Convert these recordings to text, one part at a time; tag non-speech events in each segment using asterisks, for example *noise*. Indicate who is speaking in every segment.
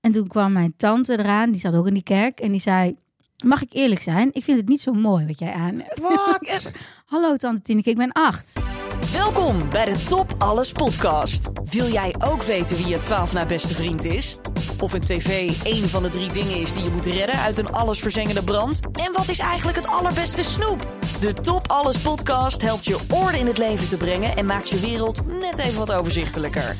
Speaker 1: En toen kwam mijn tante eraan, die zat ook in die kerk. En die zei, mag ik eerlijk zijn? Ik vind het niet zo mooi wat jij aan hebt.
Speaker 2: Wat?
Speaker 1: Hallo tante Tineke, ik ben acht.
Speaker 3: Welkom bij de Top Alles podcast. Wil jij ook weten wie je 12 na beste vriend is? Of een tv één van de drie dingen is die je moet redden uit een allesverzengende brand? En wat is eigenlijk het allerbeste snoep? De Top Alles podcast helpt je orde in het leven te brengen en maakt je wereld net even wat overzichtelijker.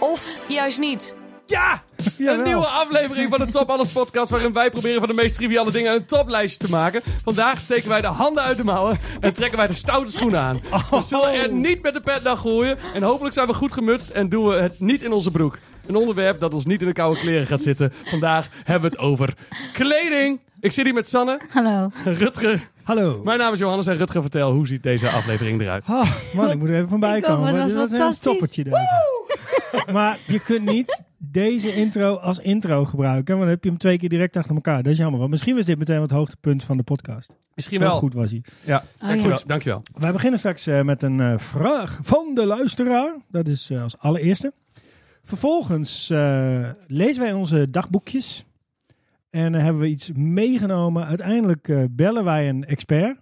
Speaker 3: Of juist niet.
Speaker 4: Ja! Een
Speaker 2: Jawel.
Speaker 4: nieuwe aflevering van de Top Alles podcast... waarin wij proberen van de meest triviale dingen een toplijstje te maken. Vandaag steken wij de handen uit de mouwen en trekken wij de stoute schoenen aan. We zullen er niet met de pet naar gooien... en hopelijk zijn we goed gemutst en doen we het niet in onze broek. Een onderwerp dat ons niet in de koude kleren gaat zitten. Vandaag hebben we het over kleding. Ik zit hier met Sanne,
Speaker 1: Hallo.
Speaker 4: Rutger.
Speaker 2: Hallo.
Speaker 4: Mijn naam is Johannes en Rutger, vertel hoe ziet deze aflevering eruit?
Speaker 2: Ah, man, ik moet er even van bij
Speaker 1: Ik ook,
Speaker 2: komen.
Speaker 1: maar dat was
Speaker 2: want dit een heel
Speaker 1: fantastisch.
Speaker 2: toppertje. Deze. maar je kunt niet deze intro als intro gebruiken. Want dan heb je hem twee keer direct achter elkaar. Dat is jammer. Want misschien was dit meteen het hoogtepunt van de podcast.
Speaker 4: Misschien
Speaker 2: Zo
Speaker 4: wel.
Speaker 2: goed was hij.
Speaker 4: Ja,
Speaker 1: Oh ja.
Speaker 4: dankjewel. dankjewel.
Speaker 2: Wij beginnen straks eh, met een eh, vraag van de luisteraar. Dat is eh, als allereerste. Vervolgens eh, lezen wij onze dagboekjes. En eh, hebben we iets meegenomen. Uiteindelijk eh, bellen wij een expert.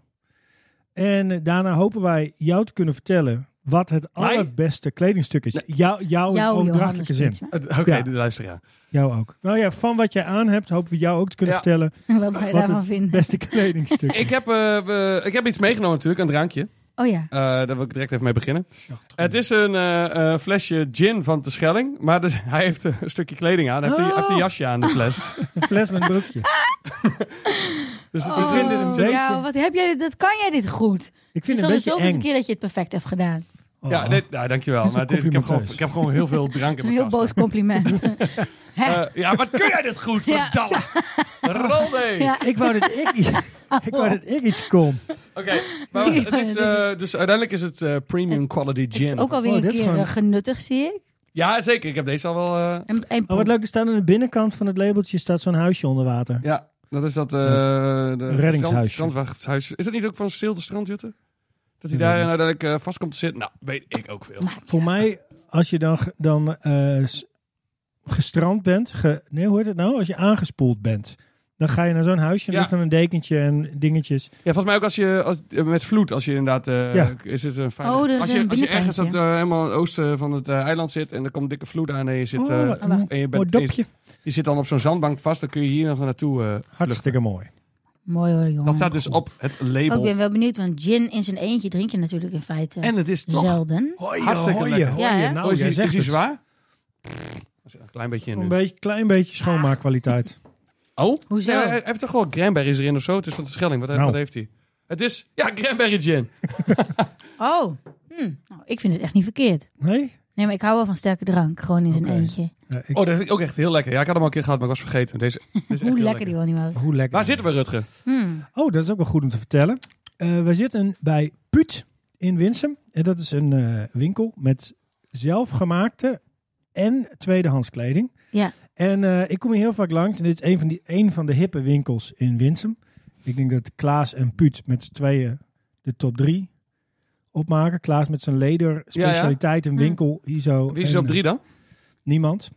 Speaker 2: En eh, daarna hopen wij jou te kunnen vertellen wat het
Speaker 4: Mij?
Speaker 2: allerbeste kledingstuk is. Jou, jouw
Speaker 1: Jouw
Speaker 2: overdrachtelijke
Speaker 1: Johannes
Speaker 2: zin.
Speaker 1: Pietsma.
Speaker 4: Eh, Oké,
Speaker 2: Ja.
Speaker 4: de luisteraar.
Speaker 2: Jou ook. Nou ja, van wat jij aan hebt, hopen we jou ook te kunnen
Speaker 4: Ja.
Speaker 1: *laughs*
Speaker 2: vertellen.
Speaker 1: Wat wij
Speaker 2: Wat
Speaker 1: daarvan
Speaker 2: een
Speaker 1: vinden.
Speaker 2: Beste *laughs* kledingstuk.
Speaker 4: Ik heb, eh, we- ik heb iets meegenomen natuurlijk, een drankje.
Speaker 1: Oh ja.
Speaker 4: Eh, daar wil ik direct even mee beginnen. Het is een eh, eh, flesje gin van de Schelling. Maar dus, *laughs* hij heeft een stukje kleding aan. Hij heeft, een,
Speaker 2: Oh.
Speaker 4: heeft een jasje aan, de
Speaker 1: *laughs*
Speaker 4: fles.
Speaker 2: Een fles met een broekje.
Speaker 4: Dus het is-
Speaker 1: Oh,
Speaker 2: vind dit een beetje-
Speaker 1: ja, wat heb jij dit? Dat kan jij dit goed.
Speaker 2: Ik
Speaker 1: Het is
Speaker 2: vind het
Speaker 1: al
Speaker 2: een
Speaker 1: de
Speaker 2: beetje
Speaker 1: zoveelste
Speaker 2: eng.
Speaker 1: keer dat je het perfect hebt gedaan.
Speaker 4: Ja,
Speaker 2: Oh.
Speaker 4: nee, nou, dankjewel.
Speaker 2: Dat is
Speaker 4: Maar
Speaker 2: een
Speaker 4: dit- ik, heb gewoon,
Speaker 2: complimenteus.
Speaker 4: ik heb gewoon heel veel drank in
Speaker 1: Een
Speaker 4: mijn
Speaker 1: heel
Speaker 4: kast.
Speaker 1: boos
Speaker 4: *laughs*
Speaker 1: compliment. Hè?
Speaker 4: Eh, ja, wat kun jij dit goed,
Speaker 1: Ja.
Speaker 4: verdamme!
Speaker 1: *laughs*
Speaker 4: Rolde!
Speaker 1: Ja.
Speaker 2: Ik wou dat ik, ik, wou dat ik iets kon.
Speaker 4: Oké,
Speaker 1: *laughs*
Speaker 4: maar het is, eh, dus uiteindelijk is het eh, premium quality
Speaker 1: het is
Speaker 4: gin.
Speaker 1: ook alweer
Speaker 2: Oh,
Speaker 1: een
Speaker 2: dit is
Speaker 1: keer
Speaker 2: gewoon-
Speaker 1: eh, genuttig, zie ik.
Speaker 4: Ja, zeker. Ik heb deze al wel... eh,
Speaker 1: En, en
Speaker 2: Oh, wat leuk, er staat aan de binnenkant van het labeltje staat zo'n huisje onder water.
Speaker 4: ja, dat is dat... eh de
Speaker 2: Reddingshuisje.
Speaker 4: strand- strandwachtshuisje. Is dat niet ook van Stil de Strandjutten? Dat hij
Speaker 2: Ik
Speaker 4: daar
Speaker 2: weet niet.
Speaker 4: uiteindelijk eh, vast komt te zitten? Nou, weet ik ook veel.
Speaker 2: Voor mij, als je dan, ge- dan eh, s- gestrand bent, ge, nee, hoe heet het nou? Als je aangespoeld bent, dan ga je naar zo'n huisje en
Speaker 4: Ja.
Speaker 2: ligt dan een dekentje en dingetjes.
Speaker 4: Ja, volgens mij ook als je als, eh, met vloed, als je inderdaad. eh,
Speaker 2: Ja.
Speaker 4: Is het een fijn.
Speaker 1: Oh, er is
Speaker 4: als je,
Speaker 1: een
Speaker 4: als je ergens aan het,
Speaker 1: binnenkantje.
Speaker 4: eh, helemaal in het oosten van het eh, eiland zit en er komt dikke vloed aan en je zit,
Speaker 2: Oh,
Speaker 4: eh,
Speaker 2: wat
Speaker 1: en je
Speaker 2: een
Speaker 4: bent-
Speaker 2: mooi dopje.
Speaker 4: je zit dan op zo'n zandbank vast, dan kun je hier nog naartoe. eh, vluchten.
Speaker 2: Hartstikke mooi.
Speaker 1: Mooi hoor, jongen.
Speaker 4: Dat staat dus op het
Speaker 1: Ook ik
Speaker 4: label.
Speaker 1: ben wel benieuwd, want gin in zijn eentje drink je natuurlijk in feite
Speaker 4: En het is toch.
Speaker 1: zelden.
Speaker 2: Hoi,
Speaker 4: Hartstikke lekker.
Speaker 1: Ja, hè?
Speaker 2: nou,
Speaker 4: Oh, is
Speaker 2: jij
Speaker 4: die, is
Speaker 2: zegt
Speaker 4: die
Speaker 2: het.
Speaker 4: zwaar? Er zit Een klein beetje in.
Speaker 2: Een
Speaker 4: Nu.
Speaker 2: beetje, klein beetje
Speaker 4: *laughs*
Speaker 2: schoonmaakkwaliteit.
Speaker 4: Oh?
Speaker 1: Hoezo?
Speaker 4: Nee, hij hij heeft toch gewoon cranberries erin of zo? Het is van de Schelling. Wat,
Speaker 2: Nou.
Speaker 4: wat heeft hij? Het is. Ja, cranberry gin.
Speaker 1: Oh, hm. nou, ik vind het echt niet verkeerd.
Speaker 2: Nee?
Speaker 1: Nee, maar ik hou wel van sterke drank, gewoon in zijn
Speaker 2: Oké.
Speaker 1: eentje.
Speaker 2: Ja, ik-
Speaker 4: Oh, dat vind ik ook echt heel lekker. Ja, ik had hem al een keer gehad, maar ik was vergeten. Deze, deze is echt
Speaker 1: Hoe
Speaker 4: heel
Speaker 1: lekker die wel niet was.
Speaker 2: Hoe lekker.
Speaker 4: Waar zitten we, Rutger?
Speaker 1: Hm.
Speaker 2: Oh, dat is ook wel goed om te vertellen. Eh, we zitten bij Put in Winsum. En dat is een eh, winkel met zelfgemaakte en tweedehands kleding.
Speaker 1: Ja.
Speaker 2: En eh, ik kom hier heel vaak langs. En dit is een van, die, een van de hippe winkels in Winsum. Ik denk dat Klaas en Put met z'n tweeën de top drie opmaken. Klaas met zijn leder, specialiteit, een
Speaker 1: Hm.
Speaker 2: winkel. Hier zo,
Speaker 4: Wie is
Speaker 2: en,
Speaker 4: er op drie dan?
Speaker 2: eh, Niemand.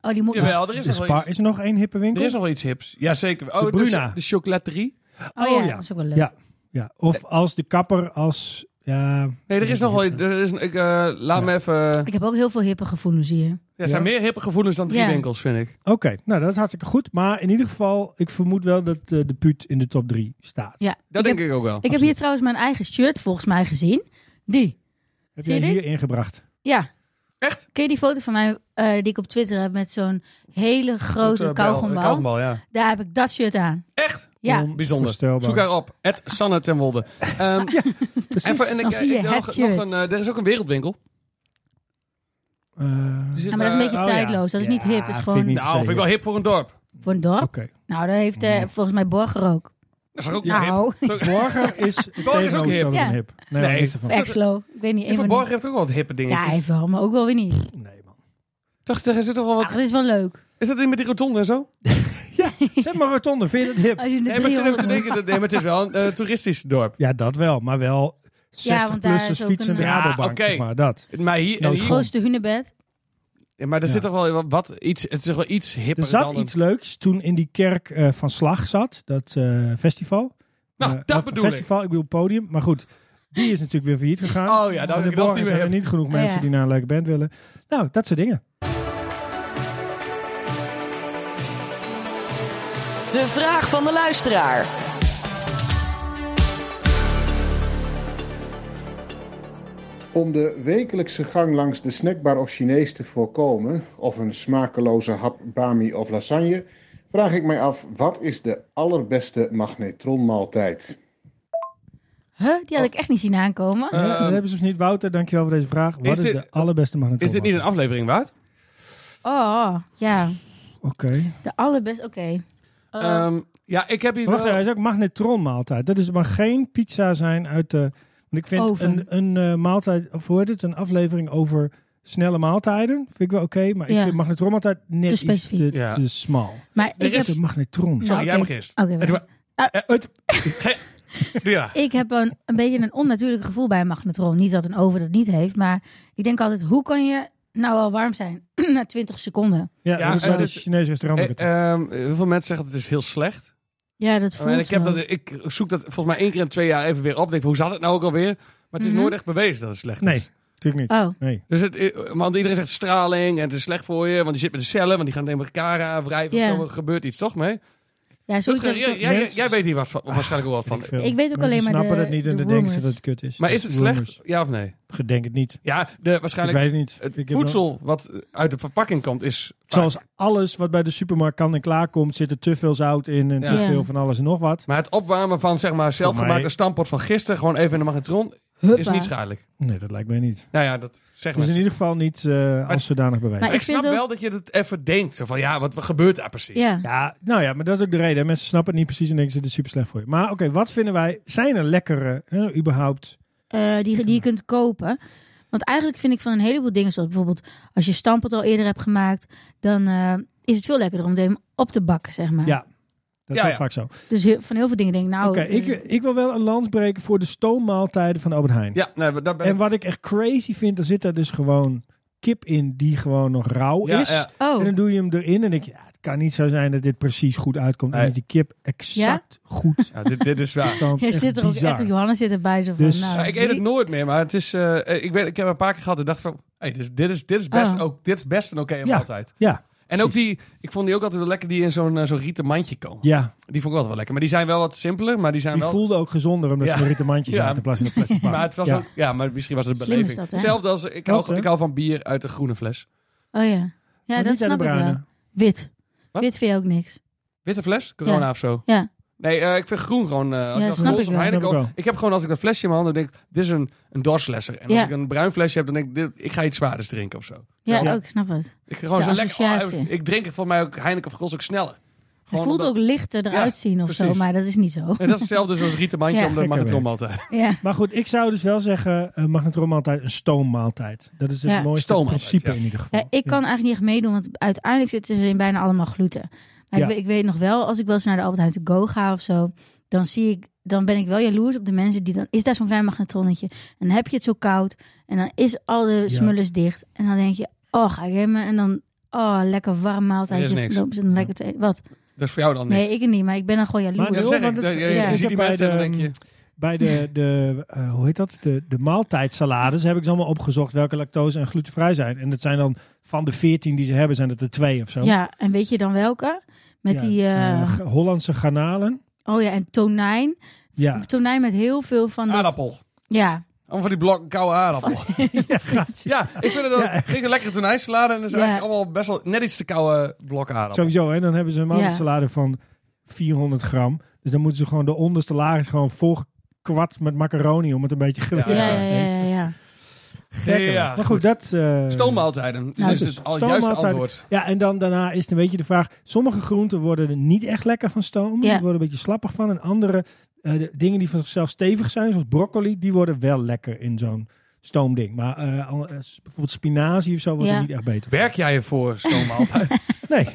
Speaker 1: Oh, die moet nog-
Speaker 4: Jawel, er is
Speaker 2: De
Speaker 4: nog wel
Speaker 2: Spar-
Speaker 4: iets.
Speaker 2: is er nog één hippe winkel?
Speaker 4: Er is nog wel iets hips. Jazeker. Oh,
Speaker 2: De Bruna.
Speaker 4: De, de chocolaterie.
Speaker 1: Oh,
Speaker 2: oh
Speaker 1: ja,
Speaker 2: ja.
Speaker 1: dat is ook wel leuk.
Speaker 2: Ja. ja. Of
Speaker 4: Eh.
Speaker 2: als de kapper, als... Ja,
Speaker 4: Nee, er is nog wel er is, ik, eh, Laat
Speaker 2: Ja.
Speaker 4: me even...
Speaker 1: Ik heb ook heel veel hippe gevoelens hier.
Speaker 4: Ja, er zijn
Speaker 2: Ja.
Speaker 4: meer hippe gevoelens dan drie
Speaker 1: Ja.
Speaker 4: winkels, vind ik.
Speaker 2: Oké, nou dat is hartstikke goed. Maar in ieder geval, ik vermoed wel dat eh, de Puut in de top 3 staat.
Speaker 1: Ja,
Speaker 4: Dat
Speaker 1: ik
Speaker 4: denk ik ook wel.
Speaker 1: Ik heb hier trouwens mijn eigen shirt volgens mij gezien. Die.
Speaker 2: Heb
Speaker 1: Zie je
Speaker 2: jij
Speaker 1: dit?
Speaker 2: hier ingebracht?
Speaker 1: Ja.
Speaker 4: Echt?
Speaker 1: Ken je die foto van mij eh, die ik op Twitter heb met zo'n hele grote
Speaker 4: Goed, eh, bel-
Speaker 1: kauwgombal?
Speaker 4: kauwgombal, ja.
Speaker 1: Daar heb ik dat shirt aan.
Speaker 4: Echt?
Speaker 2: Oh.
Speaker 1: Ja.
Speaker 4: Bijzonder.
Speaker 2: Onvoorstelbaar.
Speaker 4: Zoek haar op. Het Sanne ten
Speaker 1: *laughs*
Speaker 4: Wolde. Ehm,
Speaker 2: Precies.
Speaker 4: even, en ik,
Speaker 1: Dan zie je
Speaker 4: ik-
Speaker 1: het
Speaker 4: nog, nog
Speaker 1: shirt.
Speaker 4: een, eh, er is ook een wereldwinkel.
Speaker 2: Eh,
Speaker 4: Er zit,
Speaker 1: Ja, maar dat is een
Speaker 4: eh,
Speaker 1: beetje
Speaker 2: oh, ja.
Speaker 1: tijdloos. Dat is niet
Speaker 2: Ja,
Speaker 1: hip. Dat is
Speaker 2: vind
Speaker 1: gewoon
Speaker 2: ik niet.
Speaker 4: Nou, vind ik wel hip voor een dorp.
Speaker 1: voor een dorp.
Speaker 2: Oké.
Speaker 1: Nou, dat heeft eh, volgens mij Borger ook.
Speaker 4: Dat is toch ook
Speaker 1: Ja.
Speaker 4: hip?
Speaker 1: Nou. *laughs*
Speaker 4: Zo- *laughs*
Speaker 2: Borger is het
Speaker 4: is ook
Speaker 2: tegenovergestelde
Speaker 4: hip.
Speaker 2: van
Speaker 1: Ja.
Speaker 2: hip. Nee,
Speaker 4: Nee.
Speaker 2: nee. niks ervan.
Speaker 1: Of Exlo. Ik weet niet.
Speaker 4: En
Speaker 1: een
Speaker 4: Van
Speaker 1: van
Speaker 4: Borgen
Speaker 1: die-
Speaker 4: heeft ook wel wat hippe
Speaker 1: Ja,
Speaker 4: dingetjes.
Speaker 1: even wel, maar ook wel weer niet.
Speaker 2: Nee, man.
Speaker 4: Toch, er zit toch wel
Speaker 1: Ach,
Speaker 4: wat...
Speaker 1: dat is wel leuk.
Speaker 4: Is dat in met die rotonde en zo?
Speaker 2: Ja, zet maar rotonde. Vind je het hip?
Speaker 1: Als je in de
Speaker 4: Nee, maar ik zit even te
Speaker 1: 300
Speaker 4: denken. dat- Nee, maar het is wel een eh, toeristisch dorp.
Speaker 2: Ja, dat wel. Maar wel 60
Speaker 1: want daar is
Speaker 2: plussers
Speaker 1: ook
Speaker 2: fiets en
Speaker 1: een-
Speaker 2: Rabobank,
Speaker 4: Ja, Ah, oké.
Speaker 2: zeg maar. Dat.
Speaker 4: Maar hier...
Speaker 2: Nou,
Speaker 4: en
Speaker 2: is
Speaker 4: hier
Speaker 2: goed.
Speaker 1: grootste hunebed.
Speaker 4: Ja, maar er
Speaker 2: Ja.
Speaker 4: zit toch wel wat, iets, het is toch wel iets hipper
Speaker 2: Er zat
Speaker 4: dan een-
Speaker 2: iets leuks toen in die kerk eh, van Slag zat, dat eh, festival.
Speaker 4: Nou,
Speaker 2: Eh,
Speaker 4: dat
Speaker 2: of
Speaker 4: bedoel ik.
Speaker 2: festival, ik. bedoel podium. Maar goed, die is natuurlijk weer failliet gegaan.
Speaker 4: Oh ja,
Speaker 2: nou,
Speaker 4: dan, dat is niet meer
Speaker 2: zijn er
Speaker 4: hip.
Speaker 2: niet genoeg
Speaker 1: Ah,
Speaker 2: mensen
Speaker 1: ja.
Speaker 2: die naar een leuke band willen. Nou, dat soort dingen.
Speaker 3: De vraag van de luisteraar.
Speaker 5: Om de wekelijkse gang langs de snackbar of Chinees te voorkomen, of een smakeloze hap bami of lasagne, vraag ik mij af: wat is de allerbeste magnetronmaaltijd?
Speaker 1: Huh? Die had ik echt niet zien aankomen.
Speaker 4: Oh. Eh,
Speaker 2: Ja, dat hebben ze dus niet. Wouter, dankjewel voor deze vraag. Wat
Speaker 4: is
Speaker 2: is,
Speaker 4: dit-
Speaker 2: de allerbeste magnetron?
Speaker 4: Is dit niet een aflevering waard?
Speaker 1: Oh, ja.
Speaker 2: Oké.
Speaker 1: De allerbeste. Oké. Eh,
Speaker 4: Ehm, ja, ik heb hier
Speaker 2: Maar Wacht,
Speaker 4: wel-
Speaker 2: hij is ook magnetron maaltijd. Dat is maar geen pizza zijn uit de... Want ik vind
Speaker 1: Oven.
Speaker 2: een, een eh, maaltijd, of hoe heet het, een aflevering over snelle maaltijden, vind ik wel oké. maar ik
Speaker 1: Ja.
Speaker 2: vind magnetron maaltijd net
Speaker 1: Te
Speaker 2: iets
Speaker 1: specifiek.
Speaker 2: te,
Speaker 4: Ja.
Speaker 2: te smal.
Speaker 1: maar
Speaker 4: er
Speaker 1: ik
Speaker 4: Dus is-
Speaker 1: heb,
Speaker 2: De magnetron.
Speaker 1: Nou,
Speaker 4: Sorry, jij
Speaker 1: oké.
Speaker 4: begint.
Speaker 1: Oké,
Speaker 4: Het
Speaker 1: wacht.
Speaker 2: Ah,
Speaker 4: wa- eh, het-
Speaker 2: *laughs*
Speaker 4: Ge- Ja.
Speaker 1: ik heb een, een beetje een onnatuurlijk gevoel bij een magnetron. Niet dat een oven dat niet heeft, maar ik denk altijd: hoe kan je nou al warm zijn *clears throat* na 20 seconden?
Speaker 2: Ja,
Speaker 4: Ja,
Speaker 2: dat is wel
Speaker 4: het
Speaker 2: een
Speaker 4: is-
Speaker 2: Chinees restaurant.
Speaker 4: Eh, ehm, heel veel mensen zeggen dat het is heel slecht.
Speaker 1: Ja, dat voelt
Speaker 4: Oh, En ik, heb
Speaker 1: zo.
Speaker 4: dat, ik zoek dat volgens mij één keer in twee jaar even weer op. Denk, hoe zat het nou ook alweer? Maar het is
Speaker 1: Mhm.
Speaker 4: nooit echt bewezen dat het slecht
Speaker 2: nee,
Speaker 4: is.
Speaker 2: natuurlijk niet.
Speaker 1: Oh,
Speaker 2: Nee.
Speaker 4: Dus het, eh, want iedereen zegt straling en het is slecht voor je. Want die zit met de cellen, want die gaan tegen elkaar aan wrijven
Speaker 1: Ja.
Speaker 4: of zo. Er gebeurt iets toch mee?
Speaker 1: ja,
Speaker 4: Dat,
Speaker 1: sowieso.
Speaker 4: jij,
Speaker 1: Ik,
Speaker 4: jij-
Speaker 2: mensen- Ah,
Speaker 4: jij weet hier wat, van- waarschijnlijk ook wat
Speaker 2: ik,
Speaker 4: van.
Speaker 2: veel.
Speaker 1: ik weet ook
Speaker 2: Mensen
Speaker 1: alleen maar
Speaker 2: snappen
Speaker 1: de-
Speaker 2: het niet en
Speaker 1: de
Speaker 2: dan denken
Speaker 1: rumors.
Speaker 2: ze dat het kut is.
Speaker 4: Maar
Speaker 2: Dat
Speaker 4: is het
Speaker 2: rumors.
Speaker 4: slecht? Ja of nee?
Speaker 2: Ik denk het niet.
Speaker 4: Ja, de,
Speaker 2: Ik
Speaker 4: waarschijnlijk
Speaker 2: weet het niet.
Speaker 4: het
Speaker 2: Ik heb wel-
Speaker 4: voedsel wat uit de verpakking komt is vaak-
Speaker 2: Zoals alles wat bij de supermarkt kan en klaar komt, zit er te veel zout in en
Speaker 4: Ja.
Speaker 2: te
Speaker 1: Ja.
Speaker 2: veel van alles en nog wat.
Speaker 4: Maar het opwarmen van zeg maar zelfgemaakte
Speaker 2: mij-
Speaker 4: stampot van gisteren, gewoon even in de magnetron, is
Speaker 1: huppa.
Speaker 4: niet schadelijk.
Speaker 2: Nee, dat lijkt mij niet.
Speaker 4: Nou ja, dat zeggen
Speaker 2: Het is
Speaker 4: mensen.
Speaker 2: in ieder geval niet eh, als zodanig bewijs.
Speaker 1: Maar
Speaker 4: Maar ik
Speaker 1: ik vind
Speaker 4: snap
Speaker 1: ook-
Speaker 4: wel dat je het even denkt. Zo van, ja, wat, wat gebeurt daar precies?
Speaker 1: Ja.
Speaker 2: Ja, nou ja, maar dat is ook de reden. hè. Mensen snappen het niet precies en denken ze, dit is super slecht voor je. Maar oké, wat vinden wij? Zijn er lekkere, hè, überhaupt?
Speaker 1: Eh, die, die je kunt kopen. Want eigenlijk vind ik van een heleboel dingen, zoals bijvoorbeeld als je stampot al eerder hebt gemaakt, dan eh, is het veel lekkerder om hem op te bakken, zeg maar.
Speaker 2: Ja, dat is
Speaker 4: Ja,
Speaker 2: wel
Speaker 4: ja.
Speaker 2: vaak zo. Oké,
Speaker 1: Dus heel- van heel veel dingen denk ik, nou, dit
Speaker 2: ik,
Speaker 1: is-
Speaker 2: ik wil wel een lans breken voor de stoommaaltijden van Albert Heijn.
Speaker 4: Ja, nee, maar daar ben ik-
Speaker 2: En wat ik echt crazy vind, er zit daar dus gewoon kip in die gewoon nog rauw
Speaker 4: ja,
Speaker 2: is.
Speaker 4: ja.
Speaker 1: oh,
Speaker 2: En dan doe je hem erin en denk je, ja, het kan niet zo zijn dat dit precies goed uitkomt. En
Speaker 4: Nee.
Speaker 2: is die kip exact goed
Speaker 4: *laughs* Ja, dit, dit
Speaker 2: *laughs*
Speaker 4: is waar.
Speaker 2: stand.
Speaker 1: jij
Speaker 2: Echt
Speaker 1: zit *laughs* er ook
Speaker 2: bizar.
Speaker 1: echt, Johannes zit erbij zo van,
Speaker 2: Dus-
Speaker 1: nou,
Speaker 4: Ja, ik eet het
Speaker 1: die-
Speaker 4: nooit meer, maar het is, eh, ik, weet, ik heb een paar keer gehad en dacht van, hey, dit, is, dit, is, dit, is best
Speaker 1: Oh.
Speaker 4: ook, dit is best een oké
Speaker 2: Ja.
Speaker 4: maaltijd.
Speaker 2: Ja,
Speaker 4: En ook die, ik vond die ook altijd wel lekker die in zo'n eh, zo'n rieten mandje komen.
Speaker 2: ja,
Speaker 4: Die vond ik altijd wel lekker. Maar die zijn wel wat simpeler, maar die zijn
Speaker 2: die
Speaker 4: wel...
Speaker 2: voelde ook gezonder omdat
Speaker 4: Ja.
Speaker 2: ze een rieten mandje
Speaker 4: Ja.
Speaker 2: zaten in plaats van een
Speaker 4: *laughs*
Speaker 2: plastic
Speaker 4: Maar, het was
Speaker 2: Ja.
Speaker 4: Ook, ja, maar misschien was het een
Speaker 1: Slim is
Speaker 4: beleving.
Speaker 1: dat, hè?
Speaker 4: Hetzelfde als ik
Speaker 2: Klopt,
Speaker 4: hou,
Speaker 2: hè?
Speaker 4: ik hou van bier uit de groene fles.
Speaker 1: Oh ja, ja, dat
Speaker 2: Maar niet aan de
Speaker 1: snap ik wel.
Speaker 2: bruine.
Speaker 1: Wit.
Speaker 4: Wat?
Speaker 1: Wit vind je ook niks.
Speaker 4: Witte fles? Corona
Speaker 1: Ja.
Speaker 4: of zo?
Speaker 1: Ja.
Speaker 4: Nee, eh, ik vind groen gewoon... eh, als
Speaker 1: Ja,
Speaker 4: je als
Speaker 1: snap
Speaker 4: Bols
Speaker 1: ik
Speaker 4: of
Speaker 1: wel.
Speaker 4: Heineken...
Speaker 2: Snap ik
Speaker 4: ook-
Speaker 2: wel.
Speaker 4: Ik heb gewoon als ik dat flesje in mijn hand heb, denk ik... Dit is een, een dorslesser. En als
Speaker 1: Ja.
Speaker 4: ik een bruin flesje heb, dan denk ik... Dit, ik ga iets zwaarders drinken of zo.
Speaker 1: Ja,
Speaker 2: Ja.
Speaker 1: ook, snap het.
Speaker 4: Ik ga gewoon
Speaker 1: De
Speaker 4: zo lekker...
Speaker 1: associatie.
Speaker 4: oh, ik drink het volgens mij ook Heineken of Grols ook sneller.
Speaker 1: Het
Speaker 4: Gewoon
Speaker 1: voelt
Speaker 4: omdat-
Speaker 1: ook lichter eruit
Speaker 4: Ja,
Speaker 1: zien of zo,
Speaker 4: precies.
Speaker 1: maar dat is niet zo. *laughs*
Speaker 4: En dat is hetzelfde als het rietenmandje
Speaker 1: Ja.
Speaker 4: om de eh,
Speaker 2: Lekker
Speaker 4: magnetron altijd.
Speaker 1: Ja,
Speaker 2: Maar goed, ik zou dus wel zeggen, een magnetronmaaltijd, een stoommaaltijd. Dat is het
Speaker 1: Ja.
Speaker 2: mooiste
Speaker 4: Stoommaaltijd,
Speaker 2: principe
Speaker 4: ja.
Speaker 2: in ieder geval.
Speaker 1: ja ik kan eigenlijk niet echt meedoen, want uiteindelijk zitten ze in bijna allemaal gluten. Maar
Speaker 2: Ja.
Speaker 1: ik, weet, ik weet nog wel, als ik wel eens naar de Albert Heijn to go ga of zo, dan zie ik, dan ben ik wel jaloers op de mensen die dan, is daar zo'n klein magnetronnetje en dan heb je het zo koud en dan is al de smullers dicht en dan denk je, oh ga ik helemaal en dan, oh lekker warm maaltijdje,
Speaker 4: Er is niks.
Speaker 1: lopen ze dan lekker te eten. Wat?
Speaker 4: *laughs* Dat is voor jou dan niet.
Speaker 1: Nee, ik niet, maar ik ben dan gewoon jaloers.
Speaker 2: Maar
Speaker 4: dat
Speaker 2: joh,
Speaker 4: zeg ik.
Speaker 2: want het-
Speaker 4: Dat- je-
Speaker 2: ja.
Speaker 4: je
Speaker 1: Ik mm,
Speaker 4: ziet
Speaker 2: heb
Speaker 4: die
Speaker 2: bij
Speaker 4: mensen en dan
Speaker 2: de-
Speaker 4: denk je...
Speaker 2: Bij
Speaker 1: *laughs*
Speaker 2: de, de eh, hoe heet dat? De, de maaltijdsalades heb ik ze allemaal opgezocht welke lactose en glutenvrij zijn. En dat zijn dan van de veertien die ze hebben, zijn het er twee of zo.
Speaker 1: Ja, en weet je dan welke? Met
Speaker 2: Ja,
Speaker 1: die, eh,
Speaker 2: eh, G- Hollandse garnalen.
Speaker 1: oh ja, en tonijn. *laughs*
Speaker 2: Ja,
Speaker 1: Tonijn met heel veel van dat...
Speaker 4: Aardappel.
Speaker 1: Ja,
Speaker 4: Allemaal van die blok koude aardappel.
Speaker 1: *laughs*
Speaker 2: ja, gratis.
Speaker 4: Ja, ik vind het ook...
Speaker 2: Ja, echt.
Speaker 4: ik vind een lekkere tonijnsalade en dat is
Speaker 1: Ja.
Speaker 4: eigenlijk allemaal best wel net iets te koude blok aardappel.
Speaker 2: Sowieso, hè? dan hebben ze een
Speaker 1: Ja.
Speaker 2: maaltijdsalade van 400 gram. Dus dan moeten ze gewoon de onderste laag is gewoon volgekwad met macaroni om het een beetje gelijk
Speaker 1: ja, ja,
Speaker 2: te
Speaker 1: ja,
Speaker 2: maken.
Speaker 1: ja. ja.
Speaker 2: Gekker,
Speaker 4: Ja,
Speaker 2: maar
Speaker 4: goed.
Speaker 2: goed, dat... eh,
Speaker 4: Stoommaaltijden. Dus
Speaker 1: Nou,
Speaker 4: is
Speaker 2: dus
Speaker 4: het al juiste
Speaker 2: stoommaaltijden.
Speaker 4: antwoord.
Speaker 2: Ja, en dan daarna is het een beetje de vraag... Sommige groenten worden er niet echt lekker van stoom. Die
Speaker 1: Ja.
Speaker 2: worden een beetje slappig van. En andere eh, de dingen die van zichzelf stevig zijn, zoals broccoli... die worden wel lekker in zo'n stoomding. Maar eh, al- eh, s- bijvoorbeeld spinazie of zo wordt er
Speaker 1: Ja.
Speaker 2: niet echt beter van.
Speaker 4: Werk jij ervoor, stoommaaltijd?
Speaker 1: *laughs*
Speaker 2: Nee,
Speaker 1: Maar, en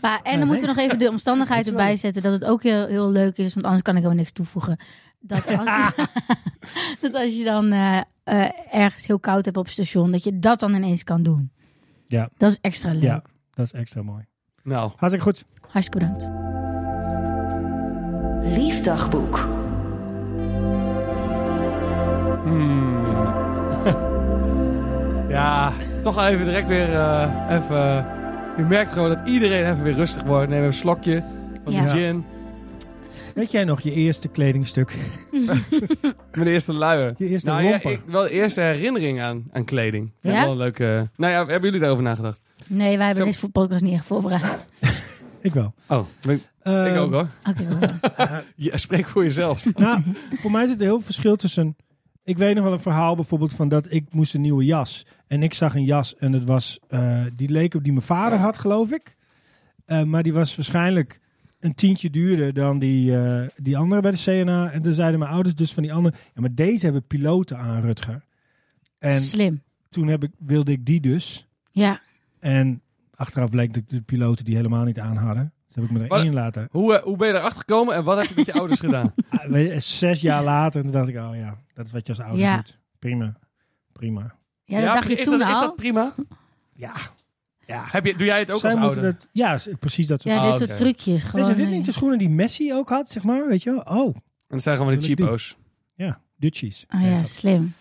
Speaker 2: Nee,
Speaker 1: dan
Speaker 2: nee.
Speaker 1: moeten we nog even de omstandigheden
Speaker 2: Dat is wel-
Speaker 1: erbij zetten. Dat het ook heel, heel leuk is, want anders kan ik helemaal niks toevoegen. Dat als je, *laughs* dat als je dan eh, eh, ergens heel koud hebt op het station, dat je dat dan ineens kan doen.
Speaker 2: Ja.
Speaker 1: Dat is extra leuk.
Speaker 2: Ja, dat is extra mooi.
Speaker 4: Nou,
Speaker 2: Hartstikke goed.
Speaker 1: Hartstikke bedankt.
Speaker 3: Liefdagboek.
Speaker 4: Hmm. *laughs* ja, toch even direct weer eh, even... eh, je merkt gewoon dat iedereen even weer rustig wordt. Neem even een slokje van
Speaker 1: Ja.
Speaker 4: de gin.
Speaker 2: Weet jij nog je eerste kledingstuk?
Speaker 4: Mijn eerste luier.
Speaker 2: Je eerste
Speaker 4: Nou ja,
Speaker 2: romper?
Speaker 4: ik, wel de eerste herinnering aan, aan kleding. Ja?
Speaker 1: Ja?
Speaker 4: Wel een leuke... Nou ja, hebben jullie daarover nagedacht?
Speaker 1: Nee, wij hebben
Speaker 4: Zo-
Speaker 1: deze voor podcast niet echt voorbereid.
Speaker 2: Ik wel.
Speaker 4: Oh, ben ik, ik
Speaker 1: Eh,
Speaker 2: Ehm,
Speaker 4: ook hoor.
Speaker 1: Oké, wel.
Speaker 4: Ja, spreek voor jezelf.
Speaker 2: Nou, voor mij zit er heel veel verschil tussen. Ik weet nog wel een verhaal bijvoorbeeld van dat ik moest een nieuwe jas. En ik zag een jas en het was, eh, die leek op die mijn vader had, geloof ik. Eh, maar die was waarschijnlijk een tientje duurder dan die, eh, die andere bij de CNA. En toen zeiden mijn ouders dus van die andere. Ja, maar deze hebben piloten aan, Rutger. En
Speaker 1: Slim.
Speaker 2: toen heb ik, wilde ik die dus.
Speaker 1: Ja.
Speaker 2: En achteraf bleek dat de piloten die helemaal niet aan hadden. Dus heb ik me er
Speaker 4: Maar-
Speaker 2: één laten.
Speaker 4: *laughs* Hoe, eh, hoe ben je erachter gekomen en wat heb je met je ouders gedaan?
Speaker 2: Ah, weet je, Zes jaar later, toen dacht ik, oh ja, dat is wat je als ouder
Speaker 1: Ja.
Speaker 2: doet. Prima, prima.
Speaker 1: Ja, dat dacht je
Speaker 4: is
Speaker 1: toen
Speaker 4: dat, Is
Speaker 1: al.
Speaker 4: dat prima?
Speaker 2: Ja. Ja.
Speaker 4: Heb je, doe jij het ook
Speaker 2: Zij
Speaker 4: als
Speaker 2: moeten
Speaker 4: ouder?
Speaker 2: dat, ja, s- precies dat soort
Speaker 1: Ja,
Speaker 4: Ah,
Speaker 1: dit
Speaker 4: oké.
Speaker 1: soort trucjes. Gewoon,
Speaker 2: Is dit
Speaker 1: eh,
Speaker 2: niet de schoenen die Messi ook had, zeg maar? Weet je wel? Oh,
Speaker 4: En dat zijn gewoon de
Speaker 2: Natuurlijk
Speaker 4: cheapo's.
Speaker 2: ja, Dutchies.
Speaker 1: Oh ja, slim.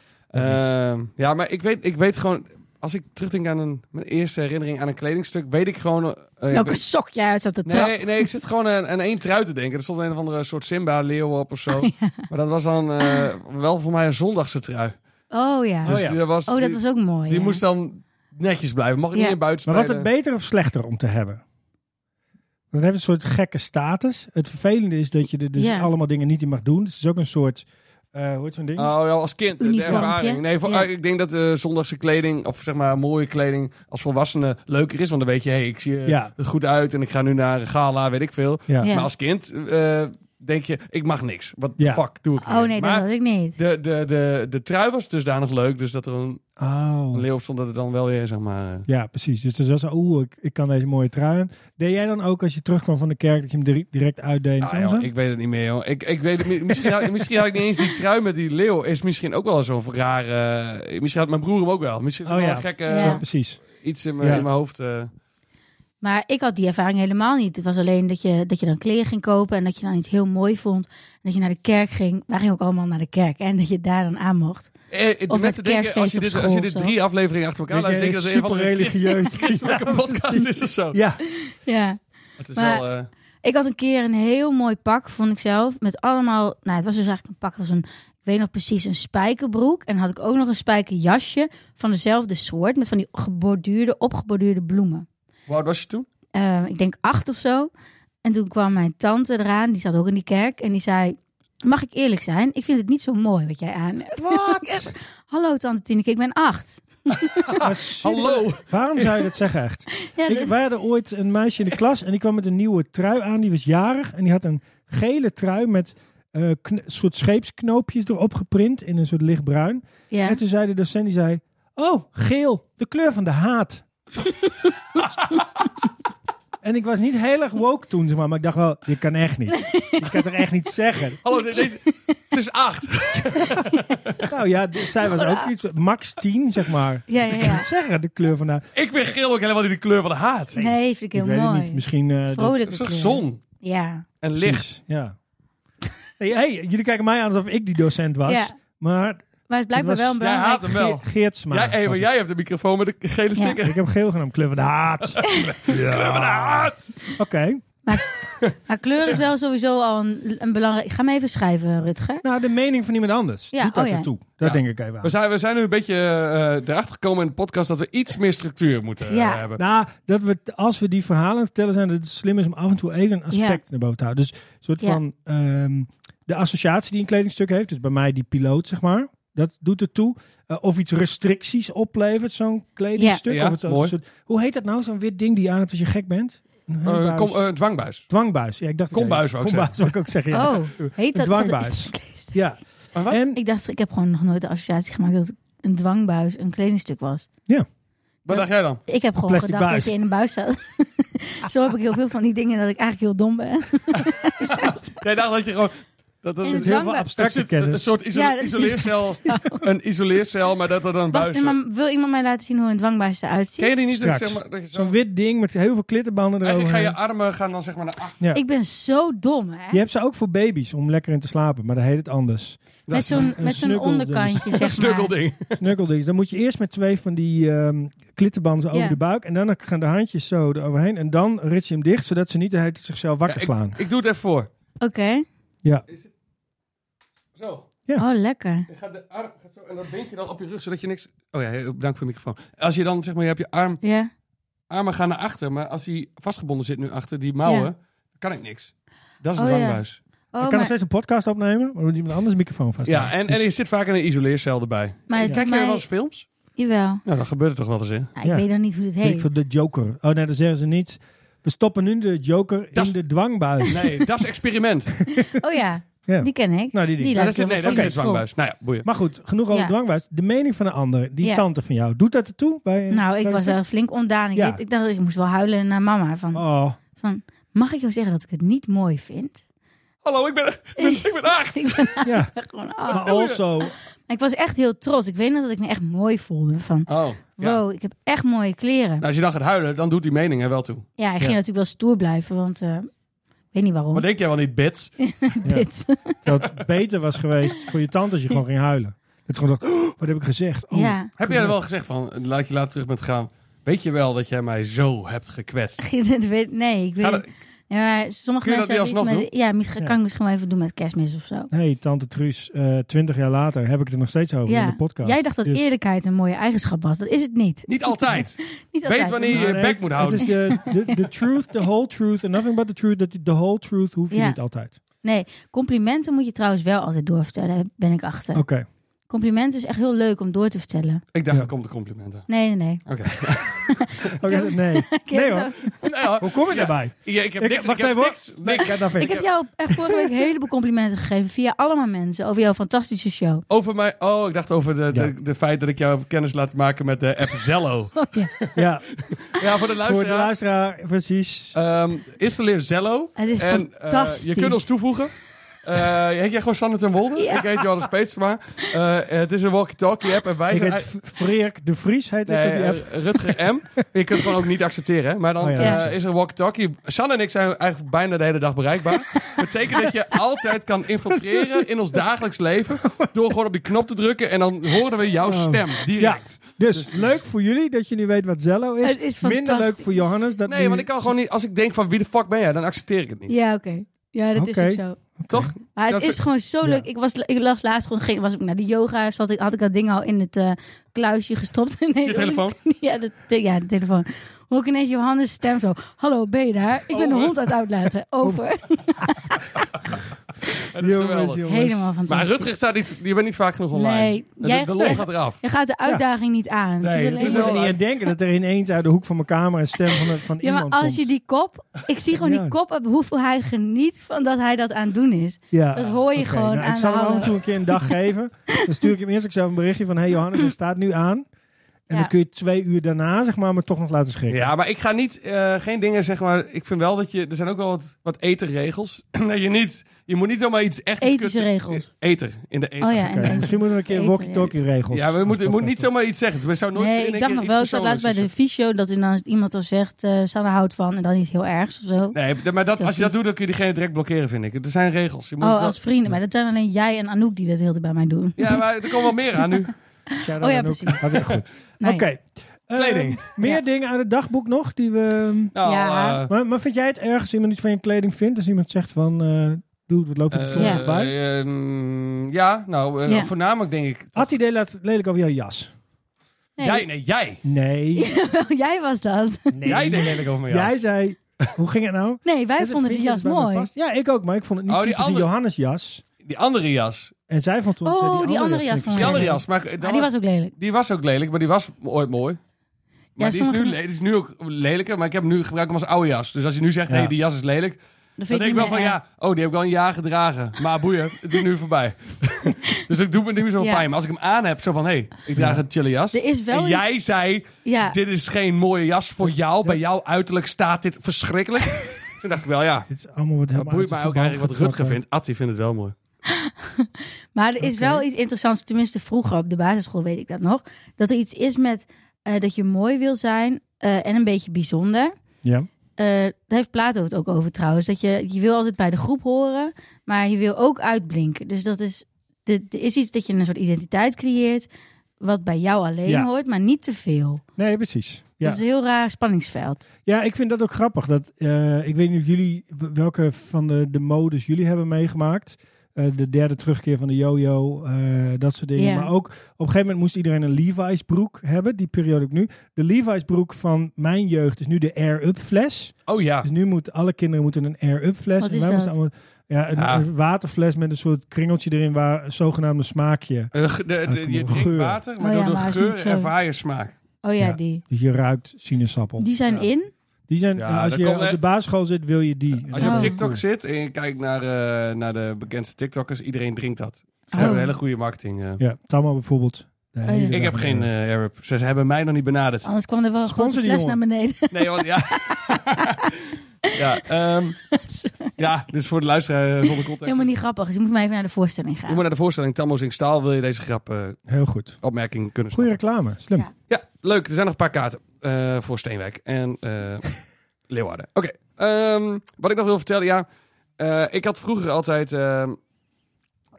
Speaker 4: Ehm, ja, maar ik weet, ik weet gewoon... Als ik terugdenk aan een, mijn eerste herinnering aan een kledingstuk, weet ik gewoon... eh, ik
Speaker 1: Welke
Speaker 4: weet-
Speaker 1: sok jij uit zat te trappen.
Speaker 4: nee, nee, ik zit gewoon aan, aan één trui te denken. Er stond een of andere soort Simba-leeuw op
Speaker 1: *laughs*
Speaker 4: of
Speaker 1: Oh,
Speaker 4: zo. Maar dat was dan eh, wel voor mij een zondagse trui.
Speaker 1: Oh ja.
Speaker 4: Dus
Speaker 2: ja.
Speaker 4: die was,
Speaker 1: Oh, dat
Speaker 4: die,
Speaker 1: was ook mooi.
Speaker 4: die
Speaker 1: ja.
Speaker 4: moest dan netjes blijven. Mag ik
Speaker 1: Ja.
Speaker 4: niet in buiten
Speaker 2: Maar was het
Speaker 4: spelen.
Speaker 2: beter of slechter om te hebben? Want het heeft een soort gekke status. Het vervelende is dat je er dus
Speaker 1: Ja.
Speaker 2: allemaal dingen niet in mag doen. Dus het is ook een soort, eh hoe heet zo'n ding?
Speaker 4: Oh ja, als kind, de
Speaker 1: Uniformpje.
Speaker 4: ervaring. Nee, voor-
Speaker 1: Ja.
Speaker 4: ik denk dat eh zondagse kleding, of zeg maar mooie kleding, als volwassene leuker is. Want dan weet je, hey, ik zie eh, er
Speaker 2: Ja.
Speaker 4: goed uit en ik ga nu naar een gala, weet ik veel.
Speaker 2: Ja.
Speaker 1: Ja.
Speaker 4: Maar als kind eh, denk je, ik mag niks. Wat de
Speaker 2: Ja.
Speaker 4: fuck doe ik
Speaker 1: Oh
Speaker 4: hier?
Speaker 1: nee, dat
Speaker 4: maar
Speaker 1: was ik niet.
Speaker 4: de, de, de, de trui was dusdanig leuk, dus dat er een,
Speaker 2: Oh.
Speaker 4: een leeuw op stond dat het dan wel weer, zeg maar... eh,
Speaker 2: Ja, precies. Dus dat was, oeh, ik, ik kan deze mooie trui. aan. Deed jij dan ook als je terugkwam van de kerk dat je hem dir- direct uitdeed? en
Speaker 4: ah,
Speaker 2: zo?
Speaker 4: joh, ik weet het niet meer, joh. Ik, ik weet het, niet. misschien, had, *laughs* misschien had ik niet eens die trui met die leeuw. Is misschien ook wel zo'n raar... eh, misschien had mijn broer hem ook wel. Misschien
Speaker 2: Oh,
Speaker 4: wel
Speaker 2: ja.
Speaker 4: een gekke eh,
Speaker 2: ja,
Speaker 1: Ja.
Speaker 2: precies.
Speaker 4: iets in mijn
Speaker 2: Ja.
Speaker 4: in mijn hoofd... eh,
Speaker 1: Maar ik had die ervaring helemaal niet. Het was alleen dat je, dat je dan kleren ging kopen en dat je dan iets heel mooi vond. En dat je naar de kerk ging. Wij gingen ook allemaal naar de kerk. En dat je daar dan aan mocht.
Speaker 4: Eh, de
Speaker 1: Of met
Speaker 4: mensen denken,
Speaker 1: kerstfeest
Speaker 4: als je
Speaker 1: op
Speaker 4: dit,
Speaker 1: school
Speaker 4: als je
Speaker 1: of
Speaker 4: dit
Speaker 1: zo.
Speaker 4: drie afleveringen achter elkaar
Speaker 2: Denk
Speaker 4: luistert,
Speaker 2: jij
Speaker 4: denk je
Speaker 2: is
Speaker 4: dat het een van de
Speaker 2: superreligieus.
Speaker 4: christ- *laughs* christelijke
Speaker 2: *laughs* Ja,
Speaker 4: podcast
Speaker 2: precies.
Speaker 4: is of zo.
Speaker 2: Ja,
Speaker 1: Ja.
Speaker 4: Het is
Speaker 1: Maar-
Speaker 4: wel, eh,
Speaker 1: Ik had een keer een heel mooi pak, vond ik zelf. Met allemaal. Nou, het was dus eigenlijk een pak als een. Ik weet nog precies, een spijkerbroek. En had ik ook nog een spijkerjasje van dezelfde soort. Met van die geborduurde, opgeborduurde bloemen.
Speaker 4: hoe oud was je toen?
Speaker 1: Eh, ik denk acht of zo. En toen kwam mijn tante eraan, die zat ook in die kerk. En die zei: Mag ik eerlijk zijn? Ik vind het niet zo mooi wat jij aan hebt.
Speaker 4: Wat?
Speaker 1: Hallo, tante Tineke, ik ben acht.
Speaker 4: *laughs*
Speaker 2: maar super-
Speaker 4: Hallo.
Speaker 2: Waarom zou je dat zeggen echt?
Speaker 1: Ja,
Speaker 2: Ik,
Speaker 1: dat-
Speaker 2: wij hadden ooit een meisje in de klas en die kwam met een nieuwe trui aan. Die was jarig en die had een gele trui met eh, kn- soort scheepsknoopjes erop geprint in een soort lichtbruin.
Speaker 1: ja.
Speaker 2: En toen zei de docent, die zei... Oh, geel, de kleur van de
Speaker 1: *laughs*
Speaker 2: haat. en ik was niet heel erg woke toen, zeg maar. Maar ik dacht wel, dit kan echt niet. Ik kan toch echt niet zeggen.
Speaker 4: Hallo, dit- dit- het is acht.
Speaker 2: Nou ja, d- zij was ook iets... Max 10, zeg maar.
Speaker 1: Ja, ja,
Speaker 2: Ik kan
Speaker 1: ja.
Speaker 2: niet zeggen, de kleur van de haat.
Speaker 4: Ik ben geel ook helemaal niet de kleur van de haat. Het
Speaker 1: Nee, vind ik
Speaker 2: Ik
Speaker 1: heel
Speaker 2: weet
Speaker 1: mooi.
Speaker 2: het niet. Misschien... eh, dat-
Speaker 1: Vrolijke
Speaker 4: is toch
Speaker 1: kleur.
Speaker 4: zon
Speaker 1: Ja.
Speaker 4: en licht.
Speaker 2: Precies, Ja. Hey, hey, jullie kijken mij aan alsof ik die docent was.
Speaker 1: Ja.
Speaker 2: Maar
Speaker 1: Maar het is blijkbaar
Speaker 2: Het was-
Speaker 1: wel een
Speaker 4: Jij haat
Speaker 1: belangrijk.
Speaker 4: hem wel.
Speaker 2: Ge- Geertsma.
Speaker 4: Jij, hey,
Speaker 2: was
Speaker 4: maar
Speaker 2: het.
Speaker 4: jij hebt de microfoon met de gele
Speaker 1: Ja.
Speaker 4: sticker.
Speaker 2: Ik heb geel genoemd, kleur van de haat.
Speaker 1: *laughs*
Speaker 4: Kleur van de haat.
Speaker 2: Oké.
Speaker 1: Maar kleur is wel sowieso al een, een belangrijk. Ga me even schrijven, Rutger.
Speaker 2: Nou, de mening van iemand anders.
Speaker 1: Ja,
Speaker 2: Doet dat
Speaker 1: oh ja.
Speaker 2: ertoe. Dat
Speaker 4: Ja.
Speaker 2: denk ik even aan.
Speaker 4: We zijn, we zijn nu een beetje eh, erachter gekomen in de podcast dat we iets meer structuur moeten eh,
Speaker 1: Ja.
Speaker 4: hebben.
Speaker 2: Nou, dat we, t- als we die verhalen vertellen, zijn het slim is om af en toe even een aspect naar boven te houden. Dus een soort
Speaker 1: Ja.
Speaker 2: van ehm, de associatie die een kledingstuk heeft, dus bij mij die piloot, zeg maar. Dat doet het toe. Eh, of iets restricties oplevert, zo'n kledingstuk.
Speaker 4: Ja. Ja,
Speaker 2: of het als
Speaker 4: mooi.
Speaker 2: een soort, hoe heet dat nou, zo'n wit ding die je aan hebt als je gek bent? Een
Speaker 4: Eh,
Speaker 2: hangbuis.
Speaker 4: kom, eh, dwangbuis.
Speaker 2: dwangbuis. Ja, ik dacht,
Speaker 4: kombuis
Speaker 2: ja,
Speaker 4: wou ik
Speaker 2: kombuis wou ik ook zeggen. Ja.
Speaker 1: Oh, heet dat?
Speaker 2: Een dwangbuis.
Speaker 1: is dat- is dat-
Speaker 2: ja.
Speaker 4: Maar wat?
Speaker 1: *laughs*
Speaker 2: En
Speaker 1: Ik dacht, ik heb gewoon nog nooit de associatie gemaakt dat een dwangbuis een kledingstuk was.
Speaker 4: Wat dacht jij dan?
Speaker 1: Ik heb gewoon
Speaker 2: Plastic
Speaker 1: gedacht
Speaker 2: buis.
Speaker 1: dat je in een buis zat. *laughs* Zo heb ik heel veel van die dingen dat ik eigenlijk heel dom ben.
Speaker 4: Jij dacht dat je gewoon Dat, dat,
Speaker 1: En
Speaker 2: Met
Speaker 1: het
Speaker 2: heel veel
Speaker 1: dankbaar-
Speaker 4: daar
Speaker 2: abstracte
Speaker 4: zit een, een
Speaker 2: kennis.
Speaker 4: soort iso-
Speaker 1: *laughs* Ja, dat is-
Speaker 4: isoleercel, een isoleercel, maar dat er dan
Speaker 1: Wacht,
Speaker 4: buizen.
Speaker 1: maar wil iemand mij laten zien hoe een dwangbuis eruit ziet?
Speaker 4: Ken je die niet? Dat je,
Speaker 2: Straks.
Speaker 4: zeg maar, dat je zo-
Speaker 2: Zo'n wit ding met heel veel klittenbanden erover.
Speaker 4: eigenlijk gaan
Speaker 1: eh,
Speaker 4: je armen gaan dan zeg maar naar achter.
Speaker 2: Ja.
Speaker 1: Ik ben zo dom, hè?
Speaker 2: Je hebt ze ook voor baby's om lekker in te slapen, maar dan heet het anders.
Speaker 1: met zo'n met zo'n
Speaker 2: snuggelding.
Speaker 4: *laughs*
Speaker 1: onderkantje, zeg maar.
Speaker 4: Snuggelding.
Speaker 2: Snuggeldings. Dan moet je eerst met twee van die ehm klittenbanden over
Speaker 1: Ja.
Speaker 2: de buik. En dan gaan de handjes zo eroverheen. En dan rits je hem dicht, zodat ze niet de hele tijd zichzelf wakker
Speaker 1: Oh,
Speaker 2: slaan.
Speaker 4: Ik, ik doe het even voor.
Speaker 1: Oké.
Speaker 4: Zo.
Speaker 2: Ja.
Speaker 1: Oh, lekker.
Speaker 4: Je gaat de arm, gaat zo, en dan bind je dan op je rug, zodat je niks... Oh ja, heel- bedankt voor de microfoon. Als je dan, zeg maar, je hebt je arm,
Speaker 1: Ja.
Speaker 4: armen gaan naar achter, maar als die vastgebonden zit nu achter die mouwen, kan ik niks. Dat is een
Speaker 1: Oh ja.
Speaker 4: dwangbuis.
Speaker 2: ik
Speaker 1: Oh,
Speaker 2: kan nog
Speaker 1: maar,
Speaker 2: steeds een podcast opnemen, maar moet iemand anders een microfoon Dus vast.
Speaker 4: Ja, en, en je zit vaak in een isoleercel erbij.
Speaker 1: maar het
Speaker 4: Kijk
Speaker 1: doet
Speaker 4: je wel
Speaker 1: mij...
Speaker 4: eens films?
Speaker 1: Jawel.
Speaker 4: Nou, dat gebeurt er toch wel eens in.
Speaker 1: Nou, ik
Speaker 2: Ja.
Speaker 1: weet dan niet hoe dit
Speaker 2: Weet ik
Speaker 1: heet.
Speaker 2: veel, de Joker. Oh nee, dat zeggen ze niet. We stoppen nu de Joker
Speaker 4: Dat
Speaker 2: in
Speaker 4: is-
Speaker 2: de dwangbuis.
Speaker 4: Nee, *laughs* dat is experiment.
Speaker 1: Oh ja,
Speaker 2: Ja.
Speaker 1: die ken ik.
Speaker 2: Nou, die ding.
Speaker 1: Die
Speaker 4: Maar
Speaker 1: laat
Speaker 4: dat
Speaker 1: ik
Speaker 4: is,
Speaker 1: heel
Speaker 4: nee,
Speaker 1: vaak
Speaker 4: dat
Speaker 1: op
Speaker 4: is geen
Speaker 1: school.
Speaker 4: dwangbuis. Nou ja,
Speaker 1: Oh.
Speaker 4: boeien.
Speaker 2: Maar goed, genoeg over
Speaker 1: Ja.
Speaker 2: dwangbuis. De mening van een ander, die
Speaker 1: Ja.
Speaker 2: tante van jou, doet dat ertoe? Bij een
Speaker 1: Nou, ik was
Speaker 2: luister?
Speaker 1: wel flink ondaan. Ik,
Speaker 2: Ja.
Speaker 1: weet- ik dacht, ik moest wel huilen naar mama. Van,
Speaker 2: Oh,
Speaker 1: van, mag ik jou zeggen dat ik het niet mooi vind? *laughs*
Speaker 4: Hallo, ik ben, ik ben, ik ben acht.
Speaker 1: Ik ben *laughs*
Speaker 2: ja.
Speaker 1: gewoon, ah.
Speaker 2: Maar also,
Speaker 1: Maar ik was echt heel trots. Ik weet nog dat ik me echt mooi voelde. Van,
Speaker 4: Oh, ja.
Speaker 1: wow, ik heb echt mooie kleren.
Speaker 4: Nou, als je dan gaat huilen, dan doet die mening er wel toe.
Speaker 1: ja, ik ging
Speaker 2: ja.
Speaker 1: natuurlijk wel stoer blijven, want eh, ik weet niet waarom.
Speaker 4: Wat denk jij wel niet, bits?
Speaker 1: *laughs* Dit.
Speaker 2: dat het beter was geweest voor je tante als je gewoon ging huilen. Dat is gewoon dat, "Oh, wat heb ik gezegd? Oh,
Speaker 1: ja,
Speaker 4: Heb jij er wel gezegd van, laat je later terug met gaan. Weet je wel dat jij mij zo hebt gekwetst?
Speaker 1: *laughs* dat weet, nee, ik weet
Speaker 4: Ga
Speaker 1: het.
Speaker 4: dat-
Speaker 1: Ja, maar sommige
Speaker 4: Kun je dat
Speaker 1: mensen
Speaker 4: niet
Speaker 1: hebben
Speaker 4: alsnog
Speaker 1: iets met... Ja, misschien,
Speaker 2: Ja.
Speaker 1: kan ik misschien wel even doen met kerstmis of zo.
Speaker 2: hey, tante Truus, eh, twintig jaar later heb ik het er nog steeds over in
Speaker 1: Ja.
Speaker 2: de podcast.
Speaker 1: Jij dacht dat
Speaker 2: Dus-
Speaker 1: eerlijkheid een mooie eigenschap was. Dat is het niet. *laughs*
Speaker 4: Niet altijd.
Speaker 1: niet
Speaker 4: Weet
Speaker 1: altijd.
Speaker 4: wanneer je je
Speaker 2: Maar
Speaker 4: bek
Speaker 2: Nou, het-
Speaker 4: moet houden.
Speaker 2: Het is de, de, de truth, the whole truth, and nothing but the truth. Dat de whole truth hoef je
Speaker 1: Ja.
Speaker 2: niet altijd.
Speaker 1: Nee, complimenten moet je trouwens wel altijd doorvertellen. Daar ben ik achter.
Speaker 2: Oké.
Speaker 1: Complimenten is echt heel leuk om door te vertellen.
Speaker 4: *laughs* Ik dacht,
Speaker 2: Ja.
Speaker 4: er komt de complimenten.
Speaker 1: Nee, nee, nee.
Speaker 4: Oké.
Speaker 2: Oké,
Speaker 1: *laughs*
Speaker 2: nee. *laughs* Nee hoor.
Speaker 4: *laughs* Nee, hoor.
Speaker 2: Hoe kom je
Speaker 4: Ja.
Speaker 2: daarbij?
Speaker 4: Ja, ik heb
Speaker 2: Ik-
Speaker 4: niks.
Speaker 2: wacht
Speaker 4: ik heb
Speaker 2: even, hoor.
Speaker 4: niks. niks.
Speaker 2: Kijk, daar vind
Speaker 1: Ik heb jou echt vorige week een heleboel complimenten gegeven via allemaal mensen over jouw fantastische show.
Speaker 4: Over mij. Oh, ik dacht over de,
Speaker 2: Ja.
Speaker 4: de, de feit dat ik jou kennis laat maken met de app
Speaker 2: *laughs*
Speaker 4: Zello.
Speaker 1: Oh, ja.
Speaker 2: Ja,
Speaker 4: ja, voor de
Speaker 2: voor de
Speaker 4: luisteraar.
Speaker 2: luisteraar, precies.
Speaker 4: Ehm, installeer Zello.
Speaker 1: Het is
Speaker 4: en, eh,
Speaker 1: fantastisch.
Speaker 4: je kunt ons toevoegen. Eh, heet jij gewoon Sander ten Wolde?
Speaker 1: Ja.
Speaker 4: Ik heet Johannes Peetsma. Eh, het is een walkie-talkie app en wij
Speaker 2: ik
Speaker 4: zijn...
Speaker 2: heet F- Freek de Vries, heet ik op
Speaker 4: eh, Nee,
Speaker 2: die app.
Speaker 4: eh, Rutger M. Je kunt het gewoon ook niet accepteren. Hè? Maar dan
Speaker 2: Oh ja, dat
Speaker 4: eh, is er een walkie-talkie. Sanne en ik zijn eigenlijk bijna de hele dag bereikbaar.
Speaker 2: *laughs*
Speaker 4: Betekent dat je altijd kan infiltreren in ons dagelijks leven. Door gewoon op die knop te drukken. En dan horen we
Speaker 2: Oh.
Speaker 4: jouw stem direct.
Speaker 2: Dus leuk voor jullie dat je nu weet wat Zello is.
Speaker 1: Het is
Speaker 2: Minder leuk
Speaker 1: fantastisch.
Speaker 2: voor Johannes. Dat
Speaker 4: Nee,
Speaker 2: nu-
Speaker 4: want ik kan gewoon niet... Als ik denk van wie de fuck ben jij, dan accepteer ik het niet.
Speaker 1: Ja, oké. Ja, dat
Speaker 2: Oké.
Speaker 1: is ook zo.
Speaker 4: Toch?
Speaker 1: Maar het
Speaker 4: Dat
Speaker 1: is
Speaker 4: is-
Speaker 1: gewoon zo
Speaker 2: Ja.
Speaker 1: leuk. Ik, was, ik las laatst gewoon geen. Was ik naar de yoga? Zat ik, had ik dat ding al in het eh, kluisje gestopt? *laughs* Nee,
Speaker 4: Je telefoon?
Speaker 1: Ja, de, te- ja, de telefoon. Hoor ik ineens Johannes' stem zo. Hallo, ben je daar? Ik ben de
Speaker 4: Over.
Speaker 1: hond aan het uitlaten.
Speaker 4: Oh,
Speaker 1: Over.
Speaker 4: Dat is
Speaker 2: Jongens,
Speaker 4: geweldig.
Speaker 2: jongens.
Speaker 1: Helemaal fantastisch.
Speaker 4: Maar Rutger staat niet... Je bent niet vaak genoeg online.
Speaker 1: Nee,
Speaker 4: De-
Speaker 1: jij-
Speaker 4: de, lol gaat eraf.
Speaker 1: Je gaat de uitdaging niet aan. Het
Speaker 4: Nee,
Speaker 1: is
Speaker 4: het
Speaker 1: alleen
Speaker 2: Ik moet
Speaker 4: is
Speaker 1: maar-
Speaker 2: er
Speaker 4: wel-
Speaker 2: niet aan denken dat er ineens uit de hoek van mijn kamer een stem van, van
Speaker 1: *laughs* Ja, maar
Speaker 2: iemand
Speaker 1: als je
Speaker 2: komt.
Speaker 1: die kop... Ik zie gewoon
Speaker 2: Ja.
Speaker 1: die kop op hoeveel hij geniet van dat hij dat aan het doen is.
Speaker 2: Ja.
Speaker 1: dat hoor je
Speaker 2: Oké,
Speaker 1: gewoon
Speaker 2: nou,
Speaker 1: aan
Speaker 2: Ik
Speaker 1: de
Speaker 2: zal hem af en
Speaker 1: handen.
Speaker 2: toe een keer een
Speaker 1: *laughs*
Speaker 2: dag geven. Dan stuur ik hem eerst ook zelf een berichtje van... Hé hey Johannes, hij staat nu aan. En
Speaker 1: Ja.
Speaker 2: dan kun je twee uur daarna zeg maar me toch nog laten schrikken.
Speaker 4: Ja, maar ik ga niet, eh, geen dingen zeg maar. Ik vind wel dat je, er zijn ook wel wat, wat *laughs* etenregels. dat je niet, je moet niet zomaar iets echt.
Speaker 1: Ethische
Speaker 4: kutse-
Speaker 1: regels.
Speaker 4: Eter, in de eter.
Speaker 1: Oh ja,
Speaker 2: Oké,
Speaker 1: en
Speaker 2: Misschien moeten we een keer
Speaker 1: eten,
Speaker 2: walkie-talkie regels.
Speaker 4: Ja, we moeten,
Speaker 2: als
Speaker 4: je moet niet
Speaker 2: podcast
Speaker 4: zomaar iets zeggen. We zou nooit in
Speaker 1: nee,
Speaker 4: één
Speaker 1: ik dacht
Speaker 4: keer
Speaker 1: nog
Speaker 4: iets
Speaker 1: wel. Ik zat laatst bij
Speaker 4: persoonlijks
Speaker 1: de fysio dat er dan iemand dan zegt... eh Sanne houdt van en dan iets heel ergs of zo.
Speaker 4: of zo. Nee, d- maar dat, als je dat doet, dan kun je diegene direct blokkeren, vind ik. Er zijn regels. Je moet
Speaker 1: Oh,
Speaker 4: wel-
Speaker 1: als vrienden. Maar dat zijn alleen jij en Anouk die dat heel bij mij doen. *laughs*
Speaker 4: Ja, maar er komen wel meer aan nu.
Speaker 2: doen. Shout-out
Speaker 1: Oh ja,
Speaker 2: aan Anouk.
Speaker 1: precies.
Speaker 2: Hartstikke goed.
Speaker 1: *laughs* Nee.
Speaker 2: Oké. Eh,
Speaker 4: Kleding.
Speaker 2: meer
Speaker 1: Ja.
Speaker 2: dingen uit het dagboek nog die we... ehm,
Speaker 4: Nou,
Speaker 1: Ja.
Speaker 4: eh,
Speaker 2: Maar, maar vind jij het erg als iemand iets van je kleding vindt? Als iemand zegt van... eh Doe, wat lopen de
Speaker 4: eh,
Speaker 2: zon
Speaker 1: Ja.
Speaker 2: voorbij?
Speaker 4: ehm, ja, nou, eh,
Speaker 1: Ja.
Speaker 4: voornamelijk denk ik.
Speaker 2: Had hij laat lelijk over jouw jas?
Speaker 1: Nee, oh, *laughs*
Speaker 4: Jij, nee, jij.
Speaker 2: Nee.
Speaker 1: jij was dat. *laughs*
Speaker 2: nee.
Speaker 4: Jij deed lelijk over mijn jas.
Speaker 2: Jij zei... Hoe ging het nou?
Speaker 1: Nee, wij
Speaker 2: Is het-
Speaker 1: vonden
Speaker 2: vind
Speaker 1: die
Speaker 2: je
Speaker 1: jas
Speaker 2: dat bij me
Speaker 1: mooi.
Speaker 2: past? Ja, ik ook, maar ik vond het niet
Speaker 4: Oh, die
Speaker 2: typisch een
Speaker 4: andere-
Speaker 2: Johannesjas.
Speaker 4: Die andere jas.
Speaker 2: En zij vond toen...
Speaker 1: Oh,
Speaker 2: zei,
Speaker 1: die andere jas
Speaker 2: vind ik
Speaker 1: vond
Speaker 4: Die
Speaker 1: jij
Speaker 4: andere
Speaker 1: Nee.
Speaker 4: jas. Maar, eh, dat
Speaker 1: Maar Ah, die was ook lelijk.
Speaker 4: Die was ook lelijk, maar die was ooit mooi. Maar
Speaker 1: Ja,
Speaker 4: die, is nu,
Speaker 1: sommige-
Speaker 4: le- die is nu ook lelijker, maar ik heb hem nu gebruikt hem als oude jas. Dus als je nu zegt,
Speaker 2: Ja.
Speaker 4: hey, die jas is lelijk,
Speaker 1: Dat
Speaker 4: dan
Speaker 1: vind
Speaker 4: denk ik
Speaker 1: niet
Speaker 4: wel van,
Speaker 1: meer
Speaker 4: ja, oh, die heb ik al een jaar gedragen. Maar boeien, het is
Speaker 1: *laughs*
Speaker 4: nu voorbij. *laughs* dus ik doe me niet meer zo
Speaker 1: Ja.
Speaker 4: pijn. Maar als ik hem aan heb, zo van, hey, ik draag een chille jas.
Speaker 1: erg. Er is wel
Speaker 4: En
Speaker 1: iets-
Speaker 4: jij zei,
Speaker 1: Ja,
Speaker 4: dit is geen mooie jas voor jou. Bij jou uiterlijk staat dit verschrikkelijk. *laughs* Toen dacht ik wel, ja,
Speaker 2: Het is allemaal wat
Speaker 4: dat
Speaker 2: helemaal uit
Speaker 4: boeit
Speaker 2: de
Speaker 4: mij ook
Speaker 2: verband
Speaker 4: eigenlijk wat Rutger
Speaker 2: getrokken.
Speaker 4: vindt. Attie vindt het wel mooi.
Speaker 1: Maar er is wel iets interessants, tenminste vroeger op de basisschool weet ik dat nog. Dat er iets is met eh, dat je mooi wil zijn eh, en een beetje bijzonder.
Speaker 2: Ja.
Speaker 1: Eh, daar heeft Plato het ook over trouwens. Dat je, je wil altijd bij de groep horen, maar je wil ook uitblinken. Dus dat is, er er is iets dat je een soort identiteit creëert, wat bij jou alleen
Speaker 2: Ja.
Speaker 1: hoort, maar niet te veel.
Speaker 2: Nee, precies. Ja.
Speaker 1: Dat is een heel raar spanningsveld.
Speaker 2: Ja, ik vind dat ook grappig. Dat, eh, ik weet niet of jullie welke van de, de modes jullie hebben meegemaakt. Eh, de derde terugkeer van de yo-yo, eh, dat soort dingen.
Speaker 1: Ja.
Speaker 2: Maar ook op een gegeven moment moest iedereen een Levi's broek hebben. Die periode ook nu. De Levi's broek van mijn jeugd is nu de Air Up fles.
Speaker 4: Oh ja.
Speaker 2: Dus nu moeten alle kinderen moeten een Air Up fles.
Speaker 1: Wat
Speaker 2: En
Speaker 1: is
Speaker 2: wij moesten
Speaker 1: dat?
Speaker 2: allemaal- ja, een,
Speaker 4: Ja.
Speaker 2: een waterfles met een soort kringeltje erin waar een zogenaamde smaakje.
Speaker 4: Eh, ge- de- de- je drinkt
Speaker 2: Geur.
Speaker 4: water, maar
Speaker 1: Oh ja,
Speaker 4: door de
Speaker 1: maar het is niet
Speaker 4: geur
Speaker 1: zo.
Speaker 4: ervaar je smaak.
Speaker 1: Oh ja,
Speaker 2: Ja.
Speaker 1: die.
Speaker 2: Dus je ruikt sinaasappel.
Speaker 1: Die zijn
Speaker 4: Ja.
Speaker 1: in.
Speaker 2: Die zijn,
Speaker 4: Ja,
Speaker 2: als
Speaker 4: dat
Speaker 2: je
Speaker 4: komt
Speaker 2: op de
Speaker 4: echt-
Speaker 2: basisschool zit, wil je die.
Speaker 4: Als je op
Speaker 1: Oh.
Speaker 4: TikTok zit en je kijkt naar, eh, naar de bekendste TikTokkers, iedereen drinkt dat. Ze
Speaker 1: Oh.
Speaker 4: hebben hele goede marketing. eh.
Speaker 2: Ja, Tamma bijvoorbeeld. De
Speaker 1: ja.
Speaker 2: hele
Speaker 1: Ik
Speaker 2: dag
Speaker 4: Ik heb
Speaker 2: een-
Speaker 4: geen eh, Arab. Ze ze hebben mij nog niet benaderd.
Speaker 1: Anders kwam er wel een grote
Speaker 2: Sponsor die
Speaker 1: fles naar
Speaker 2: jongen.
Speaker 1: beneden.
Speaker 4: Nee, want
Speaker 1: *laughs*
Speaker 4: ja. ja, ehm, ja, dus voor de luisteraar eh, zonder context.
Speaker 1: Helemaal niet grappig. Dus je moet maar even naar de voorstelling
Speaker 4: Doe
Speaker 1: gaan.
Speaker 4: maar naar de voorstelling Tammo Zing Staal. Wil je deze grap, eh,
Speaker 2: Heel goed.
Speaker 4: opmerking kunnen
Speaker 2: Goeie
Speaker 4: snappen?
Speaker 2: reclame. Slim.
Speaker 1: Ja.
Speaker 4: Ja, leuk. Er zijn nog een paar kaarten eh, voor Steenwijk
Speaker 2: *laughs*
Speaker 4: en eh, Leeuwarden. Oké, ehm, wat ik nog wil vertellen. Ja, eh, ik had vroeger altijd... ehm,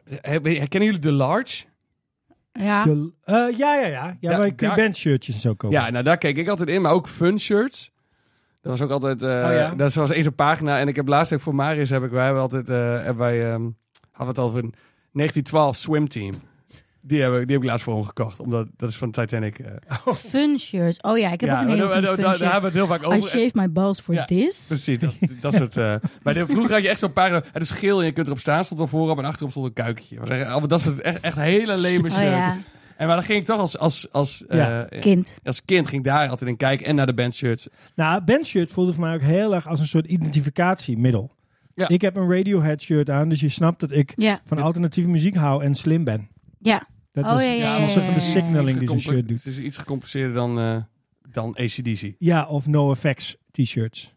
Speaker 4: he- herkennen jullie de large?
Speaker 1: Ja.
Speaker 2: De- eh, ja, ja, ja. Ja,
Speaker 4: Ja,
Speaker 2: wij kun je
Speaker 4: daar-
Speaker 2: bandshirtjes en zo kopen.
Speaker 4: Ja, nou daar keek ik altijd in, maar ook fun shirts. Dat was ook altijd, eh
Speaker 2: Oh ja?
Speaker 4: dat was eens een pagina. En ik heb laatst ook voor Marius, heb ik, wij hebben altijd, eh, hebben wij, ehm, hadden we het al over een 1912 swimteam. Die heb, ik, die heb ik laatst voor hem gekocht, omdat dat is van Titanic. eh.
Speaker 1: Fun shirts. Oh ja, ik heb
Speaker 4: ja,
Speaker 1: ook een hele
Speaker 4: daar, daar-
Speaker 1: goede fun
Speaker 4: daar- daar
Speaker 1: shirt.
Speaker 4: hebben we het heel vaak
Speaker 1: I
Speaker 4: over.
Speaker 1: shave my balls for
Speaker 2: *laughs*
Speaker 4: Ja.
Speaker 1: this.
Speaker 4: Precies, dat, dat soort. eh *laughs* maar de, vroeger had je echt zo'n pagina. Het is geel en je kunt erop staan. Stond er voorop en achterop stond een kuikentje. Was echt, allemaal dat soort echt, echt hele lame
Speaker 1: Oh
Speaker 4: shirts.
Speaker 1: ja,
Speaker 4: En maar dan ging ik toch als, als, als,
Speaker 2: Ja.
Speaker 4: eh,
Speaker 1: kind.
Speaker 4: als kind ging ik daar altijd in kijken. En naar de bandshirts.
Speaker 2: Nou, bandshirt voelde voor mij ook heel erg als een soort identificatiemiddel.
Speaker 4: Ja.
Speaker 2: Ik heb een Radiohead shirt aan, dus je snapt dat ik
Speaker 1: Ja,
Speaker 2: van alternatieve muziek hou en slim ben.
Speaker 1: ja.
Speaker 2: Dat
Speaker 1: Oh,
Speaker 2: was
Speaker 1: ja, ja,
Speaker 2: dat was
Speaker 1: ja,
Speaker 2: een soort van de
Speaker 1: ja, ja, ja.
Speaker 2: signaling die zo'n
Speaker 4: Gecomple-
Speaker 2: shirt doet.
Speaker 4: Het is iets gecompliceerder dan, eh dan ACDC.
Speaker 2: Ja, of No Effects t-shirts.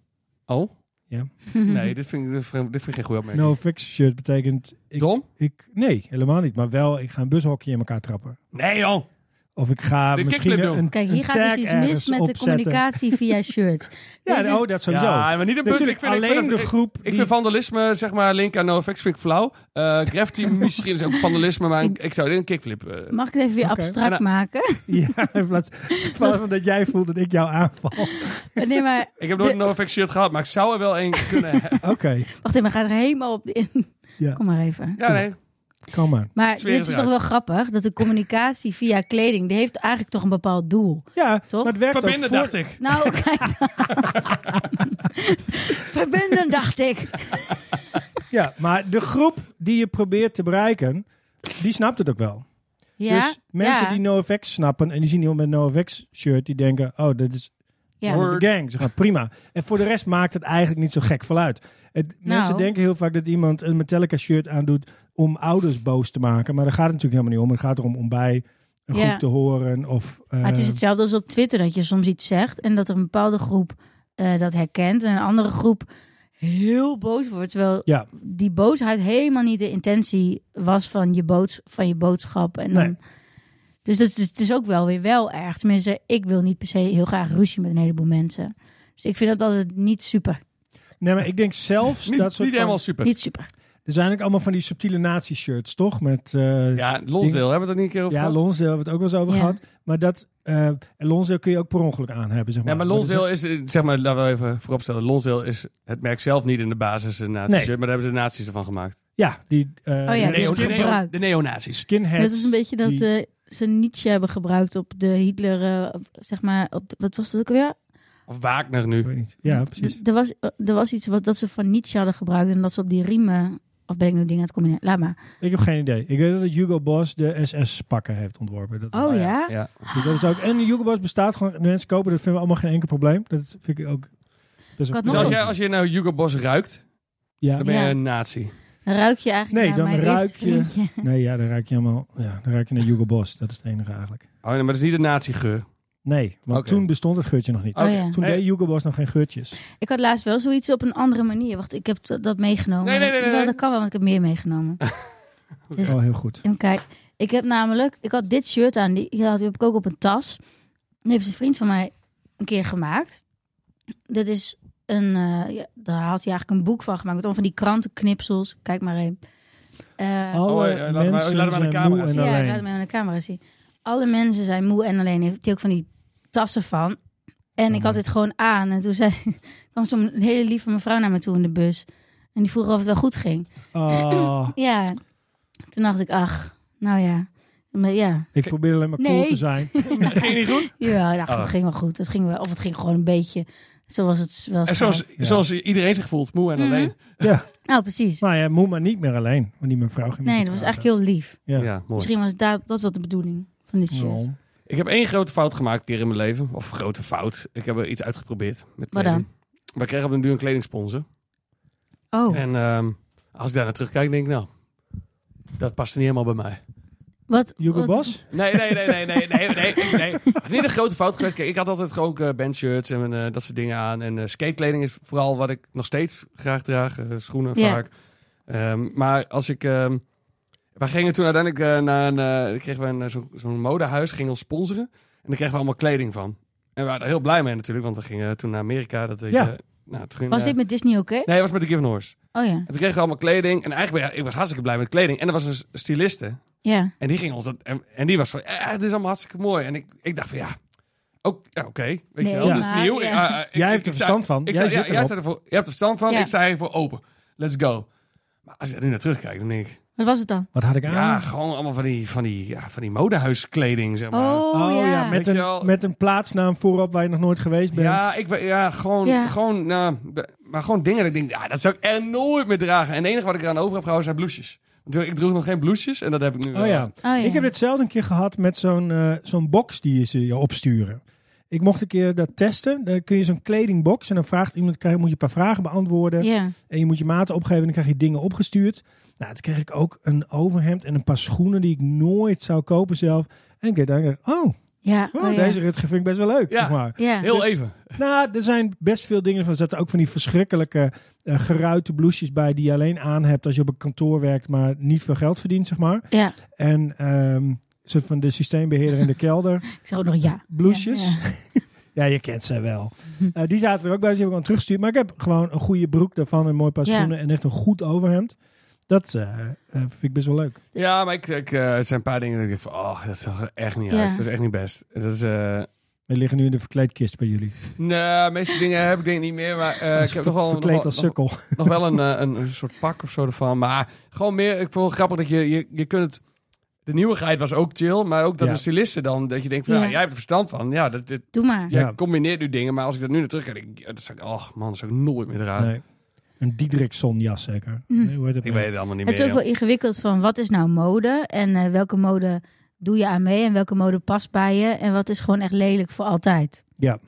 Speaker 4: Oh?
Speaker 2: Ja.
Speaker 1: Mhm.
Speaker 4: Nee, dit vind ik, dit vind, ik- dit vind ik geen goede opmerking.
Speaker 2: No Effects shirt betekent Nou, ik,
Speaker 4: Dom?
Speaker 2: ik nee, helemaal niet, maar wel ik ga een bushokje in elkaar trappen.
Speaker 4: Nee, joh.
Speaker 2: Of ik ga
Speaker 4: De
Speaker 2: misschien
Speaker 4: kickflip
Speaker 2: een,
Speaker 4: doen.
Speaker 2: een
Speaker 1: Kijk, hier gaat
Speaker 2: tag
Speaker 1: dus iets
Speaker 2: ergens
Speaker 1: mis met de
Speaker 2: opzetten.
Speaker 1: communicatie
Speaker 4: *laughs*
Speaker 1: via shirts.
Speaker 2: Ja,
Speaker 1: Deze-
Speaker 2: oh, dat sowieso.
Speaker 4: Ja, maar niet een bus.
Speaker 2: Natuurlijk,
Speaker 4: Ik vind, ik
Speaker 2: alleen
Speaker 4: vind, dat-
Speaker 2: de
Speaker 4: ik-
Speaker 2: groep.
Speaker 4: Ik
Speaker 2: die-
Speaker 4: vind vandalisme, zeg maar, link aan NoFX, vind ik flauw. Eh
Speaker 1: *laughs*
Speaker 4: Graffiti misschien is ook vandalisme, maar ik, ik zou dit een kickflip... eh,
Speaker 1: Mag ik het even weer
Speaker 2: Oké.
Speaker 1: abstract
Speaker 4: En, eh, *laughs*
Speaker 1: maken?
Speaker 2: *laughs* Ja, in plaats van dat jij voelt dat ik jou
Speaker 4: *laughs*
Speaker 2: aanval.
Speaker 1: Nee, maar
Speaker 4: ik heb nooit
Speaker 1: de-
Speaker 4: een NoFX shirt gehad, maar ik zou er wel een
Speaker 1: *laughs*
Speaker 4: kunnen hebben.
Speaker 2: Oké,
Speaker 1: wacht even, ga er helemaal op in.
Speaker 2: Ja.
Speaker 1: Kom maar even.
Speaker 4: Ja, nee.
Speaker 2: kom maar.
Speaker 1: Maar
Speaker 4: Sfeer
Speaker 1: dit
Speaker 4: is
Speaker 1: is toch
Speaker 4: eruit.
Speaker 1: wel grappig, dat de communicatie via kleding, die heeft eigenlijk toch een bepaald doel.
Speaker 2: Ja,
Speaker 1: Toch?
Speaker 2: maar het werkt
Speaker 4: *laughs* Verbinden,
Speaker 2: ook voor...
Speaker 4: dacht ik.
Speaker 2: *laughs*
Speaker 1: Nou, kijk dan. *laughs* Verbinden, dacht ik.
Speaker 2: Ja, maar de groep die je probeert te bereiken, die snapt het ook wel.
Speaker 1: Ja,
Speaker 2: Dus mensen
Speaker 1: ja.
Speaker 2: die NoFX snappen en die zien iemand met een NoFX-shirt, die denken, oh, dat is
Speaker 1: Ja.
Speaker 2: one of the gang. Ze gaan prima. En voor de rest maakt het eigenlijk niet zo gek veel uit. Het,
Speaker 1: Nou.
Speaker 2: Mensen denken heel vaak dat iemand een Metallica-shirt aandoet om ouders boos te maken. Maar daar gaat het natuurlijk helemaal niet om. Het gaat erom om bij een
Speaker 1: Ja.
Speaker 2: groep te horen of... eh,
Speaker 1: Maar het is hetzelfde als op Twitter dat je soms iets zegt en dat er een bepaalde groep eh, dat herkent en een andere groep heel boos wordt. Terwijl
Speaker 2: Ja.
Speaker 1: die boosheid helemaal niet de intentie was van je, boods van je boodschap. En dan,
Speaker 2: Nee.
Speaker 1: Dus dat is, het is ook wel weer wel erg. Tenminste, ik wil niet per se heel graag ruzie met een heleboel mensen. Dus ik vind dat altijd niet super.
Speaker 2: Nee, maar ik denk zelfs
Speaker 4: *laughs* Niet,
Speaker 2: dat
Speaker 4: niet
Speaker 2: soort van...
Speaker 4: helemaal super.
Speaker 1: Niet super.
Speaker 2: Er zijn ook allemaal van die subtiele nazi-shirts, toch? Met, eh, ja,
Speaker 4: Ja, Lonsdale, hebben we het er niet een keer over gehad?
Speaker 2: Lonsdale hebben we het ook wel eens over
Speaker 1: Ja.
Speaker 2: gehad. Maar dat, eh, en Lonsdale kun je ook per ongeluk aan hebben, zeg maar.
Speaker 4: Nee, maar
Speaker 2: Dat is-
Speaker 4: Lonsdale is, eh, zeg maar, laten we even vooropstellen. Lonsdale is het merk zelf niet in de basis een nazi
Speaker 2: Nee.
Speaker 4: shirt, maar daar hebben ze nazi's ervan gemaakt.
Speaker 2: Ja, die... eh,
Speaker 1: Oh ja,
Speaker 2: de
Speaker 1: die is
Speaker 4: neo, de,
Speaker 2: skin-
Speaker 1: gebruikt.
Speaker 4: neo, de neonazi's.
Speaker 2: skinheads.
Speaker 1: dat is een beetje dat
Speaker 2: die-
Speaker 1: eh, ze Nietzsche hebben gebruikt op de Hitler, eh, op- zeg maar, op de- wat was dat ook weer?
Speaker 4: Of Wagner
Speaker 2: Ik
Speaker 4: nu.
Speaker 2: weet niet. Ja, precies.
Speaker 1: D- Er was, eh, er was iets wat dat ze van Nietzsche hadden gebruikt en dat ze op die riemen. Of ben ik nu dingen aan het combineren? Laat maar.
Speaker 2: Ik heb geen idee. Ik weet dat Hugo Boss de SS-pakken heeft ontworpen. Dat,
Speaker 1: Oh, ja?
Speaker 4: Ja.
Speaker 2: Dus dat is ook, en Hugo Boss bestaat gewoon. Mensen kopen, dat vinden we allemaal geen enkel probleem. Dat vind ik ook... best wel-
Speaker 1: had
Speaker 4: Dus
Speaker 1: nog
Speaker 4: als
Speaker 1: eens-
Speaker 4: jij, als je nou Hugo Boss ruikt,
Speaker 2: Ja,
Speaker 4: dan ben je
Speaker 1: Ja.
Speaker 4: een nazi.
Speaker 1: Dan ruik je eigenlijk
Speaker 2: Nee,
Speaker 1: naar
Speaker 2: dan
Speaker 1: mijn
Speaker 2: ruik
Speaker 1: eerste
Speaker 2: je-
Speaker 1: vriendje. *laughs*
Speaker 2: nee, ja, dan raak je helemaal... Ja, dan raak je naar Hugo Boss. Dat is het enige eigenlijk.
Speaker 4: Oh, nee, maar dat is niet een nazi-geur.
Speaker 2: Nee, want
Speaker 4: Oké. Eh.
Speaker 2: toen bestond het geurtje nog niet.
Speaker 1: Oh ja.
Speaker 2: Toen
Speaker 4: Hey.
Speaker 2: deed Hugo Boss nog geen geurtjes.
Speaker 1: Ik had laatst wel zoiets op een andere manier. Wacht, ik heb t- dat meegenomen.
Speaker 4: Nee, nee, nee, nee,
Speaker 1: Jawel,
Speaker 4: nee.
Speaker 1: dat kan wel, want ik heb meer meegenomen. Dus
Speaker 2: Oh, heel goed.
Speaker 1: even kijken. Ik heb namelijk, ik had dit shirt aan, die, die had, die heb ik ook op een tas. Die heeft een vriend van mij een keer gemaakt. Dit is een, eh, ja, daar had hij eigenlijk een boek van gemaakt. Met al van die krantenknipsels. Kijk maar even. Eh,
Speaker 2: Alle
Speaker 4: Oh, ja, laat maar-
Speaker 2: mensen
Speaker 4: laat maar aan de
Speaker 2: zijn moe
Speaker 4: camera
Speaker 2: Oh, en
Speaker 4: zien.
Speaker 1: ja, ik
Speaker 2: alleen.
Speaker 1: laat hem aan de camera zien. Alle mensen zijn moe en alleen. Heeft hij ook van die tassen van. En
Speaker 2: Oh.
Speaker 1: ik had dit gewoon aan. En toen zei, *laughs* kwam zo'n hele lieve mevrouw naar me toe in de bus. En die vroeg of het wel goed ging.
Speaker 2: Ah,
Speaker 1: Ja. Toen dacht ik, ach, nou ja. Maar ja,
Speaker 2: ik probeer alleen maar cool
Speaker 1: Nee.
Speaker 2: te zijn.
Speaker 4: *laughs* Ging niet goed?
Speaker 1: ja nou,
Speaker 4: Ah.
Speaker 1: het ging wel goed. Het ging wel, of het ging gewoon een beetje zoals het wel
Speaker 4: En
Speaker 1: gaat.
Speaker 4: zoals,
Speaker 2: Ja.
Speaker 4: zoals iedereen zich voelt, moe en
Speaker 1: Mhm.
Speaker 4: alleen.
Speaker 2: Ja,
Speaker 1: Nou, precies.
Speaker 2: maar ja, moet maar niet meer alleen. Want die mevrouw ging
Speaker 1: Nee, dat was eigenlijk heel lief.
Speaker 2: Ja.
Speaker 4: mooi.
Speaker 1: Misschien was dat, dat wel de bedoeling van dit shirt.
Speaker 2: Oh.
Speaker 4: Ik heb één grote fout gemaakt een keer in mijn leven. Of grote fout. Ik heb er iets uitgeprobeerd. Met
Speaker 1: Wat
Speaker 4: kleding. We kregen op een duur een kledingsponsor.
Speaker 1: Oh,
Speaker 4: En ehm, als ik daar naar terugkijk, denk ik nou... Dat past niet helemaal bij mij.
Speaker 1: wat?
Speaker 2: Hugo
Speaker 1: wat-
Speaker 2: Boss?
Speaker 4: Nee, nee, nee, nee, nee, nee, nee, nee. Het is niet een grote fout geweest. Kijk, ik had altijd gewoon eh, bandshirts en eh, dat soort dingen aan. En eh, skatekleding is vooral wat ik nog steeds graag draag. eh, schoenen
Speaker 1: Ja.
Speaker 4: vaak. Ehm, maar als ik... ehm wij gingen toen uiteindelijk eh, naar een... eh, kregen we een, eh, zo'n zo'n modehuis, gingen ons sponsoren. En daar kregen we allemaal kleding van. En we waren er heel blij mee natuurlijk, want we gingen toen naar Amerika. Dat, eh,
Speaker 2: Ja.
Speaker 4: nou, toen ging,
Speaker 1: Was
Speaker 4: eh,
Speaker 1: dit met Disney ook, hè?
Speaker 4: Nee, het was met de Given Horse.
Speaker 1: Oh ja,
Speaker 4: En toen kregen we allemaal kleding. En eigenlijk, ben- ja, ik was hartstikke blij met kleding. En er was een s- styliste.
Speaker 1: ja.
Speaker 4: En die ging ons dat. En, en die was van. Eh, het is allemaal hartstikke mooi. En ik, ik dacht van ja. ook- ja, Oké, weet
Speaker 1: Nee,
Speaker 4: je wel, dat is
Speaker 1: maar,
Speaker 4: nieuw.
Speaker 1: ja.
Speaker 4: Ik, ah, ah, ik-
Speaker 2: Jij hebt er
Speaker 4: ik- ik sta-
Speaker 2: verstand van. Jij
Speaker 4: Ik sta- ja,
Speaker 2: zit
Speaker 4: jij
Speaker 2: erop.
Speaker 4: staat ervoor, je hebt er verstand van,
Speaker 1: Ja.
Speaker 4: ik sta hiervoor open. Let's go. Maar als je er nu naar terugkijkt, dan denk ik...
Speaker 1: Wat was het dan?
Speaker 2: Wat had ik aan?
Speaker 4: Ja, gewoon allemaal van die, van die, ja, van die modehuiskleding, zeg maar.
Speaker 1: Oh,
Speaker 2: Oh, ja.
Speaker 1: ja.
Speaker 4: Weet
Speaker 2: met,
Speaker 4: je wel.
Speaker 2: een, met een plaatsnaam voorop waar je nog nooit geweest bent. Oh,
Speaker 4: Ja, ik, we- ja, gewoon,
Speaker 1: Ja.
Speaker 4: gewoon, nou, de- maar gewoon dingen dat ik denk, ja, dat zou ik er nooit meer dragen. En het enige wat ik eraan over heb gehouden zijn blouses. Want ik droeg nog geen blouses en dat heb ik nu
Speaker 2: Oh
Speaker 4: wel.
Speaker 2: ja.
Speaker 1: Oh, ja.
Speaker 2: Ik heb hetzelfde een keer gehad met zo'n eh, zo'n box die ze je opsturen. Ik mocht een keer dat testen. Dan kun je zo'n kledingbox en dan vraagt iemand, krijg- moet je een paar vragen beantwoorden.
Speaker 1: Ja.
Speaker 2: En je moet je maten opgeven en dan krijg je dingen opgestuurd. Nou, toen kreeg ik ook een overhemd en een paar schoenen die ik nooit zou kopen zelf. En ik weet eigenlijk, oh,
Speaker 1: Ja.
Speaker 2: oh,
Speaker 1: oh, ja.
Speaker 2: deze Rutger vind ik best wel leuk.
Speaker 4: Ja.
Speaker 2: zeg maar.
Speaker 1: Ja.
Speaker 4: Heel
Speaker 2: Dus-
Speaker 4: even.
Speaker 2: Nou, er zijn best veel dingen van. Er zaten ook van die verschrikkelijke eh, geruite blouses bij die je alleen aan hebt als je op een kantoor werkt, maar niet veel geld verdient, zeg maar.
Speaker 1: Ja.
Speaker 2: En ehm, een soort van de systeembeheerder in de kelder.
Speaker 1: Ik zeg ook nog ja.
Speaker 2: Blouses.
Speaker 1: Ja,
Speaker 2: *laughs* Ja, je kent ze wel. Eh, die zaten er ook bij, dus die heb ik aan teruggestuurd. Maar ik heb gewoon een goede broek daarvan, een mooi paar
Speaker 1: Ja.
Speaker 2: schoenen en echt een goed overhemd. Dat eh, eh, vind ik best wel leuk.
Speaker 4: Ja, maar ik, ik, eh, het zijn een paar dingen dat ik denk van, oh, dat zag er echt niet
Speaker 1: Ja.
Speaker 4: uit. Dat is echt niet best. Dat is, eh
Speaker 2: We liggen nu in de verkleedkist bij jullie.
Speaker 4: nee, de meeste dingen heb ik denk ik niet meer, maar eh,
Speaker 2: Dat
Speaker 4: ik
Speaker 2: is
Speaker 4: heb
Speaker 2: ver-
Speaker 4: nog wel, nog,
Speaker 2: verkleed
Speaker 4: wel-
Speaker 2: als
Speaker 4: nog,
Speaker 2: sukkel.
Speaker 4: nog wel een, eh, een, een soort pak of zo ervan. Maar gewoon meer, ik vond het grappig dat je, je, je kunt het, de nieuwigheid was ook chill, maar ook dat
Speaker 2: Ja.
Speaker 4: de stylisten dan, dat je denkt van, ja,
Speaker 1: Ja.
Speaker 4: jij hebt er verstand van. Ja, dat, dit,
Speaker 1: Doe maar.
Speaker 2: Ja.
Speaker 4: jij combineert nu dingen, maar als ik dat nu naar terug kijk, denk ik, ja, dat zou ik, oh man, dat zou ik nooit meer dragen.
Speaker 2: Nee. Een Diederikson jas zeker.
Speaker 1: Mm.
Speaker 2: Nee, hoe heet het
Speaker 4: Ik
Speaker 2: nou?
Speaker 4: weet het allemaal niet
Speaker 1: Het is
Speaker 4: meer.
Speaker 1: ook wel
Speaker 4: joh.
Speaker 1: ingewikkeld van wat is nou mode en eh, welke mode doe je aan mee en welke mode past bij je en wat is gewoon echt lelijk voor altijd.
Speaker 2: Ja.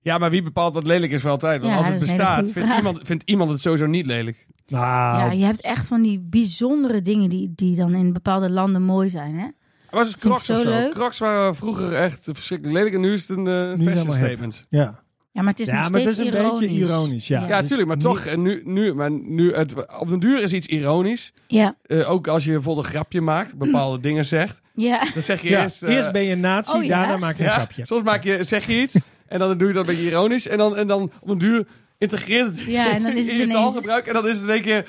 Speaker 4: Ja, maar wie bepaalt wat lelijk is voor altijd? Want
Speaker 1: Ja,
Speaker 4: als
Speaker 1: dat
Speaker 4: het
Speaker 1: is een hele
Speaker 4: bestaat,
Speaker 1: goede
Speaker 4: vindt
Speaker 1: vraag.
Speaker 4: iemand, vindt iemand het sowieso niet lelijk.
Speaker 2: Nou,
Speaker 1: Ja, je hebt echt van die bijzondere dingen die, die dan in bepaalde landen mooi zijn. Hè?
Speaker 4: Maar was dus
Speaker 1: Vind ik
Speaker 4: Crocs
Speaker 1: zo
Speaker 4: of zo.
Speaker 1: leuk.
Speaker 4: Crocs waren vroeger echt verschrikkelijk lelijk en nu is het een eh,
Speaker 2: het
Speaker 4: fashion
Speaker 2: allemaal hip.
Speaker 4: statement.
Speaker 2: ja.
Speaker 1: Ja, maar het is
Speaker 2: Ja,
Speaker 1: nog
Speaker 2: maar
Speaker 1: steeds
Speaker 2: het is een
Speaker 1: ironisch.
Speaker 2: beetje ironisch, ja.
Speaker 4: Ja,
Speaker 2: dus
Speaker 4: tuurlijk, maar
Speaker 2: niet-
Speaker 4: toch, en nu, nu, maar nu het, op den duur is iets ironisch.
Speaker 1: Ja,
Speaker 4: Eh, ook als je bijvoorbeeld een grapje
Speaker 2: *clears throat*
Speaker 4: maakt, bepaalde dingen zegt.
Speaker 1: ja.
Speaker 4: Dan zeg je
Speaker 2: Ja,
Speaker 4: eerst... eh,
Speaker 2: eerst ben je nazi,
Speaker 1: oh ja?
Speaker 2: daarna maak je een
Speaker 4: ja,
Speaker 2: grapje.
Speaker 4: Soms maak je, zeg je iets en dan doe je dat een beetje ironisch. En dan, en dan op den duur integreert het
Speaker 1: Ja, en dan
Speaker 4: *laughs*
Speaker 1: is het
Speaker 4: in je
Speaker 1: ineens-
Speaker 4: taalgebruik. En dan is het een keer...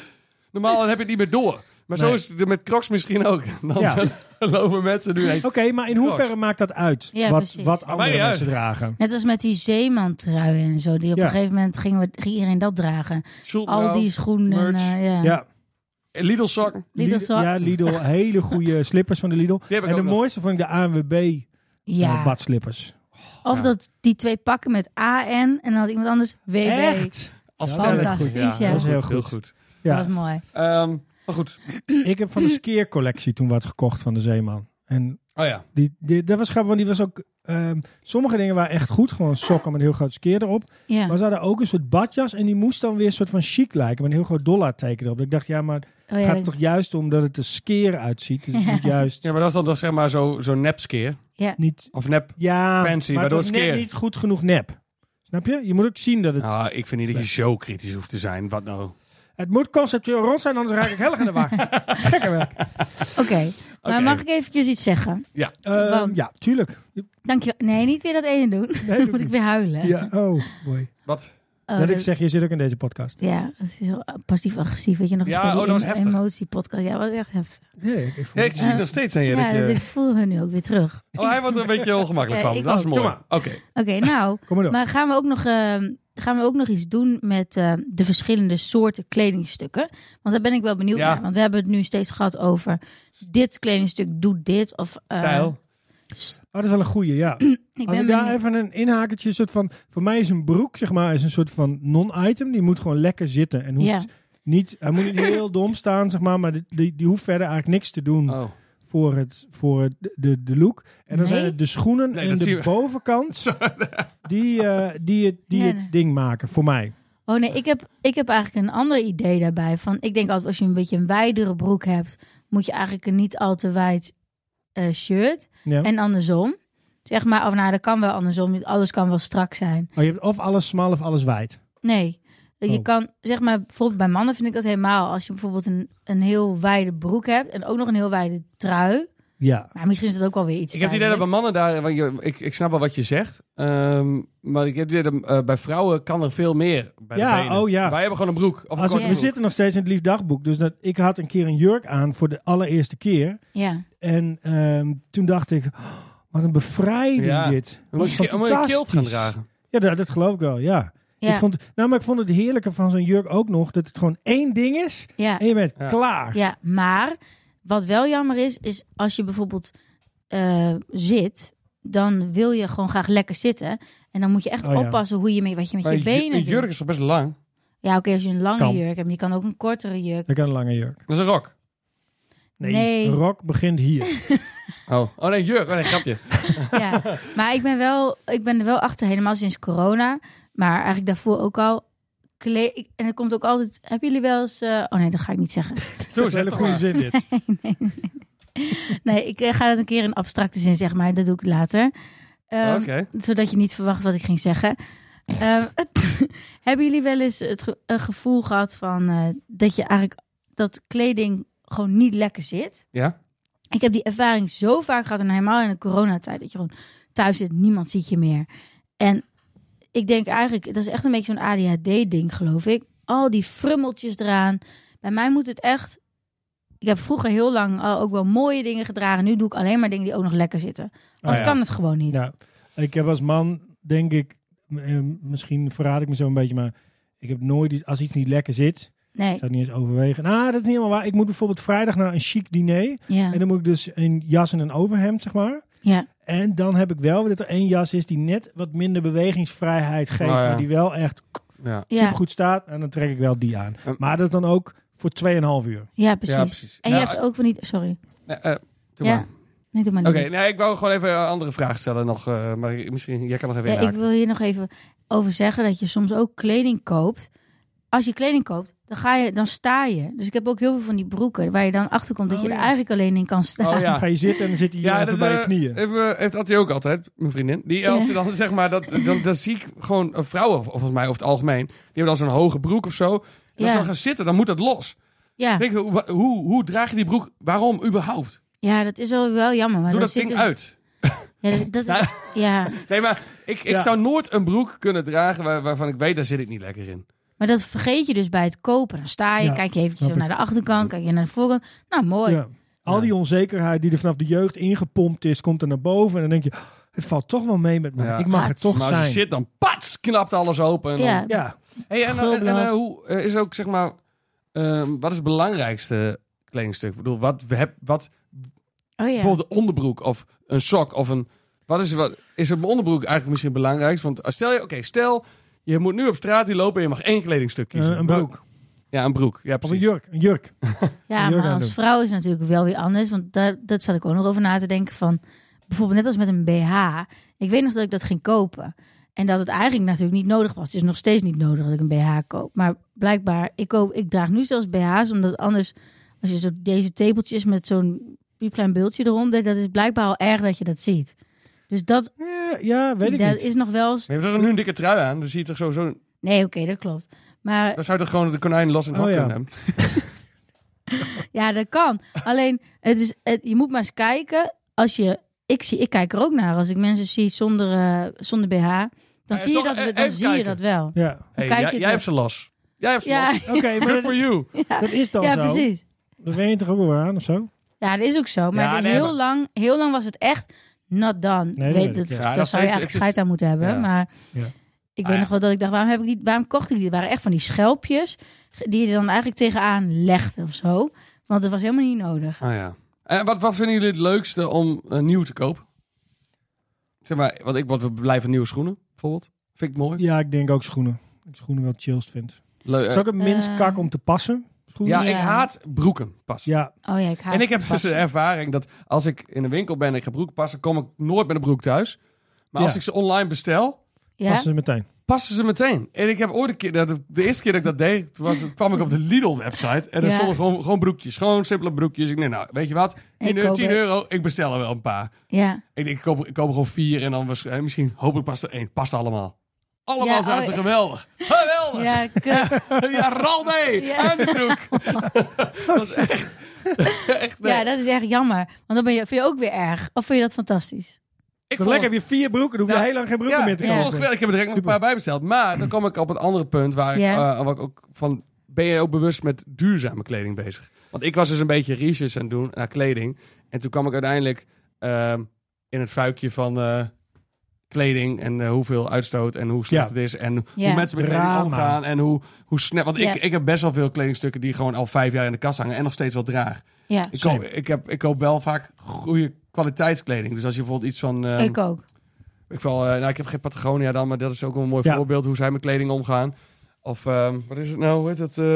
Speaker 4: Normaal dan heb je het niet meer door. Maar zo
Speaker 2: Nee.
Speaker 4: is het met Crocs misschien ook. *laughs* Dan
Speaker 2: Ja.
Speaker 4: lopen mensen nu eens...
Speaker 2: Oké, maar in hoeverre maakt dat uit?
Speaker 1: Ja,
Speaker 2: wat
Speaker 1: precies.
Speaker 2: wat
Speaker 4: mij
Speaker 2: andere
Speaker 4: niet
Speaker 2: mensen dragen.
Speaker 1: Net als met die zeemantrui en zo. Die op
Speaker 2: Ja.
Speaker 1: een gegeven moment gingen we, ging iedereen dat dragen. Al die schoenen.
Speaker 4: merch.
Speaker 1: eh, ja.
Speaker 2: Ja,
Speaker 4: Lidl sokken.
Speaker 1: Lidl
Speaker 2: Lidl,
Speaker 1: zak.
Speaker 2: ja, Lidl,
Speaker 1: *laughs*
Speaker 2: hele goede slippers van de Lidl.
Speaker 4: heb ik
Speaker 2: en de
Speaker 4: ook nog.
Speaker 2: mooiste vond ik de ANWB
Speaker 1: Ja.
Speaker 2: eh, badslippers.
Speaker 1: Of
Speaker 4: Ja.
Speaker 1: dat die twee pakken met AN en dan had iemand anders WB.
Speaker 2: Echt?
Speaker 4: Als
Speaker 2: Ja,
Speaker 4: sterren.
Speaker 1: fantastisch, ja.
Speaker 4: heel
Speaker 1: Dat is
Speaker 2: heel
Speaker 4: Heel
Speaker 2: goed.
Speaker 4: goed.
Speaker 1: Dat
Speaker 2: Ja,
Speaker 1: was mooi.
Speaker 4: Ehm, maar goed.
Speaker 2: ik heb van de skeercollectie toen wat gekocht van de Zeeman. En
Speaker 4: Oh ja.
Speaker 2: die, die, dat was grappig, want die was ook... ehm, sommige dingen waren echt goed, gewoon sokken met een heel groot skeer erop.
Speaker 1: Ja.
Speaker 2: Maar ze hadden ook een soort badjas en die moest dan weer een soort van chic lijken. Met een heel groot dollar teken erop. Ik dacht, ja, maar
Speaker 1: Oh, ja,
Speaker 2: gaat
Speaker 1: dat-
Speaker 2: het toch juist om dat het er skeer uitziet? Dus het
Speaker 1: *laughs*
Speaker 2: moet juist
Speaker 4: Ja, maar dat is dan toch zeg maar zo'n zo nepskeer.
Speaker 1: ja.
Speaker 2: niet...
Speaker 4: Of nep.
Speaker 2: Ja,
Speaker 4: Fancy,
Speaker 2: maar het
Speaker 4: waardoor
Speaker 2: is
Speaker 4: het
Speaker 2: net
Speaker 4: skeer.
Speaker 2: niet goed genoeg nep. Snap je? Je moet ook zien dat het...
Speaker 4: Ah, ik vind niet dat je zo kritisch hoeft te zijn. Wat nou?
Speaker 2: Het moet conceptueel rond zijn, anders raak ik heel erg in de
Speaker 4: *laughs*
Speaker 2: war. Gekke werk.
Speaker 1: Oké, maar mag ik eventjes iets zeggen?
Speaker 2: Ehm,
Speaker 1: Want-
Speaker 2: ja, tuurlijk.
Speaker 1: Dank je. Nee, niet weer dat ene doen.
Speaker 2: Nee, doe
Speaker 1: Dan *laughs*
Speaker 2: ik
Speaker 1: moet ik
Speaker 2: niet.
Speaker 1: weer huilen.
Speaker 2: Ja, oh, mooi.
Speaker 4: Wat?
Speaker 1: Oh,
Speaker 2: dat ik
Speaker 1: dat-
Speaker 2: zeg, je zit ook in deze podcast.
Speaker 1: Ja, dat is heel passief-agressief. Weet je nog?
Speaker 4: Ja,
Speaker 1: bij die
Speaker 4: oh, dat was
Speaker 1: em-
Speaker 4: heftig.
Speaker 1: Emotie-podcast. Ja, dat was echt heftig.
Speaker 2: Nee, ik, ik voel
Speaker 4: Nee, ik zie
Speaker 1: Eh,
Speaker 4: nog steeds aan
Speaker 1: Ja,
Speaker 4: je. dat
Speaker 1: dat,
Speaker 4: je...
Speaker 1: ik voel hun nu ook weer terug.
Speaker 4: Oh, hij wordt er een beetje ongemakkelijk
Speaker 1: Ja,
Speaker 4: van.
Speaker 1: ik
Speaker 4: Dat is
Speaker 1: ook.
Speaker 4: mooi.
Speaker 2: Doe
Speaker 4: Oké.
Speaker 1: Oké,
Speaker 4: *laughs*
Speaker 1: nou.
Speaker 2: Kom maar door.
Speaker 1: Maar gaan we ook nog, ehm, gaan we ook nog iets doen met ehm, de verschillende soorten kledingstukken? Want daar ben ik wel benieuwd
Speaker 4: Ja.
Speaker 1: naar. Want we hebben het nu steeds gehad over dit kledingstuk doet dit. Of, eh,
Speaker 4: Stijl.
Speaker 2: Oh, dat is wel een goeie,
Speaker 1: *clears throat* Ik
Speaker 2: ja. Als
Speaker 1: ben
Speaker 2: ik daar
Speaker 1: benieuwd.
Speaker 2: even een inhakertje, soort van, voor mij is een broek zeg maar is een soort van non-item. Die moet gewoon lekker zitten en hoeft
Speaker 1: Ja.
Speaker 2: niet, hij
Speaker 1: *clears throat*
Speaker 2: moet niet heel dom staan zeg maar, maar die, die, die hoeft verder eigenlijk niks te doen
Speaker 4: Oh.
Speaker 2: voor, het, voor het, de, de look. En dan
Speaker 1: Nee?
Speaker 2: zijn het de schoenen
Speaker 4: Nee,
Speaker 2: en
Speaker 4: dat zien
Speaker 2: de
Speaker 4: we. *laughs*
Speaker 2: bovenkant die, eh, die, het, die
Speaker 1: Nee,
Speaker 2: het
Speaker 1: nee.
Speaker 2: ding maken voor mij.
Speaker 1: Oh nee, ik heb, ik heb eigenlijk een ander idee daarbij. Van, ik denk altijd als je een beetje een wijdere broek hebt, moet je eigenlijk een niet al te wijd eh, shirt.
Speaker 2: Ja.
Speaker 1: En andersom. Zeg maar, of nou, dat kan wel andersom. niet Alles kan wel strak zijn.
Speaker 2: Oh, je hebt of alles smal of alles wijd.
Speaker 1: Nee. Je
Speaker 2: Oh.
Speaker 1: kan, zeg maar, bijvoorbeeld bij mannen vind ik dat helemaal. Als je bijvoorbeeld een, een heel wijde broek hebt en ook nog een heel wijde trui.
Speaker 2: Ja.
Speaker 1: Maar misschien is dat ook wel weer iets.
Speaker 4: Ik heb het idee dat bij
Speaker 1: tijdelijks.
Speaker 4: mannen daar... want je- Ik, ik snap wel wat je zegt. ehm, maar ik heb het idee dat eh, bij vrouwen kan er veel meer. Bij de
Speaker 2: Ja,
Speaker 4: benen.
Speaker 2: oh ja.
Speaker 4: Wij hebben gewoon een broek. Of een
Speaker 2: Als
Speaker 4: korte
Speaker 2: we,
Speaker 1: Ja.
Speaker 2: we
Speaker 4: broek.
Speaker 2: zitten nog steeds in het liefdagboek. Dus dat, ik had een keer een jurk aan voor de allereerste keer.
Speaker 1: Ja.
Speaker 2: En ehm, toen dacht ik, "Oh, wat een bevrijding
Speaker 4: Ja.
Speaker 2: dit.
Speaker 4: Dan moet je- dan moet je een kilt gaan
Speaker 2: Fantastisch.
Speaker 4: dragen.
Speaker 2: Ja, dat, dat geloof ik wel, ja.
Speaker 1: Ja.
Speaker 2: Ik vond, nou, maar ik vond het heerlijke van zo'n jurk ook nog, dat het gewoon één ding is
Speaker 1: ja.
Speaker 2: en je bent
Speaker 4: Ja.
Speaker 2: klaar.
Speaker 1: Ja, maar wat wel jammer is, is als je bijvoorbeeld eh, zit, dan wil je gewoon graag lekker zitten. En dan moet je echt
Speaker 2: Oh ja.
Speaker 1: oppassen hoe je met, wat je met
Speaker 4: Maar
Speaker 1: je,
Speaker 4: een ju-
Speaker 1: benen
Speaker 4: Een jurk
Speaker 1: doet.
Speaker 4: is toch best lang?
Speaker 1: Ja, oké, als je een lange
Speaker 2: Kan.
Speaker 1: jurk hebt, je kan ook een kortere jurk.
Speaker 2: Ik had een lange jurk.
Speaker 4: Dat is een rok.
Speaker 1: Nee. Nee.
Speaker 2: Een rok begint hier.
Speaker 4: Oh, oh nee, jurk. Oh nee, grapje.
Speaker 1: ja. Maar ik ben, wel, ik ben er wel achter, helemaal sinds corona. Maar eigenlijk daarvoor ook al. Kle- ik- en er komt ook altijd, hebben jullie wel eens... eh, oh nee, dat ga ik niet zeggen.
Speaker 2: dat is een hele goede zin dit.
Speaker 1: Nee, ik eh, ga dat een keer in abstracte zin zeggen, maar dat doe ik later. Ehm,
Speaker 4: Oké.
Speaker 1: zodat je niet verwacht wat ik ging zeggen. Ehm, *laughs* hebben jullie wel eens het ge- een gevoel gehad van eh, dat je eigenlijk dat kleding gewoon niet lekker zit?
Speaker 4: Ja.
Speaker 1: Ik heb die ervaring zo vaak gehad en helemaal in de coronatijd dat je gewoon thuis zit, niemand ziet je meer. En ik denk eigenlijk, dat is echt een beetje zo'n ADHD-ding, geloof ik. Al die frummeltjes eraan. Bij mij moet het echt. Ik heb vroeger heel lang al ook wel mooie dingen gedragen. Nu doe ik alleen maar dingen die ook nog lekker zitten. Anders
Speaker 4: ja.
Speaker 1: kan het gewoon niet.
Speaker 2: Ja. Ik heb als man, denk ik, m- eh, misschien verraad ik me zo een beetje, maar ik heb nooit, iets- als iets niet lekker zit,
Speaker 1: Nee.
Speaker 2: ik zou het niet eens overwegen. Nou, dat is niet helemaal waar. Ik moet bijvoorbeeld vrijdag naar een chic diner.
Speaker 1: Ja.
Speaker 2: En dan moet ik dus een jas en een overhemd, zeg maar.
Speaker 1: ja.
Speaker 2: En dan heb ik wel weer dat er één jas is die net wat minder bewegingsvrijheid geeft,
Speaker 4: Oh ja.
Speaker 2: maar die wel echt
Speaker 4: Ja.
Speaker 1: Ja.
Speaker 2: supergoed staat. En dan trek ik wel die aan.
Speaker 4: Um,
Speaker 2: Maar dat is dan ook voor 2,5 uur.
Speaker 1: Ja, precies.
Speaker 4: Ja, precies.
Speaker 1: En
Speaker 4: Nou,
Speaker 1: je hebt ook van niet. Sorry.
Speaker 4: Nee, eh, doe
Speaker 1: Ja,
Speaker 4: maar.
Speaker 1: Nee, doe maar
Speaker 4: Oké,
Speaker 1: niet.
Speaker 4: nee, ik wou gewoon even een andere vraag stellen nog. eh, maar misschien, jij kan nog even
Speaker 1: Ja, ik
Speaker 4: inhaken.
Speaker 1: wil hier nog even over zeggen dat je soms ook kleding koopt. Als je kleding koopt, dan, ga je, dan sta je. Dus ik heb ook heel veel van die broeken waar je dan achter komt dat
Speaker 2: Oh,
Speaker 1: je er
Speaker 2: ja.
Speaker 1: eigenlijk alleen in kan staan.
Speaker 4: Oh ja.
Speaker 2: Dan ga je zitten en dan zit hij hier even bij je
Speaker 4: eh,
Speaker 2: knieën.
Speaker 4: Even, heeft Attie ook altijd, mijn vriendin. Die, als
Speaker 1: Ja.
Speaker 4: ze dan zeg maar, dat, dan, dan zie ik gewoon eh, vrouwen, vol- volgens mij over het algemeen. Die hebben dan zo'n hoge broek of zo. En als
Speaker 1: Ja.
Speaker 4: ze dan gaan zitten, dan moet dat los.
Speaker 1: Ja,
Speaker 4: Ik Denk, hoe, wa- hoe, hoe draag je die broek? Waarom überhaupt?
Speaker 1: ja dat is wel, wel jammer. Maar
Speaker 4: Doe
Speaker 1: dan
Speaker 4: dat
Speaker 1: zit
Speaker 4: ding
Speaker 1: dus-
Speaker 4: uit.
Speaker 1: Ja, dat, dat is, ja,
Speaker 4: Nee, maar ik, ik
Speaker 2: Ja.
Speaker 4: zou nooit een broek kunnen dragen waar- waarvan ik weet, daar zit ik niet lekker in.
Speaker 1: maar dat vergeet je dus bij het kopen. Dan sta je,
Speaker 2: Ja,
Speaker 1: kijk je eventjes
Speaker 2: snap
Speaker 1: naar de achterkant, kijk je naar de voorkant. Nou, mooi.
Speaker 2: Ja. Al die onzekerheid die er vanaf de jeugd ingepompt is, komt er naar boven. En dan denk je, het valt toch wel mee met mij.
Speaker 4: Ja.
Speaker 2: Ik mag het toch
Speaker 4: maar als je
Speaker 2: zijn.
Speaker 4: zit, dan pats, knapt alles open. En dan-
Speaker 1: Ja.
Speaker 2: Ja,
Speaker 4: Hey, en, en, en,
Speaker 1: Gulblaas.
Speaker 4: eh, hoe eh, is ook zeg maar, ehm, wat is het belangrijkste kledingstuk? Ik bedoel, wat, we heb, wat
Speaker 1: Oh ja.
Speaker 4: bijvoorbeeld een onderbroek of een sok of een. Wat is, wat, is een onderbroek eigenlijk misschien het belangrijkste? Want eh, stel je, oké, stel je moet nu op straat hier lopen en je mag één kledingstuk kiezen.
Speaker 2: eh, een broek.
Speaker 4: Ja, een broek. Ja,
Speaker 2: Of een
Speaker 4: precies.
Speaker 2: jurk. Een jurk.
Speaker 1: Ja,
Speaker 2: Jurk
Speaker 1: maar
Speaker 2: aan
Speaker 1: als
Speaker 2: doen.
Speaker 1: vrouw is het natuurlijk wel weer anders. Want daar, dat zat ik ook nog over na te denken. Van, bijvoorbeeld net als met een BH. Ik weet nog dat ik dat ging kopen. En dat het eigenlijk natuurlijk niet nodig was. Het is nog steeds niet nodig dat ik een BH koop. Maar blijkbaar, ik, koop, ik draag nu zelfs BH's. Omdat anders, als je zo deze tepeltjes met zo'n piepklein bultje eronder. Dat is blijkbaar al erg dat je dat ziet. Dus dat,
Speaker 2: Eh, Ja, ja, weet ik
Speaker 1: dat
Speaker 2: niet.
Speaker 1: is nog wel... eens-
Speaker 4: Maar je hebt toch nu een dikke trui aan, dan zie je toch sowieso...
Speaker 1: Nee, oké, dat klopt. Maar
Speaker 4: Dan zou je toch gewoon de konijn los in het
Speaker 2: Oh,
Speaker 4: hok
Speaker 2: ja.
Speaker 4: kunnen hebben.
Speaker 1: Ja, dat
Speaker 4: *laughs*
Speaker 1: kan. Alleen, het is, het- je moet maar eens kijken. Als je, ik, zie, ik kijk er ook naar. Als ik mensen zie zonder, eh, zonder BH, dan,
Speaker 4: Maar
Speaker 1: zie, je
Speaker 4: toch,
Speaker 1: dat,
Speaker 4: eh,
Speaker 1: dan
Speaker 4: even
Speaker 1: zie je
Speaker 4: kijken.
Speaker 1: dat wel.
Speaker 2: Ja.
Speaker 4: Hey,
Speaker 1: kijk je
Speaker 4: jij,
Speaker 1: het
Speaker 4: jij
Speaker 1: wel.
Speaker 4: hebt ze los. Jij hebt ze
Speaker 1: Ja,
Speaker 4: los.
Speaker 2: Oké,
Speaker 4: *laughs*
Speaker 2: maar
Speaker 1: *laughs*
Speaker 2: dat,
Speaker 4: Good for you.
Speaker 2: dat is dan
Speaker 1: ja,
Speaker 2: zo.
Speaker 1: precies.
Speaker 2: Dat weet je toch ook wel aan of zo?
Speaker 1: Ja, dat is ook zo. Maar
Speaker 4: Ja,
Speaker 1: de-
Speaker 4: nee,
Speaker 1: heel,
Speaker 4: maar-
Speaker 1: lang, heel lang was het echt not done.
Speaker 2: Nee, dat
Speaker 1: weet,
Speaker 2: weet ik,
Speaker 1: dat
Speaker 2: ja.
Speaker 1: dat
Speaker 4: Ja,
Speaker 1: zou
Speaker 4: nog
Speaker 1: je
Speaker 4: steeds-
Speaker 1: eigenlijk
Speaker 4: ik zit-
Speaker 1: scheid aan moeten hebben.
Speaker 4: Ja.
Speaker 1: Maar
Speaker 2: Ja.
Speaker 1: ik
Speaker 4: Ah,
Speaker 1: weet
Speaker 4: ja.
Speaker 1: nog wel dat ik dacht, waarom, heb ik die, waarom kocht ik die? Dat waren echt van die schelpjes die je dan eigenlijk tegenaan legde of zo. Want dat was helemaal niet nodig.
Speaker 4: Ah ja. En wat, wat vinden jullie het leukste om eh, nieuw te kopen? Zeg maar, want ik word blij van nieuwe schoenen, bijvoorbeeld. Vind ik mooi.
Speaker 2: Ja, ik denk ook schoenen. Ik schoenen wel het chillst vind.
Speaker 4: Leu- eh,
Speaker 2: is ook het minst
Speaker 1: Eh.
Speaker 2: kak om te passen. Schoenen.
Speaker 4: ja,
Speaker 1: Ja.
Speaker 4: ik haat broeken pas.
Speaker 2: Ja,
Speaker 1: Oh ja, ik haat
Speaker 4: en ik heb
Speaker 1: het
Speaker 4: dus de
Speaker 1: passen.
Speaker 4: ervaring dat als ik in de winkel ben en ik ga broeken passen, kom ik nooit met een broek thuis. Maar
Speaker 2: Ja.
Speaker 4: als ik ze online bestel,
Speaker 1: ja?
Speaker 2: passen ze meteen.
Speaker 4: passen ze meteen. En ik heb ooit een keer, dat- de eerste keer dat ik dat deed, toen was, kwam ik op de Lidl-website. En er
Speaker 1: Ja.
Speaker 4: stonden gewoon, gewoon broekjes, gewoon simpele broekjes. Ik denk, nou, weet je wat, 10,
Speaker 1: Ik
Speaker 4: eu-
Speaker 1: ook,
Speaker 4: 10
Speaker 1: hè.
Speaker 4: euro, ik bestel er wel een paar.
Speaker 1: ja.
Speaker 4: Ik, denk, ik, koop, ik koop er gewoon vier en dan waarsch- eh, misschien, hopelijk past er één. Past allemaal. Allemaal
Speaker 1: Ja,
Speaker 4: zijn
Speaker 1: oh,
Speaker 4: ze
Speaker 1: ja.
Speaker 4: geweldig. Geweldig! Ja,
Speaker 1: Ja, eh, kut.
Speaker 4: rol mee!
Speaker 1: Ja.
Speaker 4: Aan de
Speaker 1: *laughs*
Speaker 4: broek! dat is echt... echt nee.
Speaker 1: Ja, dat is echt jammer. Want dan ben je, vind je ook weer erg. Of vind je dat fantastisch?
Speaker 4: ik
Speaker 2: Dan lekker heb je vier broeken. Dan hoef je
Speaker 4: Ja.
Speaker 2: heel lang geen broeken meer te
Speaker 4: ik vond
Speaker 2: kopen.
Speaker 4: het geweldig. Ik heb er direct nog een paar bij besteld. Maar dan kom ik op een ander punt waar ik,
Speaker 1: Ja.
Speaker 4: eh, waar ik ook van... Ben je ook bewust met duurzame kleding bezig? Want ik was dus een beetje research aan het doen naar kleding. En toen kwam ik uiteindelijk ehm, in het vuikje van eh, kleding en eh, hoeveel uitstoot en hoe slecht
Speaker 2: Ja.
Speaker 4: het is. En
Speaker 1: Ja.
Speaker 4: hoe mensen met
Speaker 2: Drama.
Speaker 4: kleding omgaan en hoe, hoe snel... Want
Speaker 1: Ja.
Speaker 4: ik, ik heb best wel veel kledingstukken die gewoon al vijf jaar in de kast hangen en nog steeds wel draag.
Speaker 1: Ja,
Speaker 4: Ik
Speaker 2: Same.
Speaker 4: koop, ik, heb, ik koop wel vaak goede kwaliteitskleding. Dus als je bijvoorbeeld iets van... ehm,
Speaker 1: ik ook.
Speaker 4: ik, wel, eh, nou, ik heb geen Patagonia dan, maar dat is ook wel een mooi
Speaker 2: Ja.
Speaker 4: voorbeeld hoe zij met kleding omgaan. Of ehm, wat is het nou? Hoe heet dat? eh,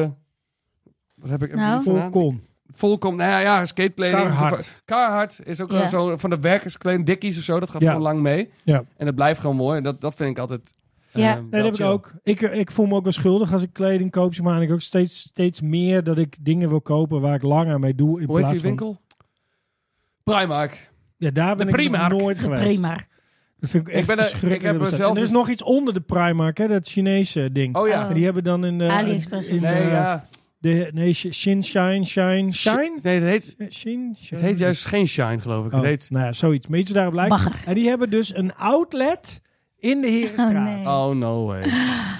Speaker 4: wat heb ik? heb ik
Speaker 1: Nou?
Speaker 4: niet vandaan?
Speaker 2: Volkon.
Speaker 4: Volkom. Nou ja, ja skatekleding.
Speaker 2: Carhartt.
Speaker 4: Carhartt is ook wel
Speaker 1: Ja.
Speaker 4: zo van de werkerskleding. Dickies of zo. Dat gaat
Speaker 2: Ja.
Speaker 4: gewoon lang mee.
Speaker 2: Ja.
Speaker 4: En dat blijft gewoon mooi. En dat, dat vind ik altijd.
Speaker 1: Ja. Nee,
Speaker 4: eh,
Speaker 2: Nee,
Speaker 4: wel
Speaker 2: dat heb ik
Speaker 4: chill.
Speaker 2: ook. Ik, ik voel me ook wel schuldig als ik kleding koop. Zeg maar en ik ook steeds, steeds meer dat ik dingen wil kopen waar ik langer mee doe. In
Speaker 4: Hoe heet
Speaker 2: plaats
Speaker 4: die
Speaker 2: van-
Speaker 4: winkel? Primark.
Speaker 2: Ja, daar ben
Speaker 4: De
Speaker 2: ik dus nog
Speaker 4: Primark.
Speaker 2: nooit geweest.
Speaker 1: Prima.
Speaker 2: Dat vind ik echt
Speaker 4: ben er- ik
Speaker 2: verschrikkelijk.
Speaker 4: heb
Speaker 2: dat
Speaker 4: er
Speaker 2: bestaat.
Speaker 4: zelf
Speaker 2: En er is
Speaker 4: eens-
Speaker 2: nog iets onder de Primark, hè, dat Chinese ding.
Speaker 4: Oh ja.
Speaker 1: Oh.
Speaker 2: En die hebben dan in de...
Speaker 1: AliExpress
Speaker 2: in
Speaker 1: of
Speaker 2: de-
Speaker 1: zo.
Speaker 4: Nee, ja.
Speaker 2: de, nee, Sh- Shin, Shine, Shine, Shine?
Speaker 4: Nee, het heet,
Speaker 2: Eh, Shin,
Speaker 4: het
Speaker 2: Shine.
Speaker 4: heet juist geen shine, geloof ik.
Speaker 2: Oh,
Speaker 4: Het heet.
Speaker 2: nou ja, zoiets. Maar iets daarop lijkt.
Speaker 1: Bagger.
Speaker 2: En die hebben dus een outlet in de Herenstraat.
Speaker 1: Oh, nee.
Speaker 4: Oh, no way.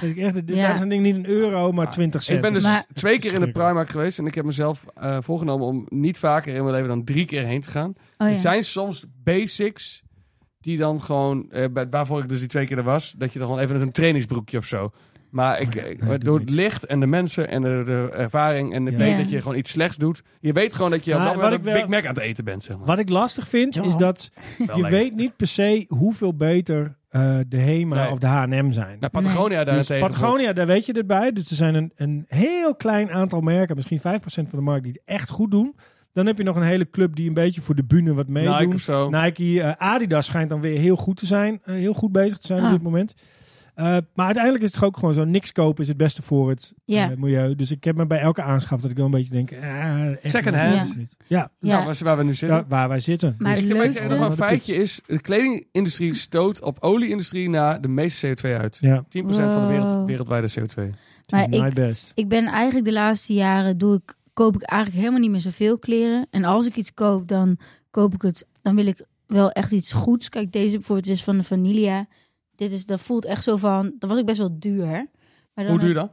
Speaker 2: Dat ik echt, dit,
Speaker 1: Ja.
Speaker 2: Dat is een ding niet een euro, maar
Speaker 4: Ah,
Speaker 2: 20 cent.
Speaker 4: Ik ben dus
Speaker 1: Maar-
Speaker 4: twee keer in de
Speaker 2: Verschrikkelijk.
Speaker 4: Primark geweest en ik heb mezelf eh, voorgenomen om niet vaker in mijn leven dan drie keer heen te gaan.
Speaker 1: Oh,
Speaker 4: Er
Speaker 1: ja.
Speaker 4: zijn soms basics die dan gewoon, eh, bij- waarvoor ik dus die twee keer er was, dat je dan gewoon even met een trainingsbroekje of zo. Maar ik, ik-
Speaker 2: doe
Speaker 4: door het
Speaker 2: niet.
Speaker 4: licht en de mensen en de, de ervaring en de
Speaker 2: Ja.
Speaker 4: weet
Speaker 1: Ja.
Speaker 4: dat je gewoon iets slechts doet. Je weet gewoon dat je op
Speaker 2: Maar
Speaker 4: dat moment
Speaker 2: wat
Speaker 4: een
Speaker 2: ik wel-
Speaker 4: Big Mac aan het eten bent, zeg maar.
Speaker 2: Wat ik lastig vind, is dat
Speaker 4: Wel
Speaker 2: je
Speaker 4: lekker.
Speaker 2: weet niet per se hoeveel beter eh, de HEMA
Speaker 4: Nee.
Speaker 2: of de H&M zijn.
Speaker 4: Nou, Patagonia
Speaker 2: Dus
Speaker 4: daarentegen.
Speaker 2: Patagonia, daar weet je dit bij. Dus er zijn een, een heel klein aantal merken, misschien 5% van de markt, die het echt goed doen. Dan heb je nog een hele club die een beetje voor de bühne wat meedoet.
Speaker 4: Nike of zo.
Speaker 2: Nike, eh, Adidas schijnt dan weer heel goed te zijn. eh, heel goed bezig te zijn
Speaker 1: Ah.
Speaker 2: op dit moment. Eh, maar uiteindelijk is het toch ook gewoon zo. Niks kopen is het beste voor het
Speaker 1: Ja.
Speaker 2: eh, milieu. Dus ik heb me bij elke aanschaf dat ik wel een beetje denk... eh, echt
Speaker 4: Second
Speaker 2: niet,
Speaker 1: hand.
Speaker 2: echt niet. Ja,
Speaker 1: Ja.
Speaker 4: Nou, waar, waar we nu zitten.
Speaker 2: daar waar wij zitten.
Speaker 1: Maar
Speaker 4: Ik
Speaker 1: het
Speaker 4: zeg maar, ik zeg
Speaker 1: leukste...
Speaker 4: nog een
Speaker 2: Ja, dat
Speaker 4: feitje is, de kledingindustrie stoot op olieindustrie na de meeste CO2 uit. 10%
Speaker 2: Ja,
Speaker 4: van de wereld,
Speaker 1: Wow.
Speaker 4: wereldwijde CO2.
Speaker 1: Maar
Speaker 2: het is my
Speaker 1: ik-
Speaker 2: best.
Speaker 1: Ik ben eigenlijk de laatste jaren doe ik, koop ik eigenlijk helemaal niet meer zoveel kleren. En als ik iets koop, dan koop ik het. Dan wil ik wel echt iets goeds. Kijk, deze bijvoorbeeld is van de Vanilla. Dit is, dat voelt echt zo van. Dat was ik best wel duur. Maar dan
Speaker 4: Hoe duur dan?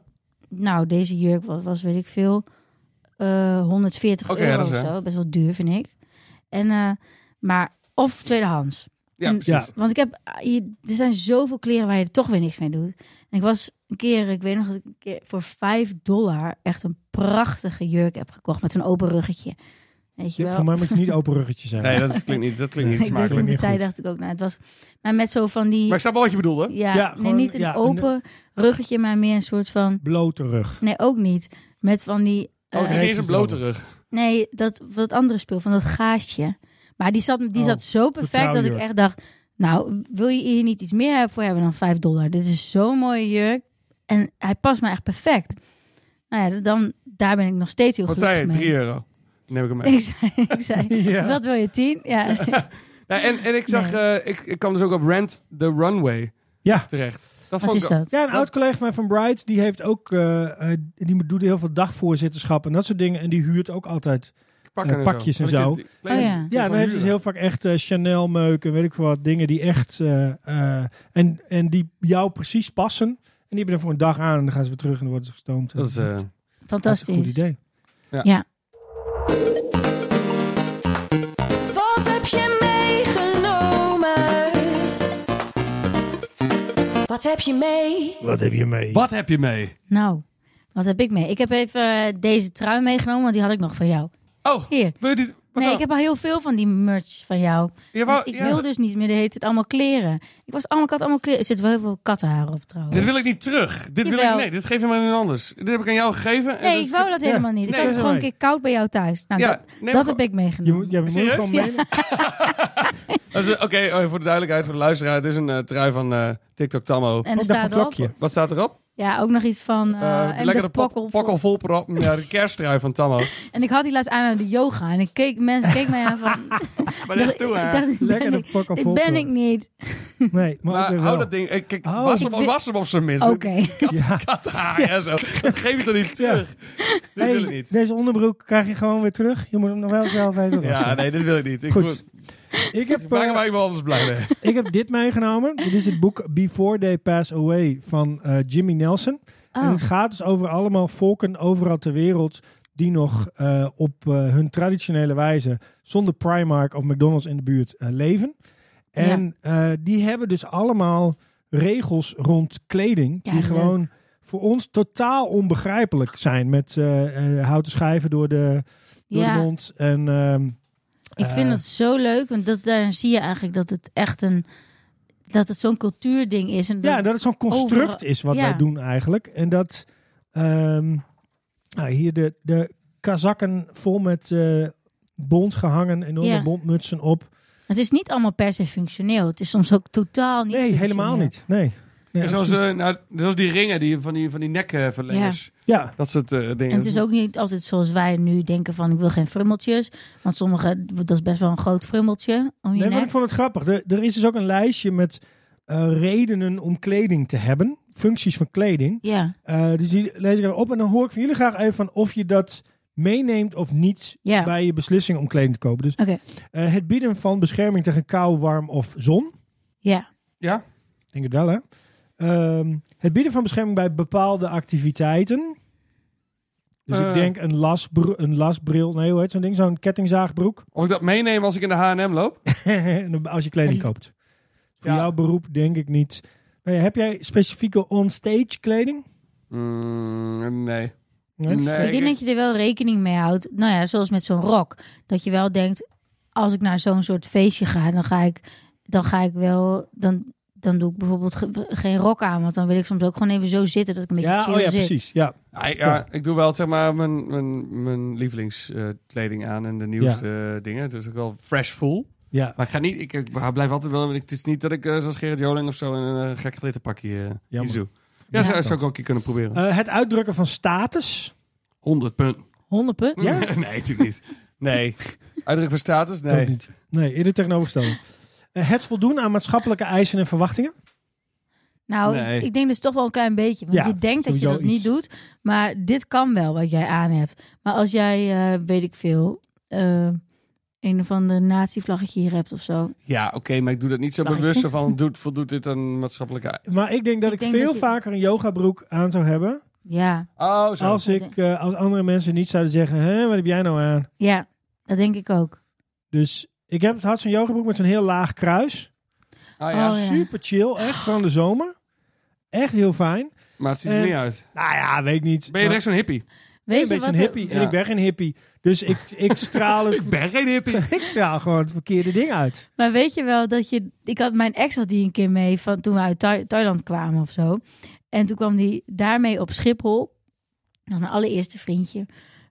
Speaker 1: Nou, deze jurk was, was weet ik veel, eh 140
Speaker 4: Oké, ja,
Speaker 1: euro
Speaker 4: dat is,
Speaker 1: of
Speaker 4: eh.
Speaker 1: zo. Best wel duur, vind ik. En, eh, maar, of tweedehands.
Speaker 4: Ja,
Speaker 1: En-
Speaker 4: precies.
Speaker 2: Ja.
Speaker 1: Want ik heb, ah, je- er zijn zoveel kleren waar je er toch weer niks mee doet. En ik was een keer, ik weet nog dat ik een keer voor 5 dollar echt een prachtige jurk heb gekocht met een open ruggetje. Weet je
Speaker 2: Ja,
Speaker 1: wel? *laughs*
Speaker 2: Voor mij moet je niet open ruggetje zijn.
Speaker 4: Nee, dat klinkt niet, dat klinkt niet
Speaker 1: ik dacht, toen
Speaker 4: smakelijk.
Speaker 1: ik
Speaker 2: niet
Speaker 1: het zei,
Speaker 2: goed.
Speaker 1: dacht ik ook, nou, het was, maar met zo van die,
Speaker 4: Maar ik snap wel wat je bedoelde.
Speaker 1: ja,
Speaker 2: Ja,
Speaker 1: nee,
Speaker 2: gewoon-
Speaker 1: niet een
Speaker 2: ja, een-
Speaker 1: open ruggetje, maar meer een soort van,
Speaker 2: Blote rug.
Speaker 1: nee, ook niet, met van die.
Speaker 4: Oh, het is
Speaker 1: eh,
Speaker 4: niet eens een blote rug.
Speaker 1: Nee, dat wat andere speel van dat gaasje. Maar die zat, die
Speaker 2: Oh,
Speaker 1: zat zo perfect dat ik
Speaker 2: trouwjurk.
Speaker 1: echt dacht: Nou, wil je hier niet iets meer voor hebben dan 5 dollar? Dit is zo'n mooie jurk. En hij past me echt perfect. Nou ja, dan, daar ben ik nog steeds heel
Speaker 4: Wat
Speaker 1: gelukkig
Speaker 4: zei je?
Speaker 1: mee. *laughs*
Speaker 4: 3 euro. Dan heb ik hem mee.
Speaker 1: Ik zei, ik zei
Speaker 2: Ja.
Speaker 1: dat wil je 10? Ja.
Speaker 4: Nou, en, en ik zag, eh, ik, ik kwam dus ook op Rent the Runway
Speaker 2: Ja.
Speaker 4: terecht. Dat
Speaker 1: Wat is
Speaker 4: vond ik,
Speaker 1: dat?
Speaker 2: Ja, een oud collega van mij van Bright, die heeft ook, eh, eh, die doet heel veel dagvoorzitterschap en dat soort dingen. En die huurt ook altijd.
Speaker 4: pakken
Speaker 2: Ja,
Speaker 4: zo.
Speaker 2: pakjes en
Speaker 4: Dat je
Speaker 2: zo.
Speaker 4: het klein-
Speaker 1: Oh ja.
Speaker 4: moet
Speaker 2: Ja,
Speaker 4: van
Speaker 2: dan hebben ze
Speaker 4: huren.
Speaker 2: heel vaak echt eh, Chanel meuken, weet ik veel wat, dingen die echt, eh, eh, en, en die jou precies passen. En die hebben er voor een dag aan en dan gaan ze weer terug en dan worden ze gestoomd.
Speaker 4: Dat is, eh,
Speaker 2: een goed
Speaker 1: Fantastisch.
Speaker 2: idee.
Speaker 1: Ja.
Speaker 3: Wat heb je meegenomen? Wat heb je mee?
Speaker 2: Wat heb je mee?
Speaker 4: wat heb je mee?
Speaker 1: Nou, wat heb ik mee? Ik heb even eh, deze trui meegenomen, want die had ik nog van jou.
Speaker 4: Oh,
Speaker 1: Hier.
Speaker 4: wil je dit? wat
Speaker 1: Nee,
Speaker 4: dan?
Speaker 1: ik heb al heel veel van die merch van jou.
Speaker 4: Je wou-
Speaker 1: ik
Speaker 4: ja,
Speaker 1: wil dus niet meer de heet het allemaal kleren. Ik was allemaal kat, allemaal kleren. Er zit wel heel veel kattenhaar op trouwens.
Speaker 4: Dit wil ik niet terug. Dit wil ik,
Speaker 1: Jawel.
Speaker 4: nee, dit geef je maar aan iemand anders. Dit heb ik aan jou gegeven. en
Speaker 1: nee,
Speaker 4: dat
Speaker 1: ik
Speaker 4: is-
Speaker 1: wou dat
Speaker 2: ja.
Speaker 1: helemaal niet. Ik
Speaker 4: Nee.
Speaker 1: had het gewoon een
Speaker 2: Nee.
Speaker 1: keer koud bij jou thuis. Nou,
Speaker 4: Ja,
Speaker 1: dat,
Speaker 4: nee,
Speaker 1: dat
Speaker 4: maar-
Speaker 1: heb ik
Speaker 2: Je
Speaker 1: meegenomen.
Speaker 2: moet, jij moet
Speaker 4: Serieus?
Speaker 2: gewoon
Speaker 1: Ja.
Speaker 2: mee.
Speaker 4: Dat is- Oké, oh, voor de duidelijkheid, voor de luisteraar. Het is een eh, trui van eh, TikTok
Speaker 1: en
Speaker 4: Tammo.
Speaker 1: er
Speaker 2: Wat dacht
Speaker 1: staat
Speaker 2: een
Speaker 1: erop...
Speaker 2: klokje?
Speaker 4: Wat staat erop?
Speaker 1: Ja, ook nog iets van... eh,
Speaker 4: Eh,
Speaker 1: en
Speaker 4: lekkere
Speaker 1: de
Speaker 4: pok-
Speaker 1: pokkel.
Speaker 4: pokkel vol proppen. Ja, de kersttrui
Speaker 1: *laughs*
Speaker 4: van Tammo.
Speaker 1: En ik had die laatst aan aan de yoga. En ik keek, mensen keken mij aan
Speaker 4: *laughs*
Speaker 1: van...
Speaker 4: Maar dat is
Speaker 1: Nou, *laughs* Ik
Speaker 4: toe,
Speaker 1: dacht,
Speaker 4: hè?
Speaker 1: dit ben
Speaker 2: Lekker
Speaker 1: ik-
Speaker 2: een pak
Speaker 1: Dit ben ik niet.
Speaker 2: Nee, maar, ook
Speaker 4: Maar
Speaker 2: weer
Speaker 4: hou
Speaker 2: wel.
Speaker 4: dat ding. eh, Kijk,
Speaker 2: Oh.
Speaker 4: was,
Speaker 1: Ik
Speaker 4: hem,
Speaker 1: wil-
Speaker 4: was hem op zijn minst.
Speaker 1: Oké.
Speaker 4: *laughs*
Speaker 2: Ja.
Speaker 4: Kathaar
Speaker 1: *laughs*
Speaker 4: en zo. Dat geef je toch niet terug? Dit
Speaker 2: Hey,
Speaker 4: wil ik niet.
Speaker 2: Deze onderbroek krijg je gewoon weer terug. Je moet hem nog wel zelf even wassen.
Speaker 4: Ja, nee, dit wil ik niet. Ik
Speaker 2: Goed.
Speaker 4: moet-
Speaker 2: ik, heb,
Speaker 4: Ik *laughs* maak hem
Speaker 2: eh,
Speaker 4: eigenlijk wel anders blij mee.
Speaker 2: ik heb dit meegenomen. Dit is het boek Before They Pass Away van eh, Jimmy Nelson. En
Speaker 1: Oh,
Speaker 2: het gaat dus over allemaal volken overal ter wereld... die nog eh, op eh, hun traditionele wijze... zonder Primark of McDonald's in de buurt eh, leven. En eh, die hebben dus allemaal regels rond kleding...
Speaker 1: Ja,
Speaker 2: die
Speaker 1: leuk.
Speaker 2: gewoon voor ons totaal onbegrijpelijk zijn. Met eh, eh, houten schijven door de, door de
Speaker 1: ja.
Speaker 2: mond. En ehm,
Speaker 1: Ik vind
Speaker 2: Eh.
Speaker 1: dat zo leuk. Want dat, daarin zie je eigenlijk dat het echt een... Dat het zo'n cultuurding is. En dat-
Speaker 2: Ja, dat het zo'n construct
Speaker 1: Overal-
Speaker 2: is wat
Speaker 1: ja.
Speaker 2: wij doen eigenlijk. En dat ehm, nou, hier de, de kazakken vol met eh bont gehangen, enorme
Speaker 1: Ja.
Speaker 2: bondmutsen op.
Speaker 1: Het is niet allemaal per se functioneel. Het is soms ook totaal niet
Speaker 2: nee,
Speaker 1: functioneel.
Speaker 2: helemaal niet. Nee. nee
Speaker 4: En zoals,
Speaker 2: absoluut.
Speaker 4: eh, nou, zoals die ringen die, van die, van die nekverlengers.
Speaker 2: ja,
Speaker 4: Dat soort eh, dingen.
Speaker 1: En het is ook niet altijd zoals wij nu denken van ik wil geen frummeltjes. Want sommige, dat is best wel een groot frummeltje om je
Speaker 2: nee, want ik
Speaker 1: nek.
Speaker 2: vond het grappig. Er, er is dus ook een lijstje met eh, redenen om kleding te hebben. Functies van kleding.
Speaker 1: Ja,
Speaker 2: Eh, dus die lees ik even op. En dan hoor ik van jullie graag even van of je dat meeneemt of niet
Speaker 1: ja.
Speaker 2: bij je beslissing om kleding te kopen. Dus
Speaker 1: Oké.
Speaker 2: eh, het bieden van bescherming tegen kou, warm of zon.
Speaker 1: ja.
Speaker 4: Ja?
Speaker 2: Ik Denk het wel, hè? Ehm, het bieden van bescherming bij bepaalde activiteiten. Dus
Speaker 4: Eh.
Speaker 2: ik denk een, lasbr een lasbril. Nee, hoe heet zo'n ding? Zo'n kettingzaagbroek. *laughs*
Speaker 4: Of ik dat meeneem als ik in de H&M loop?
Speaker 2: En dan- als je kleding
Speaker 1: Ja, die-
Speaker 2: koopt. Voor
Speaker 4: Ja.
Speaker 2: jouw beroep denk ik niet. Nou ja, heb jij specifieke onstage kleding?
Speaker 4: Mm, nee.
Speaker 2: Nee?
Speaker 1: ik denk dat je er wel rekening mee houdt. Nou ja, zoals met zo'n rok. Dat je wel denkt, als ik naar zo'n soort feestje ga, dan ga ik, dan ga ik wel... Dan, dan doe ik bijvoorbeeld ge- geen rok aan. Want dan wil ik soms ook gewoon even zo zitten dat ik een beetje
Speaker 2: Ja,
Speaker 1: chill
Speaker 2: oh ja,
Speaker 1: zit.
Speaker 2: precies. Ja.
Speaker 4: Ja, Nou, ik- ja, ik doe wel zeg maar mijn, mijn, mijn lievelingskleding aan en de nieuwste eh, dingen. Het is ook wel fresh full.
Speaker 2: Ja.
Speaker 4: Maar ik ga niet, ik, ik blijf altijd wel. Het is niet dat ik eh, zoals Gerrit Joling of zo een eh, gek glitterpakje uh,
Speaker 2: Jammer.
Speaker 4: iets doe. Ja,
Speaker 1: Ja.
Speaker 4: zou, zou ik ook een keer kunnen proberen.
Speaker 2: Eh, het uitdrukken van status.
Speaker 4: 100 punt.
Speaker 1: 100 punt.
Speaker 2: Ja?
Speaker 4: *laughs* nee, natuurlijk niet. Nee. Uitdruk van status?
Speaker 2: Ook
Speaker 4: Nee.
Speaker 2: niet. Nee, eerder tegenovergestelde. Eh, het voldoen aan maatschappelijke eisen en verwachtingen.
Speaker 1: Nou,
Speaker 4: Nee.
Speaker 1: ik, ik denk dus toch wel een klein beetje. Want
Speaker 2: Ja,
Speaker 1: je denkt dat je
Speaker 2: sowieso
Speaker 1: dat niet
Speaker 2: iets.
Speaker 1: doet. Maar dit kan wel wat jij aan hebt. Maar als jij, eh, weet ik veel, eh, een of ander nazi-vlaggetje hier hebt of zo.
Speaker 4: Ja, oké, maar ik doe dat niet zo
Speaker 1: Lachje.
Speaker 4: bewust zo van doet, voldoet dit aan maatschappelijke... e-
Speaker 2: Maar ik denk dat
Speaker 1: Ik
Speaker 2: ik,
Speaker 1: denk
Speaker 2: veel
Speaker 1: dat je-
Speaker 2: zovaker een yogabroek aan zou hebben.
Speaker 1: Ja,
Speaker 4: Oh, zo.
Speaker 2: Als, ik, eh, als andere mensen niet zouden zeggen, hè, wat heb jij nou aan?
Speaker 1: ja, dat denk ik ook.
Speaker 2: Dus ik heb, had zo'n yogabroek met zo'n heel laag kruis.
Speaker 4: Ah, ja.
Speaker 1: Oh, ja.
Speaker 2: Super chill, echt van de zomer. Echt heel fijn.
Speaker 4: Maar het ziet er
Speaker 2: Eh,
Speaker 4: niet uit.
Speaker 2: Nou ja, weet ik niet.
Speaker 4: Ben je
Speaker 2: Maar
Speaker 4: echt zo'n hippie?
Speaker 1: Weet
Speaker 2: ik ben
Speaker 1: je
Speaker 2: een
Speaker 1: wat?
Speaker 2: beetje een hippie en
Speaker 4: Ja.
Speaker 2: ik ben geen hippie. Dus ik,
Speaker 4: *laughs*
Speaker 2: ik, straal het, *laughs*
Speaker 4: ben geen hippie.
Speaker 2: ik straal gewoon het verkeerde ding uit.
Speaker 1: Maar weet je wel dat je... Ik had mijn ex had die een keer mee van toen we uit Tha- Thailand kwamen of zo. En toen kwam die daarmee op Schiphol. Dat was mijn allereerste vriendje.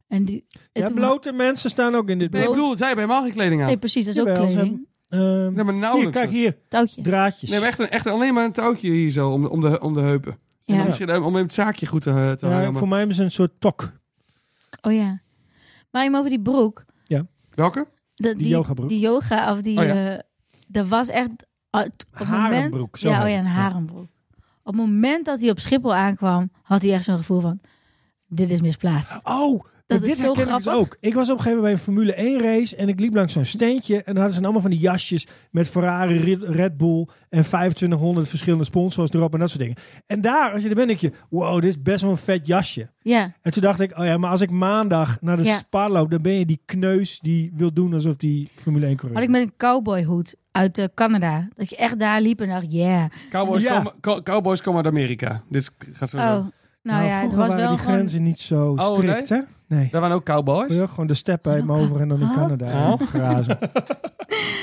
Speaker 1: En die... en
Speaker 2: Ja,
Speaker 1: toen-
Speaker 2: blote mensen staan ook in dit
Speaker 4: Nee, ik
Speaker 2: boek.
Speaker 4: bedoel, zij hebben helemaal geen kleding aan.
Speaker 1: Nee, precies, dat is ook
Speaker 2: Jawel, ze
Speaker 1: kleding.
Speaker 2: hebben- Ehm,
Speaker 4: Nee, maar
Speaker 2: hier,
Speaker 4: nauwelijks. dus.
Speaker 2: kijk hier,
Speaker 1: Touwtje.
Speaker 2: draadjes.
Speaker 4: Nee, maar echt, een, echt alleen maar een touwtje hier zo om de, om de, om de heupen. En dan
Speaker 1: Ja.
Speaker 4: Misschien om het zaakje goed te, eh, te
Speaker 2: Ja,
Speaker 4: hangen. maar-
Speaker 2: voor mij is het een soort tok.
Speaker 1: Oh ja. Maar hem over die broek.
Speaker 4: Welke?
Speaker 1: De,
Speaker 2: Die yogabroek.
Speaker 1: Die yoga, of die...
Speaker 4: Oh
Speaker 1: eh
Speaker 4: ja.
Speaker 1: dat was echt... ah, t- op het moment-
Speaker 2: Harenbroek, zo
Speaker 1: Ja, oh
Speaker 2: heet
Speaker 1: ja, een
Speaker 2: het, ja.
Speaker 1: harenbroek. het moment dat hij op Schiphol aankwam, had hij echt zo'n gevoel van: dit is misplaatst.
Speaker 2: Oh,
Speaker 1: Dat
Speaker 2: dit
Speaker 1: is zo
Speaker 2: herken ik dus
Speaker 1: grappig.
Speaker 2: ook. Ik was op een gegeven moment bij een Formule 1 race en ik liep langs zo'n steentje. En dan hadden ze allemaal van die jasjes met Ferrari, Red- Red Bull en 2500 verschillende sponsors erop en dat soort dingen. En daar, als je er bent, denk je, wow, dit is best wel een vet jasje.
Speaker 1: Ja,
Speaker 2: En toen dacht ik, oh ja, maar als ik maandag naar de
Speaker 1: Ja.
Speaker 2: Spa loop, dan ben je die kneus die wil doen alsof die Formule 1 coureur
Speaker 1: had ik
Speaker 2: is.
Speaker 1: met een cowboyhoed uit eh, Canada. Dat je echt daar liep en dacht: yeah.
Speaker 4: Cowboys,
Speaker 2: Ja.
Speaker 4: komen, co- cowboys komen uit Amerika. Dit gaat zo.
Speaker 1: Oh, nou,
Speaker 2: Nou,
Speaker 1: ja, het
Speaker 2: vroeger
Speaker 1: was
Speaker 2: waren
Speaker 1: wel
Speaker 2: die
Speaker 1: gewoon.
Speaker 2: grenzen niet zo
Speaker 4: nee?
Speaker 2: strikt, hè? Oh, Nee.
Speaker 4: Daar waren ook cowboys.
Speaker 2: Wil je ook gewoon de steppen uit me over en dan in
Speaker 1: Huh?
Speaker 2: Canada
Speaker 4: Huh?
Speaker 2: grazen.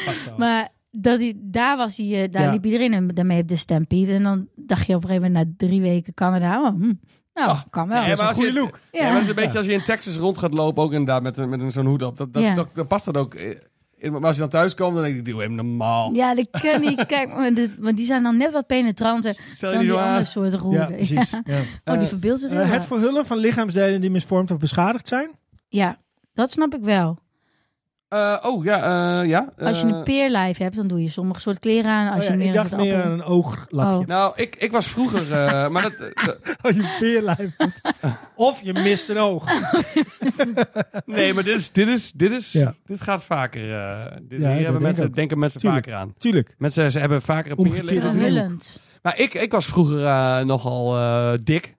Speaker 2: Vast wel.
Speaker 1: Maar dat hij, daar was hij, eh, daar
Speaker 2: Ja.
Speaker 1: liep iedereen en daarmee op de Stampede. En dan dacht je op een gegeven moment na drie weken Canada, oh, hm, nou,
Speaker 4: Ah,
Speaker 1: kan wel.
Speaker 4: nee,
Speaker 1: Ja,
Speaker 4: maar als je-
Speaker 2: goede look.
Speaker 4: Ja, maar dat is een beetje als je in Texas rond gaat lopen, ook inderdaad met, een- met een- zo'n hoed op. Dat, dat,
Speaker 1: Ja.
Speaker 4: dat- dan past dat ook. eh, in. Maar als je dan thuis komt, dan denk ik, doe hem normaal.
Speaker 1: Ja, dat kan
Speaker 4: *laughs*
Speaker 1: niet. Kijk, maar dit- want die zijn dan net wat penetranter
Speaker 4: Stel je
Speaker 1: dan
Speaker 4: niet
Speaker 1: die
Speaker 4: zo
Speaker 1: andere
Speaker 4: aan.
Speaker 1: soorten hoeden.
Speaker 2: Ja, precies.
Speaker 1: Ja.
Speaker 2: Ja.
Speaker 1: *laughs* Oh, die
Speaker 4: Eh,
Speaker 1: verbeeldt zich heel
Speaker 2: Eh,
Speaker 1: erg.
Speaker 2: het verhullen van lichaamsdelen die misvormd of beschadigd zijn.
Speaker 1: Ja, dat snap ik wel.
Speaker 4: Eh, oh, ja, eh, ja.
Speaker 1: Als je
Speaker 4: eh,
Speaker 1: een peerlijf hebt, dan doe je sommige soort kleren aan. Als
Speaker 2: Oh ja,
Speaker 1: je meer
Speaker 2: ik dacht
Speaker 1: een soort
Speaker 2: meer aan
Speaker 1: appel-
Speaker 2: een ooglapje.
Speaker 1: Oh.
Speaker 4: Nou, ik, ik was vroeger, eh, maar dat, eh, dat-
Speaker 2: *laughs* Als je een peerlijf hebt. Of je mist een oog.
Speaker 4: nee, maar dit is, dit is, dit is,
Speaker 2: Ja.
Speaker 4: dit gaat vaker. eh, dit,
Speaker 2: Ja,
Speaker 4: hier
Speaker 2: dat
Speaker 4: hebben
Speaker 2: denk
Speaker 4: mensen,
Speaker 2: ik ook.
Speaker 4: denken mensen
Speaker 2: Tuurlijk.
Speaker 4: vaker aan.
Speaker 2: Tuurlijk.
Speaker 4: Mensen ze hebben vaker een
Speaker 2: Omgekeerd.
Speaker 4: peerleven.
Speaker 2: een
Speaker 1: Verhullend.
Speaker 4: Maar ik, ik was vroeger eh, nogal eh, dik.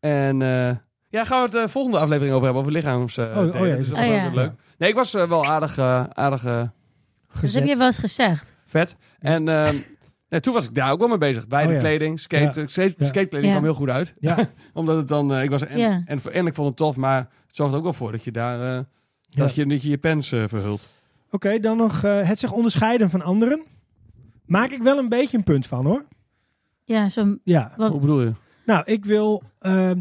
Speaker 4: En eh, ja, gaan we het eh, volgende aflevering over hebben, over lichaams. eh,
Speaker 2: oh
Speaker 4: delen.
Speaker 2: ja,
Speaker 4: Dus
Speaker 2: is-
Speaker 4: dat
Speaker 1: oh
Speaker 4: is
Speaker 1: ja.
Speaker 4: ook leuk. Nee, ik was eh, wel aardig, eh, aardig eh,
Speaker 1: Dat Dus heb
Speaker 2: Gezet.
Speaker 1: je wel eens gezegd.
Speaker 4: vet. En ehm, *laughs* nee, toen was ik daar ook wel mee bezig. Bij de
Speaker 2: Oh ja.
Speaker 4: kleding, skate, eh, skate-
Speaker 2: Ja.
Speaker 4: skatekleding
Speaker 1: Ja.
Speaker 4: kwam heel goed uit.
Speaker 1: *laughs*
Speaker 2: Ja.
Speaker 4: Omdat het dan, eh, ik was, en,
Speaker 1: Ja.
Speaker 4: en, en ik vond het tof, maar het zorgt ook wel voor dat je daar, eh,
Speaker 2: Ja.
Speaker 4: dat, je, dat je je pens eh, verhult.
Speaker 2: Oké, dan nog eh, het zich onderscheiden van anderen. Maak ik wel een beetje een punt van hoor.
Speaker 1: Ja, zo'n...
Speaker 2: Ja.
Speaker 1: Wat-
Speaker 4: Hoe bedoel je?
Speaker 2: Nou, ik wil ehm,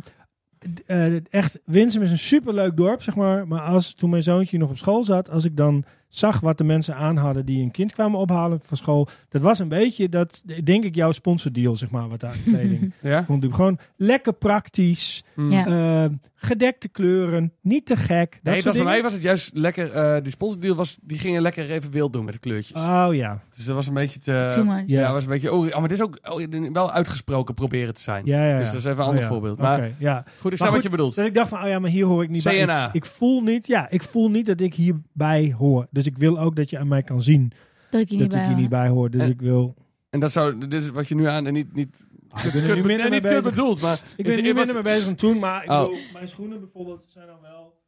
Speaker 2: d- eh, echt. Winsum is een superleuk dorp, zeg maar. Maar als toen mijn zoontje nog op school zat, als ik dan zag wat de mensen aan hadden die een kind kwamen ophalen van school, dat was een beetje dat denk ik jouw sponsordeal, zeg maar, wat daar aan
Speaker 4: *laughs*
Speaker 2: kleding
Speaker 4: Ja?
Speaker 2: komt. doen. Gewoon lekker praktisch,
Speaker 4: Hmm.
Speaker 1: Ja.
Speaker 2: ehm, gedekte kleuren, niet te gek. Dat
Speaker 4: Nee, dat
Speaker 2: soort
Speaker 4: bij mij
Speaker 2: dingen.
Speaker 4: was het juist lekker. eh, die sponsordeal was, die gingen lekker even wild doen met de kleurtjes.
Speaker 2: Oh ja,
Speaker 4: Dus dat was een beetje te.
Speaker 1: Too much.
Speaker 4: Ja, was een beetje. Oh, maar dit is ook oh, wel uitgesproken proberen te zijn.
Speaker 2: ja, ja. ja.
Speaker 4: Dus dat is even een
Speaker 2: Oh,
Speaker 4: ander
Speaker 2: ja.
Speaker 4: voorbeeld. Maar
Speaker 2: Oké, ja.
Speaker 4: goed, ik
Speaker 2: Maar
Speaker 4: snap wat
Speaker 2: goed,
Speaker 4: je bedoelt.
Speaker 2: Dat ik dacht van, oh ja, maar hier hoor ik niet bij.
Speaker 4: CNA.
Speaker 2: Ik, ik voel niet, ja, ik voel niet dat ik hierbij hoor. Dus ik wil ook dat je aan mij kan zien
Speaker 1: Dat ik hier
Speaker 2: dat
Speaker 1: niet bij
Speaker 2: ik hier
Speaker 1: hoor.
Speaker 2: niet bij hoor. Dus
Speaker 4: Eh,
Speaker 2: ik wil.
Speaker 4: En dat zou, dit is wat je nu aan en niet. niet
Speaker 2: Ah, ik ben er
Speaker 4: kut-
Speaker 2: nu minder
Speaker 4: en
Speaker 2: mee
Speaker 4: niet kut
Speaker 2: bezig.
Speaker 4: bedoeld, maar.
Speaker 2: Ik ben
Speaker 4: is-
Speaker 2: er nu
Speaker 4: was-
Speaker 2: minder mee bezig dan toen, maar ik
Speaker 4: Oh.
Speaker 2: bedoel, mijn schoenen bijvoorbeeld zijn dan wel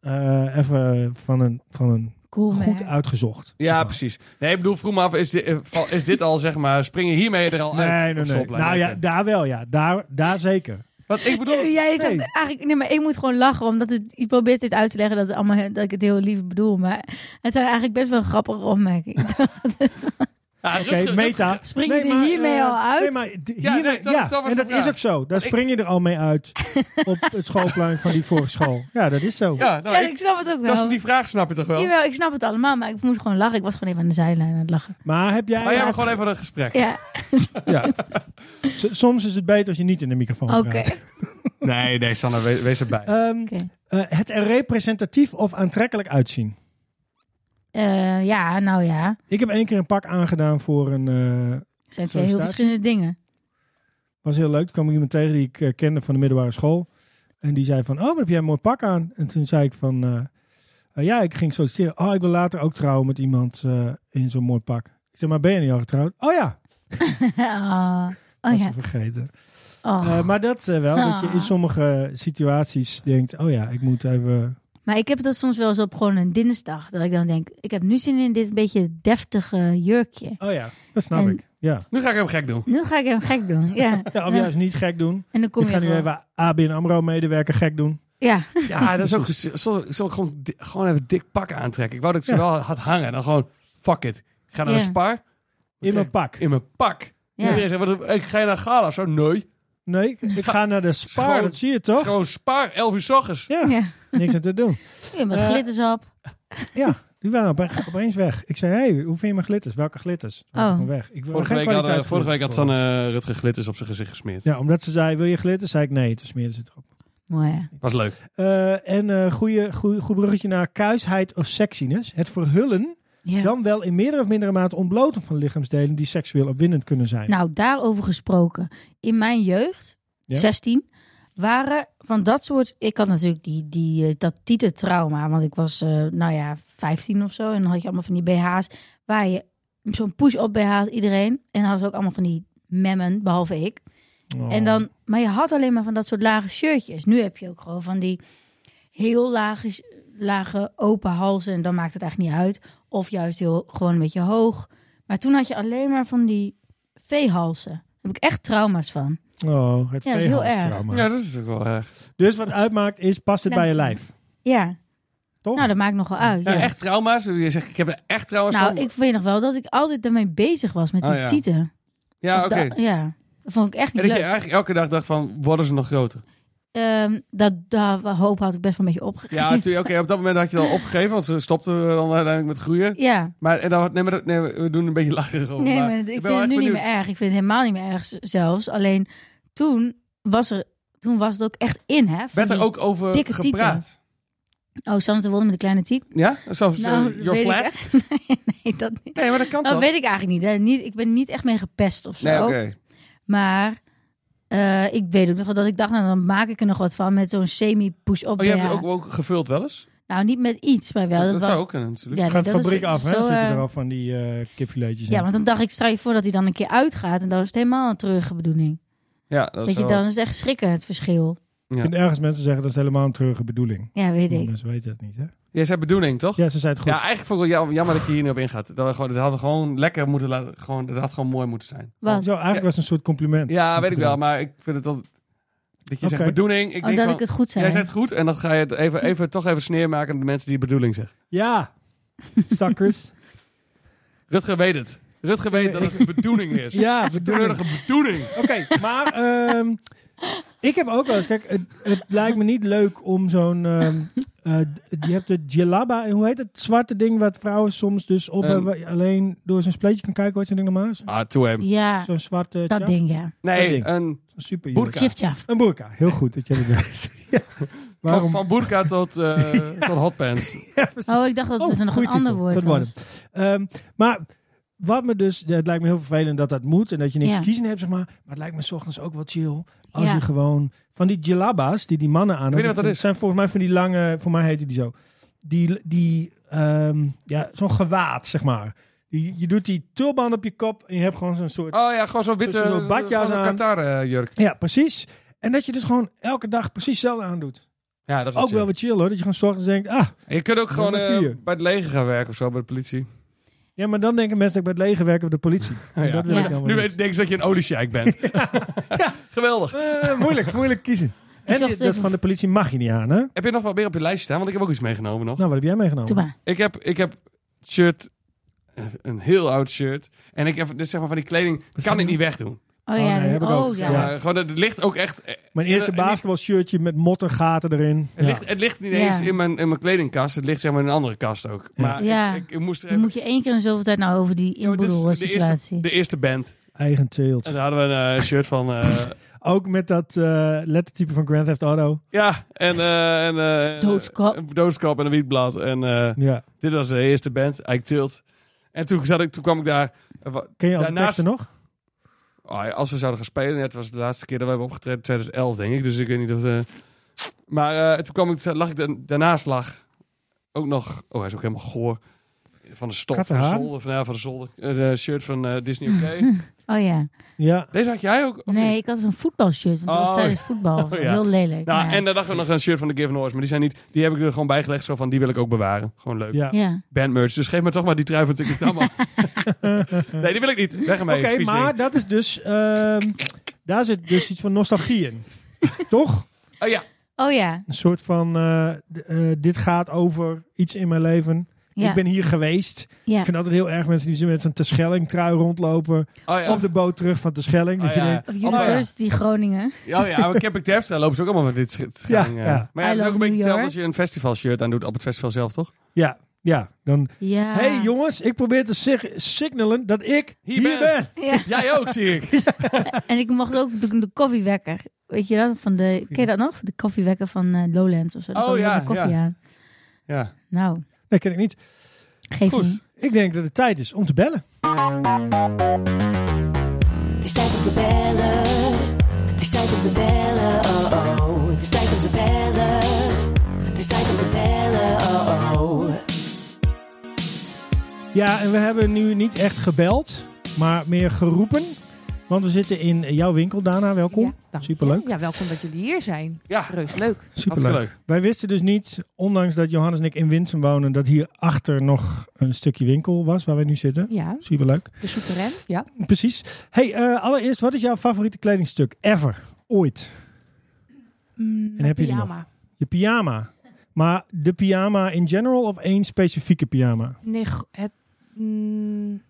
Speaker 2: eh, even van een, van een
Speaker 1: Cool,
Speaker 2: goed
Speaker 1: man.
Speaker 2: uitgezocht. zeg
Speaker 4: Ja,
Speaker 2: maar.
Speaker 4: precies. Nee, ik bedoel, vroeg me af, is dit, eh, val- is dit al, zeg maar, spring je hiermee er al
Speaker 2: Nee,
Speaker 4: uit?
Speaker 2: nee,
Speaker 4: op
Speaker 2: nee.
Speaker 4: schoolplein?
Speaker 2: Nou ja,
Speaker 4: Oké.
Speaker 2: daar wel, ja. Daar, daar zeker.
Speaker 4: Want ik bedoel,
Speaker 1: *laughs* Jij zegt
Speaker 2: Nee.
Speaker 1: eigenlijk, nee, maar ik moet gewoon lachen, omdat het, je probeert dit uit te leggen dat, het allemaal, dat ik het heel lief bedoel. Maar het zijn eigenlijk best wel grappige opmerkingen.
Speaker 4: Nou, Ja,
Speaker 2: Oké,
Speaker 4: Rutger-
Speaker 2: meta.
Speaker 1: Spring je
Speaker 2: Nee,
Speaker 1: er
Speaker 2: maar,
Speaker 1: hiermee
Speaker 2: eh,
Speaker 1: al uit?
Speaker 2: Nee, maar d-
Speaker 4: Ja,
Speaker 2: hier-
Speaker 4: nee, dat
Speaker 2: ja,
Speaker 4: is- dat was
Speaker 2: en
Speaker 4: de
Speaker 2: dat
Speaker 4: vraag.
Speaker 2: is ook zo. Daar
Speaker 4: ik-
Speaker 2: spring je er al mee
Speaker 1: *laughs*
Speaker 2: uit op het schoolplein van die vorige school. Ja, dat is zo.
Speaker 4: Ja,
Speaker 1: *laughs*
Speaker 4: nou,
Speaker 1: ja,
Speaker 4: ik-
Speaker 1: ik snap het ook wel.
Speaker 4: dat is, die vraag snap je toch wel?
Speaker 1: Jawel, ik snap het allemaal, maar ik moest gewoon lachen. Ik was gewoon even aan de zijlijn aan het lachen.
Speaker 2: Maar heb jij...
Speaker 4: Maar jij hebt gewoon even een gesprek.
Speaker 1: Ja,
Speaker 2: Ja. S- Soms is het beter als je niet in de microfoon
Speaker 1: oké.
Speaker 2: praat.
Speaker 4: Nee, nee, Sanne, we- wees erbij.
Speaker 2: Ehm,
Speaker 1: Oké.
Speaker 2: eh, het er representatief of aantrekkelijk uitzien.
Speaker 1: Eh, ja, nou ja.
Speaker 2: Ik heb één keer een pak aangedaan voor een... eh,
Speaker 1: Het zijn twee heel
Speaker 2: Sollicitatie.
Speaker 1: verschillende dingen. *laughs*
Speaker 2: was heel leuk. Toen kwam ik iemand tegen die ik eh, kende van de middelbare school. En die zei van, oh, wat heb jij een mooi pak aan? En toen zei ik van, eh, eh, ja, ik ging solliciteren. Oh, ik wil later ook trouwen met iemand eh, in zo'n mooi pak. Ik zei, maar ben je niet al getrouwd? Oh ja,
Speaker 1: Ah,
Speaker 2: dat
Speaker 1: oh
Speaker 2: was
Speaker 1: ja.
Speaker 2: ze vergeten.
Speaker 1: Oh.
Speaker 2: Eh, maar dat eh, wel, dat je in
Speaker 1: Ah.
Speaker 2: sommige situaties denkt, oh ja, ik moet even...
Speaker 1: Maar ik heb dat soms wel eens op gewoon een dinsdag. Dat ik dan denk, ik heb nu zin in dit beetje deftige jurkje.
Speaker 2: Oh ja, dat snap
Speaker 1: En-
Speaker 2: ik. Ja.
Speaker 4: Nu ga ik hem gek doen.
Speaker 1: Nu ga ik hem gek doen. Ja,
Speaker 2: *laughs* ja, of juist niet gek doen.
Speaker 1: En dan kom
Speaker 2: Ik
Speaker 1: je
Speaker 2: ga nu
Speaker 1: wel-
Speaker 2: even ABN AMRO medewerker gek doen.
Speaker 1: Ja,
Speaker 4: Ja, dat is ook. gez- Zal, zal ik gewoon, di- gewoon even dik pak aantrekken? Ik wou dat ik ze
Speaker 2: Ja.
Speaker 4: wel had hangen. Dan gewoon, fuck it. Ik ga naar
Speaker 1: Ja.
Speaker 4: een spar
Speaker 2: In mijn pak.
Speaker 4: in mijn pak.
Speaker 1: ja.
Speaker 4: Iedereen zegt, wat, ik ga je naar Gala of zo? Nee. Het
Speaker 2: Nee, ik- ik ga naar de spaar,
Speaker 4: Schoon-
Speaker 2: dat zie je
Speaker 4: is
Speaker 2: toch?
Speaker 4: gewoon spaar, 11 uur 's ochtends.
Speaker 2: Ja,
Speaker 1: Ja.
Speaker 2: niks aan te doen.
Speaker 1: Ja, met
Speaker 2: Eh,
Speaker 1: glitters op.
Speaker 2: Ja, die waren ope- opeens weg. Ik zei, hey, hoe vind je mijn glitters? Welke glitters? Toen was
Speaker 1: Oh.
Speaker 2: het gewoon weg. Ik wil
Speaker 4: Vorige
Speaker 2: geen
Speaker 4: week, had, eh,
Speaker 2: kwaliteitsglitters
Speaker 4: vorige week had
Speaker 2: voor.
Speaker 4: Sanne eh, Rutger glitters op zijn gezicht gesmeerd.
Speaker 2: Ja, omdat ze zei, wil je glitters? Zei ik, nee, toen smeerde ze het erop.
Speaker 1: Mooi, ja.
Speaker 4: Was leuk.
Speaker 2: Eh, en eh goeie, goeie, goed bruggetje naar kuisheid of sexiness. Het verhullen
Speaker 1: Ja.
Speaker 2: Dan wel in meerdere of mindere mate ontbloten van lichaamsdelen die seksueel opwindend kunnen zijn.
Speaker 1: Nou, daarover gesproken. In mijn jeugd,
Speaker 2: Ja.
Speaker 1: 16, waren van dat soort... Ik had natuurlijk die, die, eh, dat titeltrauma. Want ik was, eh, nou ja, 15 of zo. En dan had je allemaal van die BH's. Waar je zo'n push-up BH's iedereen. En dan hadden ze ook allemaal van die memmen, behalve ik.
Speaker 2: Oh.
Speaker 1: En dan, maar je had alleen maar van dat soort lage shirtjes. Nu heb je ook gewoon van die heel lage, s- lage open halzen. En dan maakt het eigenlijk niet uit. Of juist heel, gewoon een beetje hoog. Maar toen had je alleen maar van die veehalzen. Daar heb ik echt trauma's van.
Speaker 2: Oh, het
Speaker 1: Ja, dat is heel
Speaker 2: veehalstrauma.
Speaker 4: Ja, dat is ook wel erg.
Speaker 2: Dus wat uitmaakt is, past het
Speaker 1: Nou,
Speaker 2: bij je lijf?
Speaker 1: Ja,
Speaker 2: Toch?
Speaker 1: nou dat maakt nogal uit.
Speaker 4: Ja,
Speaker 1: Ja,
Speaker 4: echt trauma's. Je zegt, ik heb er echt trauma's
Speaker 1: Nou,
Speaker 4: van.
Speaker 1: ik weet nog wel dat ik altijd daarmee bezig was met die
Speaker 4: Oh, ja.
Speaker 1: tieten.
Speaker 4: ja,
Speaker 1: Of
Speaker 4: oké.
Speaker 1: da- ja, dat vond ik echt
Speaker 4: En
Speaker 1: niet
Speaker 4: dat je
Speaker 1: leuk.
Speaker 4: eigenlijk elke dag dacht van, worden ze nog
Speaker 1: *laughs*
Speaker 4: groter?
Speaker 1: Ehm, dat, dat hoop had ik best wel een beetje opgegeven.
Speaker 4: Ja, natuurlijk. Oké, op dat moment had je wel opgegeven, want ze stopten dan uiteindelijk met groeien.
Speaker 1: ja.
Speaker 4: Maar, en dan, nee, maar dat- nee, we doen een beetje lacherig over.
Speaker 1: Nee,
Speaker 4: maar
Speaker 1: maar
Speaker 4: ik
Speaker 1: ik,
Speaker 4: ben
Speaker 1: vind
Speaker 4: wel
Speaker 1: het
Speaker 4: echt
Speaker 1: nu niet
Speaker 4: benieuwd.
Speaker 1: meer erg. Ik vind het helemaal niet meer erg z- zelfs. Alleen toen was, er, toen was het ook echt in, hè? van
Speaker 4: Werd er
Speaker 1: die-
Speaker 4: ook over
Speaker 1: dikke
Speaker 4: gepraat?
Speaker 1: Oh, Sanne te Wolde met de kleine type?
Speaker 4: Ja? Zo, zo,
Speaker 1: Nou,
Speaker 4: your
Speaker 1: weet ik
Speaker 4: Dus, eh, flat?
Speaker 1: echt- *laughs* nee, dat, niet.
Speaker 4: Nee, maar dat kan
Speaker 1: dat
Speaker 4: toch?
Speaker 1: weet ik eigenlijk niet, hè. niet. Ik ben niet echt mee gepest of zo.
Speaker 4: Nee, oké.
Speaker 1: Maar eh, ik weet ook nog wel dat ik dacht, nou, dan maak ik er nog wat van met zo'n semi-push-up.
Speaker 4: Oh, je hebt
Speaker 1: BH.
Speaker 4: het ook, ook gevuld wel eens?
Speaker 1: Nou, niet met iets, maar wel.
Speaker 4: dat
Speaker 1: Dat, was...
Speaker 4: zou ook kunnen natuurlijk.
Speaker 1: Ja,
Speaker 2: Gaat de
Speaker 1: nee, dat is
Speaker 2: fabriek af, hè?
Speaker 1: zo,
Speaker 2: Zitten
Speaker 1: eh,
Speaker 2: er al van die eh kipfiletjes
Speaker 1: Ja,
Speaker 2: in.
Speaker 1: want dan dacht ik, stel je voor dat hij dan een keer uitgaat. En dat is het helemaal een treurige bedoeling.
Speaker 4: Ja, dat
Speaker 1: Dat je
Speaker 4: zou-
Speaker 1: dan is het echt schrikken, het verschil.
Speaker 2: Ik vind ergens mensen zeggen dat is helemaal een treurige bedoeling.
Speaker 1: Ja, weet ik.
Speaker 2: Mensen weten het niet, hè?
Speaker 4: Jij zei bedoeling, toch?
Speaker 2: Ja, ze zei het goed.
Speaker 4: Ja, eigenlijk vond ik wel jam- jammer dat je hier niet op ingaat. Dat, we gewoon, dat had gewoon lekker moeten laten. Gewoon, dat had gewoon mooi moeten zijn.
Speaker 1: Wat?
Speaker 2: Zo, eigenlijk
Speaker 4: Ja.
Speaker 2: was het een soort compliment.
Speaker 4: Ja, weet ik wel.
Speaker 2: Bedoeld.
Speaker 4: Maar ik vind het dan. Dat je zegt
Speaker 2: Oké.
Speaker 4: bedoeling. Ik
Speaker 1: Omdat
Speaker 4: denk van,
Speaker 1: Oh, ik het goed zei.
Speaker 4: Jij zegt goed en dan ga je het even, even, toch even sneer maken aan de mensen die bedoeling zeggen.
Speaker 2: Ja,
Speaker 4: *laughs*
Speaker 2: suckers.
Speaker 4: Rutger weet het. Rutger weet dat het de bedoeling
Speaker 2: *laughs*
Speaker 4: is.
Speaker 2: ja, bedoeling.
Speaker 4: Treurige bedoeling.
Speaker 2: Oké, maar ehm, ik heb ook wel eens... Kijk, het, het lijkt me niet leuk om zo'n... ehm, eh, d- je hebt de djellaba. en Hoe heet het zwarte ding wat vrouwen soms dus op...
Speaker 4: Ehm.
Speaker 2: hebben, waar je alleen door zijn spleetje kan kijken. Hoe heet zo'n ding normaal? Zo'n-
Speaker 4: Ah, toe hem.
Speaker 1: Ja,
Speaker 2: Zo'n zwarte...
Speaker 1: dat
Speaker 2: tjaf?
Speaker 1: ding, ja.
Speaker 2: Dat
Speaker 4: Nee,
Speaker 2: ding.
Speaker 4: een,
Speaker 2: Zo'n super
Speaker 4: Burka.
Speaker 1: Chif chaf.
Speaker 2: Een burka. Heel goed dat *laughs* je het weet. ja.
Speaker 4: van,
Speaker 2: Waarom?
Speaker 4: van boerka tot, *laughs* eh, tot hotpants.
Speaker 2: Ja, precies.
Speaker 1: Oh, ik dacht dat
Speaker 2: Oh,
Speaker 1: het nog
Speaker 2: goeie
Speaker 1: een ander
Speaker 2: titel.
Speaker 1: woord
Speaker 2: Dat
Speaker 1: was.
Speaker 2: wordt Ehm, maar wat me dus, ja, het lijkt me heel vervelend dat dat moet en dat je niks
Speaker 1: Ja.
Speaker 2: te kiezen hebt, zeg maar. Maar het lijkt me 's ochtends ook wel chill als
Speaker 1: Ja.
Speaker 2: je gewoon van die jalaba's die die mannen aan
Speaker 4: weet
Speaker 2: hebben.
Speaker 4: niet wat dat
Speaker 2: zijn-
Speaker 4: is.
Speaker 2: zijn volgens mij van die lange, voor mij heten die zo. Die, die ehm, ja, zo'n gewaad, zeg maar. Die, je doet die tulband op je kop en je hebt gewoon zo'n soort.
Speaker 4: Oh ja, gewoon zo'n witte.
Speaker 2: Zo'n
Speaker 4: Zo'n eh,
Speaker 2: badjas aan.
Speaker 4: Qatar-jurk.
Speaker 2: Ja, precies. En dat je dus gewoon elke dag precies hetzelfde aandoet.
Speaker 4: Ja, dat is
Speaker 2: Ook wel wat chill hoor. Dat je gewoon 's ochtends denkt, ah,
Speaker 4: Je kunt ook gewoon
Speaker 2: Nummer
Speaker 4: eh,
Speaker 2: vier.
Speaker 4: bij het leger gaan werken of zo, bij de politie.
Speaker 2: ja, maar dan denken mensen dat ik bij het leger werk of de politie.
Speaker 4: *laughs* ja.
Speaker 2: Dat wil
Speaker 1: Ja.
Speaker 2: ik dan wel
Speaker 4: Nu
Speaker 2: niet.
Speaker 4: weet ik denk dat je een oliesjijk *laughs* bent. Geweldig.
Speaker 1: *laughs*
Speaker 2: Eh, moeilijk, moeilijk kiezen. En
Speaker 1: Ik zag
Speaker 2: die-
Speaker 1: het
Speaker 2: dat
Speaker 1: even-
Speaker 2: van de politie mag je niet aan, hè?
Speaker 4: Heb je nog wat meer op je lijstje staan? Want ik heb ook iets meegenomen nog.
Speaker 2: Nou, wat heb jij meegenomen?
Speaker 1: Doe maar.
Speaker 4: Ik heb, ik heb shirt, eh, een heel oud shirt. En ik heb dus zeg maar van die kleding, kan
Speaker 2: zijn-
Speaker 4: ik niet wegdoen.
Speaker 1: Oh
Speaker 2: Oh,
Speaker 1: ja,
Speaker 2: nee, heb ik ook.
Speaker 1: oh ja.
Speaker 4: Zeg maar, gewoon, het ligt ook echt, eh,
Speaker 2: Mijn
Speaker 4: En,
Speaker 2: eerste
Speaker 4: eh, en
Speaker 2: basketbal shirtje met mottergaten erin.
Speaker 4: het,
Speaker 2: Ja.
Speaker 4: ligt, het ligt niet eens
Speaker 1: Ja.
Speaker 4: in, mijn, in mijn kledingkast. Het ligt zeg maar in een andere kast ook. Maar
Speaker 1: Ja.
Speaker 4: ik, ik, ik moest er
Speaker 1: Dan
Speaker 4: even...
Speaker 1: moet je één keer in zoveel tijd nou over die
Speaker 4: Ja, maar dit is de, eerste,
Speaker 1: inboedelsituatie.
Speaker 4: de eerste band.
Speaker 2: Eigen teelt.
Speaker 4: En daar hadden we een eh, shirt van... eh,
Speaker 1: *laughs*
Speaker 2: Ook met dat eh, lettertype van Grand Theft Auto.
Speaker 4: ja, en... eh en eh,
Speaker 1: Doodskap.
Speaker 4: een doodskap en een wietblad. En eh,
Speaker 2: Ja.
Speaker 4: dit was de eerste band, Ike Tilt. En toen, zat ik, toen kwam ik daar... eh, wa-
Speaker 2: Ken je al
Speaker 4: Daarnaast-
Speaker 2: de teksten nog?
Speaker 4: Oh ja, als we zouden gaan spelen, net was de laatste keer dat we hebben opgetreden, 2011 denk ik. Dus ik weet niet of. eh, Maar eh, toen kwam ik, lag ik dan- daarnaast lag ook nog. Oh, hij is ook helemaal goor. Van de stof, van de
Speaker 2: Kattenhaar?
Speaker 4: zolder, van, ja, van de zolder. Eh, de shirt van eh, Disney OK.
Speaker 2: *laughs*
Speaker 1: Oh ja.
Speaker 2: Ja.
Speaker 4: Deze had jij ook? of
Speaker 1: Nee,
Speaker 4: niet?
Speaker 1: ik had dus een voetbalshirt, want dat
Speaker 4: Oh.
Speaker 1: was tijdens voetbal.
Speaker 4: Oh, ja.
Speaker 1: Heel lelijk.
Speaker 4: Nou,
Speaker 1: maar ja.
Speaker 4: en daar lag ook nog een shirt van de Given Horse. Maar die zijn niet. Die heb ik er gewoon bijgelegd. Zo van die wil ik ook bewaren. Gewoon leuk.
Speaker 2: ja.
Speaker 1: ja.
Speaker 4: Bandmerch. Dus geef me toch maar die trui van Tikkie
Speaker 2: *laughs*
Speaker 4: Tamma. nee, die wil ik niet. Weg
Speaker 2: Oké,
Speaker 4: ermee. vies
Speaker 2: maar
Speaker 4: ding.
Speaker 2: dat is dus... ehm, daar zit dus iets van nostalgie
Speaker 4: *laughs*
Speaker 2: in. Toch?
Speaker 4: Oh ja.
Speaker 1: Oh ja.
Speaker 2: Een soort van... eh, d- eh, dit gaat over iets in mijn leven.
Speaker 1: Ja.
Speaker 2: Ik ben hier geweest.
Speaker 1: ja.
Speaker 2: Ik vind altijd heel erg mensen die zo met zo'n Terschelling trui rondlopen.
Speaker 4: Oh ja.
Speaker 2: Op de boot terug van Terschelling.
Speaker 4: Oh
Speaker 2: Dat je
Speaker 4: ja.
Speaker 2: denkt,
Speaker 1: Of
Speaker 4: Oh ja.
Speaker 1: University Groningen.
Speaker 4: Ja, oh ja, maar Camping Terfs, daar lopen ze ook allemaal met dit schit.
Speaker 2: Ja,
Speaker 4: gang, eh.
Speaker 2: ja.
Speaker 4: Maar ja,
Speaker 1: I
Speaker 4: het is ook
Speaker 1: love
Speaker 4: een beetje
Speaker 1: New
Speaker 4: hetzelfde
Speaker 1: York.
Speaker 4: als je een festivalshirt aan doet op het festival zelf, toch?
Speaker 2: Ja, ja. Dan,
Speaker 1: Ja.
Speaker 6: Ah.
Speaker 2: hey jongens, ik probeer te sig- signalen dat ik
Speaker 4: Hier
Speaker 2: hier,
Speaker 4: ben.
Speaker 2: ben.
Speaker 1: Ja.
Speaker 4: *laughs* Jij ook, zie ik.
Speaker 1: En ik mocht ook de, de koffiewekker. Weet je dat? Van de, ken je dat nog? De koffiewekker van eh, Lowlands of zo. Daar
Speaker 4: Oh
Speaker 1: kwam er
Speaker 4: ja,
Speaker 1: ook een koffie
Speaker 4: ja.
Speaker 1: aan.
Speaker 4: Ja,
Speaker 1: Nou,
Speaker 2: Nee, ken ik niet.
Speaker 1: geef
Speaker 4: goed.
Speaker 1: niet.
Speaker 2: Ik denk dat het tijd is om te bellen.
Speaker 7: Het is tijd om te bellen. Het is tijd om te bellen. Oh oh. Het is tijd om te bellen. Het is tijd om te bellen. Oh oh.
Speaker 2: Ja, en we hebben nu niet echt gebeld, maar meer geroepen. Want we zitten in jouw winkel, Dana. Welkom.
Speaker 6: Ja, dank je.
Speaker 2: Superleuk.
Speaker 6: Ja, welkom dat jullie hier zijn.
Speaker 4: Ja,
Speaker 6: Reus leuk.
Speaker 4: hartstikke leuk.
Speaker 2: Wij wisten dus niet, ondanks dat Johannes en ik in Winsum wonen, dat hier achter nog een stukje winkel was waar wij nu zitten.
Speaker 6: Ja,
Speaker 2: Superleuk.
Speaker 6: de souterrain. Ja.
Speaker 2: Precies. Hey, eh, allereerst, wat is jouw favoriete kledingstuk ever? Ooit?
Speaker 6: Mm,
Speaker 2: En heb je die
Speaker 6: pyjama.
Speaker 2: Je pyjama. Maar de pyjama in general of één specifieke pyjama?
Speaker 6: Nee, go- het, mm,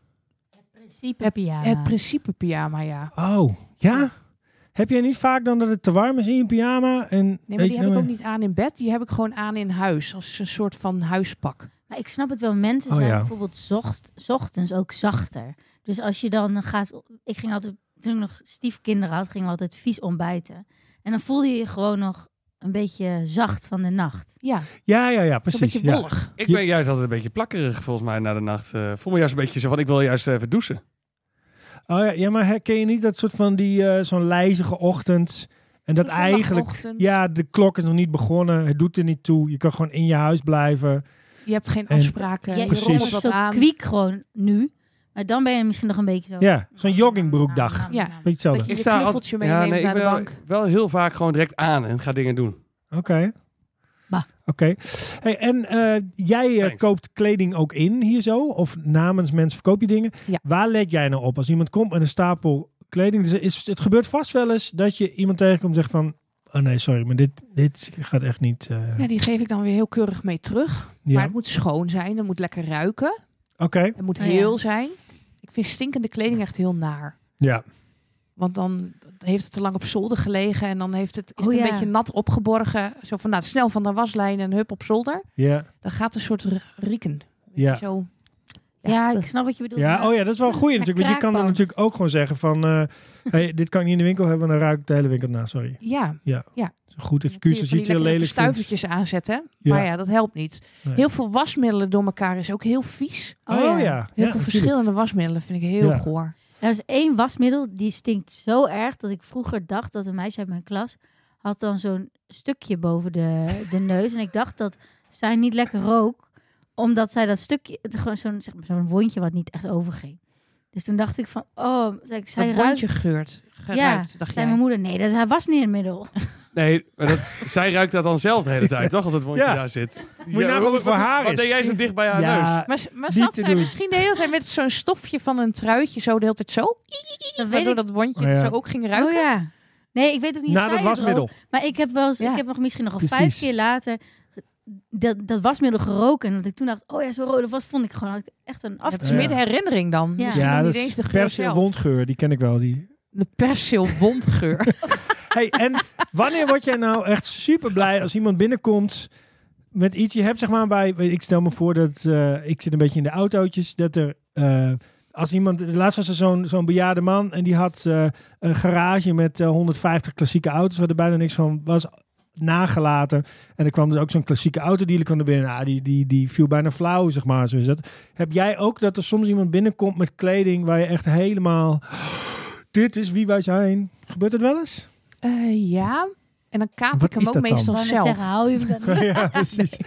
Speaker 1: Principe heb
Speaker 2: Ah.
Speaker 1: je
Speaker 6: het principe pyjama, ja.
Speaker 2: Oh, ja? Heb jij niet vaak dan dat het te warm is in je pyjama? En,
Speaker 6: Nee, maar
Speaker 2: weet
Speaker 6: die
Speaker 2: je
Speaker 6: heb ik
Speaker 2: nou-
Speaker 6: ook niet aan in bed. Die heb ik gewoon aan in huis. Als een soort van huispak.
Speaker 1: Maar ik snap het wel. Mensen
Speaker 2: Oh,
Speaker 1: zijn
Speaker 2: ja.
Speaker 1: bijvoorbeeld zocht, 's ochtends ook zachter. Dus als je dan gaat... Ik ging altijd... Toen ik nog stiefkinderen had, gingen we altijd vies ontbijten. En dan voelde je je gewoon nog een beetje zacht van de nacht.
Speaker 6: Ja,
Speaker 2: Ja, ja, ja,
Speaker 6: een
Speaker 2: precies.
Speaker 6: beetje
Speaker 2: ja.
Speaker 6: wollig.
Speaker 4: Ik
Speaker 2: Je-
Speaker 4: ben juist altijd een beetje plakkerig volgens mij na de nacht. Eh, voel me juist een beetje zo van, ik wil juist even douchen.
Speaker 2: Oh ja, ja, maar herken je niet dat soort van die eh, zo'n lijzige ochtend en dat
Speaker 6: Zo'n
Speaker 2: eigenlijk
Speaker 6: zondagochtend.
Speaker 2: ja de klok is nog niet begonnen, het doet er niet toe, je kan gewoon in je huis blijven.
Speaker 6: Je hebt geen
Speaker 2: En-
Speaker 6: afspraken.
Speaker 1: Jij
Speaker 6: je
Speaker 2: precies.
Speaker 6: rommelt
Speaker 1: wordt
Speaker 6: wat
Speaker 1: zo
Speaker 6: aan.
Speaker 1: kwiek gewoon nu. Maar dan ben je misschien nog een beetje zo... nou,
Speaker 2: Ja, zo'n joggingbroekdag,
Speaker 6: Ja.
Speaker 2: beetje hetzelfde.
Speaker 6: Dat je- knuffeltje
Speaker 4: ja, nee,
Speaker 6: meeneemt naar
Speaker 4: ik ben
Speaker 6: de
Speaker 4: wel-
Speaker 6: bank.
Speaker 4: wel heel vaak gewoon direct aan en ga dingen doen.
Speaker 2: Oké.
Speaker 1: Bah.
Speaker 2: Oké. Hey, en eh, jij eh,
Speaker 4: Thanks.
Speaker 2: koopt kleding ook in hier zo? Of namens mensen verkoop je dingen?
Speaker 6: Ja.
Speaker 2: Waar let jij nou op als iemand komt met een stapel kleding? Dus is, het gebeurt vast wel eens dat je iemand tegenkomt en zegt van... Oh nee, sorry, maar dit, dit gaat echt niet... eh,
Speaker 6: Ja, die geef ik dan weer heel keurig mee terug. Maar
Speaker 2: ja.
Speaker 6: het moet schoon zijn. Het moet lekker ruiken.
Speaker 2: Oké,
Speaker 6: Het moet
Speaker 1: Oh, ja.
Speaker 6: heel zijn. Ik vind stinkende kleding echt heel naar.
Speaker 2: ja.
Speaker 6: Want dan heeft het te lang op zolder gelegen. En dan heeft het,
Speaker 1: Oh,
Speaker 6: is het een
Speaker 1: ja.
Speaker 6: beetje nat opgeborgen. Zo van, nou, snel van de waslijn en hup op zolder.
Speaker 2: Ja,
Speaker 6: Dan gaat een soort r- rieken.
Speaker 2: ja.
Speaker 6: Zo.
Speaker 1: Ja, ik snap wat je bedoelt.
Speaker 2: Ja,
Speaker 1: maar-
Speaker 2: oh ja, dat is wel een goeie
Speaker 1: Ja,
Speaker 2: natuurlijk. Want je kan dan
Speaker 1: kraakpand.
Speaker 2: natuurlijk ook gewoon zeggen van... eh, *laughs* hey, dit kan ik niet in de winkel hebben, want dan ruikt de hele winkel na. Sorry. Dat
Speaker 6: Ja.
Speaker 2: is een goed
Speaker 6: Kun
Speaker 2: excuus
Speaker 6: je
Speaker 2: als
Speaker 6: van
Speaker 2: je
Speaker 6: die
Speaker 2: iets heel
Speaker 6: lekkere
Speaker 2: lelijk vindt.
Speaker 6: verstuivertjes aanzetten.
Speaker 2: Ja.
Speaker 6: Maar ja, dat helpt niet.
Speaker 2: Nee.
Speaker 6: Heel veel wasmiddelen door elkaar is ook heel vies.
Speaker 2: Oh ja, ja,
Speaker 6: Heel veel
Speaker 2: natuurlijk.
Speaker 6: verschillende wasmiddelen vind ik heel
Speaker 2: Ja.
Speaker 6: goor.
Speaker 1: Er is één wasmiddel die stinkt zo erg dat ik vroeger dacht dat een meisje uit mijn klas had dan zo'n stukje boven de, *laughs* de neus. En ik dacht dat zij niet lekker rook, omdat zij dat stukje, het gewoon zo'n zeg maar, zo'n wondje wat niet echt overging. Dus toen dacht ik van, oh, zei ik, zij
Speaker 6: dat rondje
Speaker 1: ruikt.
Speaker 6: geurt.
Speaker 1: ja,
Speaker 6: Geruikt, dacht
Speaker 1: zei
Speaker 6: jij.
Speaker 1: mijn moeder, nee, dat hij was niet een
Speaker 6: *laughs*
Speaker 1: middel.
Speaker 4: Nee, maar dat, *laughs* zij ruikt dat dan zelf de hele *laughs* tijd, toch? Als het wondje
Speaker 2: Ja.
Speaker 4: daar zit.
Speaker 2: je nagaan wat
Speaker 4: wat-
Speaker 2: voor haar
Speaker 4: Wat
Speaker 2: is.
Speaker 4: deed jij zo dicht bij haar neus?
Speaker 2: Ja,
Speaker 6: Maar, s- maar
Speaker 2: Niet
Speaker 6: zat
Speaker 2: te
Speaker 6: zij
Speaker 2: doen.
Speaker 6: misschien de hele tijd met zo'n stofje van een truitje zo de hele tijd zo?
Speaker 1: Dat weet
Speaker 6: Waardoor
Speaker 1: ik.
Speaker 6: dat wondje
Speaker 2: Oh ja.
Speaker 6: zo ook ging ruiken?
Speaker 1: Oh ja. Nee, ik weet ook niet. of
Speaker 2: na
Speaker 1: zij
Speaker 2: dat
Speaker 1: het rook,
Speaker 2: wasmiddel.
Speaker 1: Maar ik heb wel eens,
Speaker 6: Ja.
Speaker 1: ik heb nog misschien nog al
Speaker 2: Precies.
Speaker 1: vijf keer later dat, dat wasmiddel geroken. En dat ik toen dacht, oh ja, zo rood of wat vond ik gewoon had ik echt een
Speaker 6: Het
Speaker 1: afkeer.
Speaker 6: is
Speaker 2: Ja.
Speaker 6: meer de herinnering dan.
Speaker 1: Ja.
Speaker 6: Misschien
Speaker 2: Ja,
Speaker 6: nog
Speaker 2: dat
Speaker 6: niet eens
Speaker 2: is
Speaker 6: de geur
Speaker 2: persil
Speaker 6: zelf.
Speaker 2: wondgeur, die ken ik wel. Die.
Speaker 6: De *laughs* persilwondgeur.
Speaker 2: Hey, en wanneer word jij nou echt super blij als iemand binnenkomt met iets? Je hebt zeg maar bij, weet- ik stel me voor dat, eh, ik zit een beetje in de autootjes, dat er... eh, als iemand, laatst was er zo'n zo'n bejaarde man en die had eh, een garage met eh, 150 klassieke auto's, waar er bijna niks van was nagelaten. En er kwam dus ook zo'n klassieke autodealer kwam er binnen. Nou, die, die, die viel bijna flauw, zeg maar. Zo is dat. Heb jij ook dat er soms iemand binnenkomt met kleding waar je echt helemaal... Dit is wie wij zijn. Gebeurt het wel eens?
Speaker 6: Eh, ja, en dan kaap
Speaker 2: Wat
Speaker 6: ik hem
Speaker 2: is
Speaker 6: ook
Speaker 2: dat dan?
Speaker 6: meestal
Speaker 1: Ik wou net
Speaker 6: zelf.
Speaker 1: zeggen, hou je hem dan
Speaker 2: *laughs* ja, precies.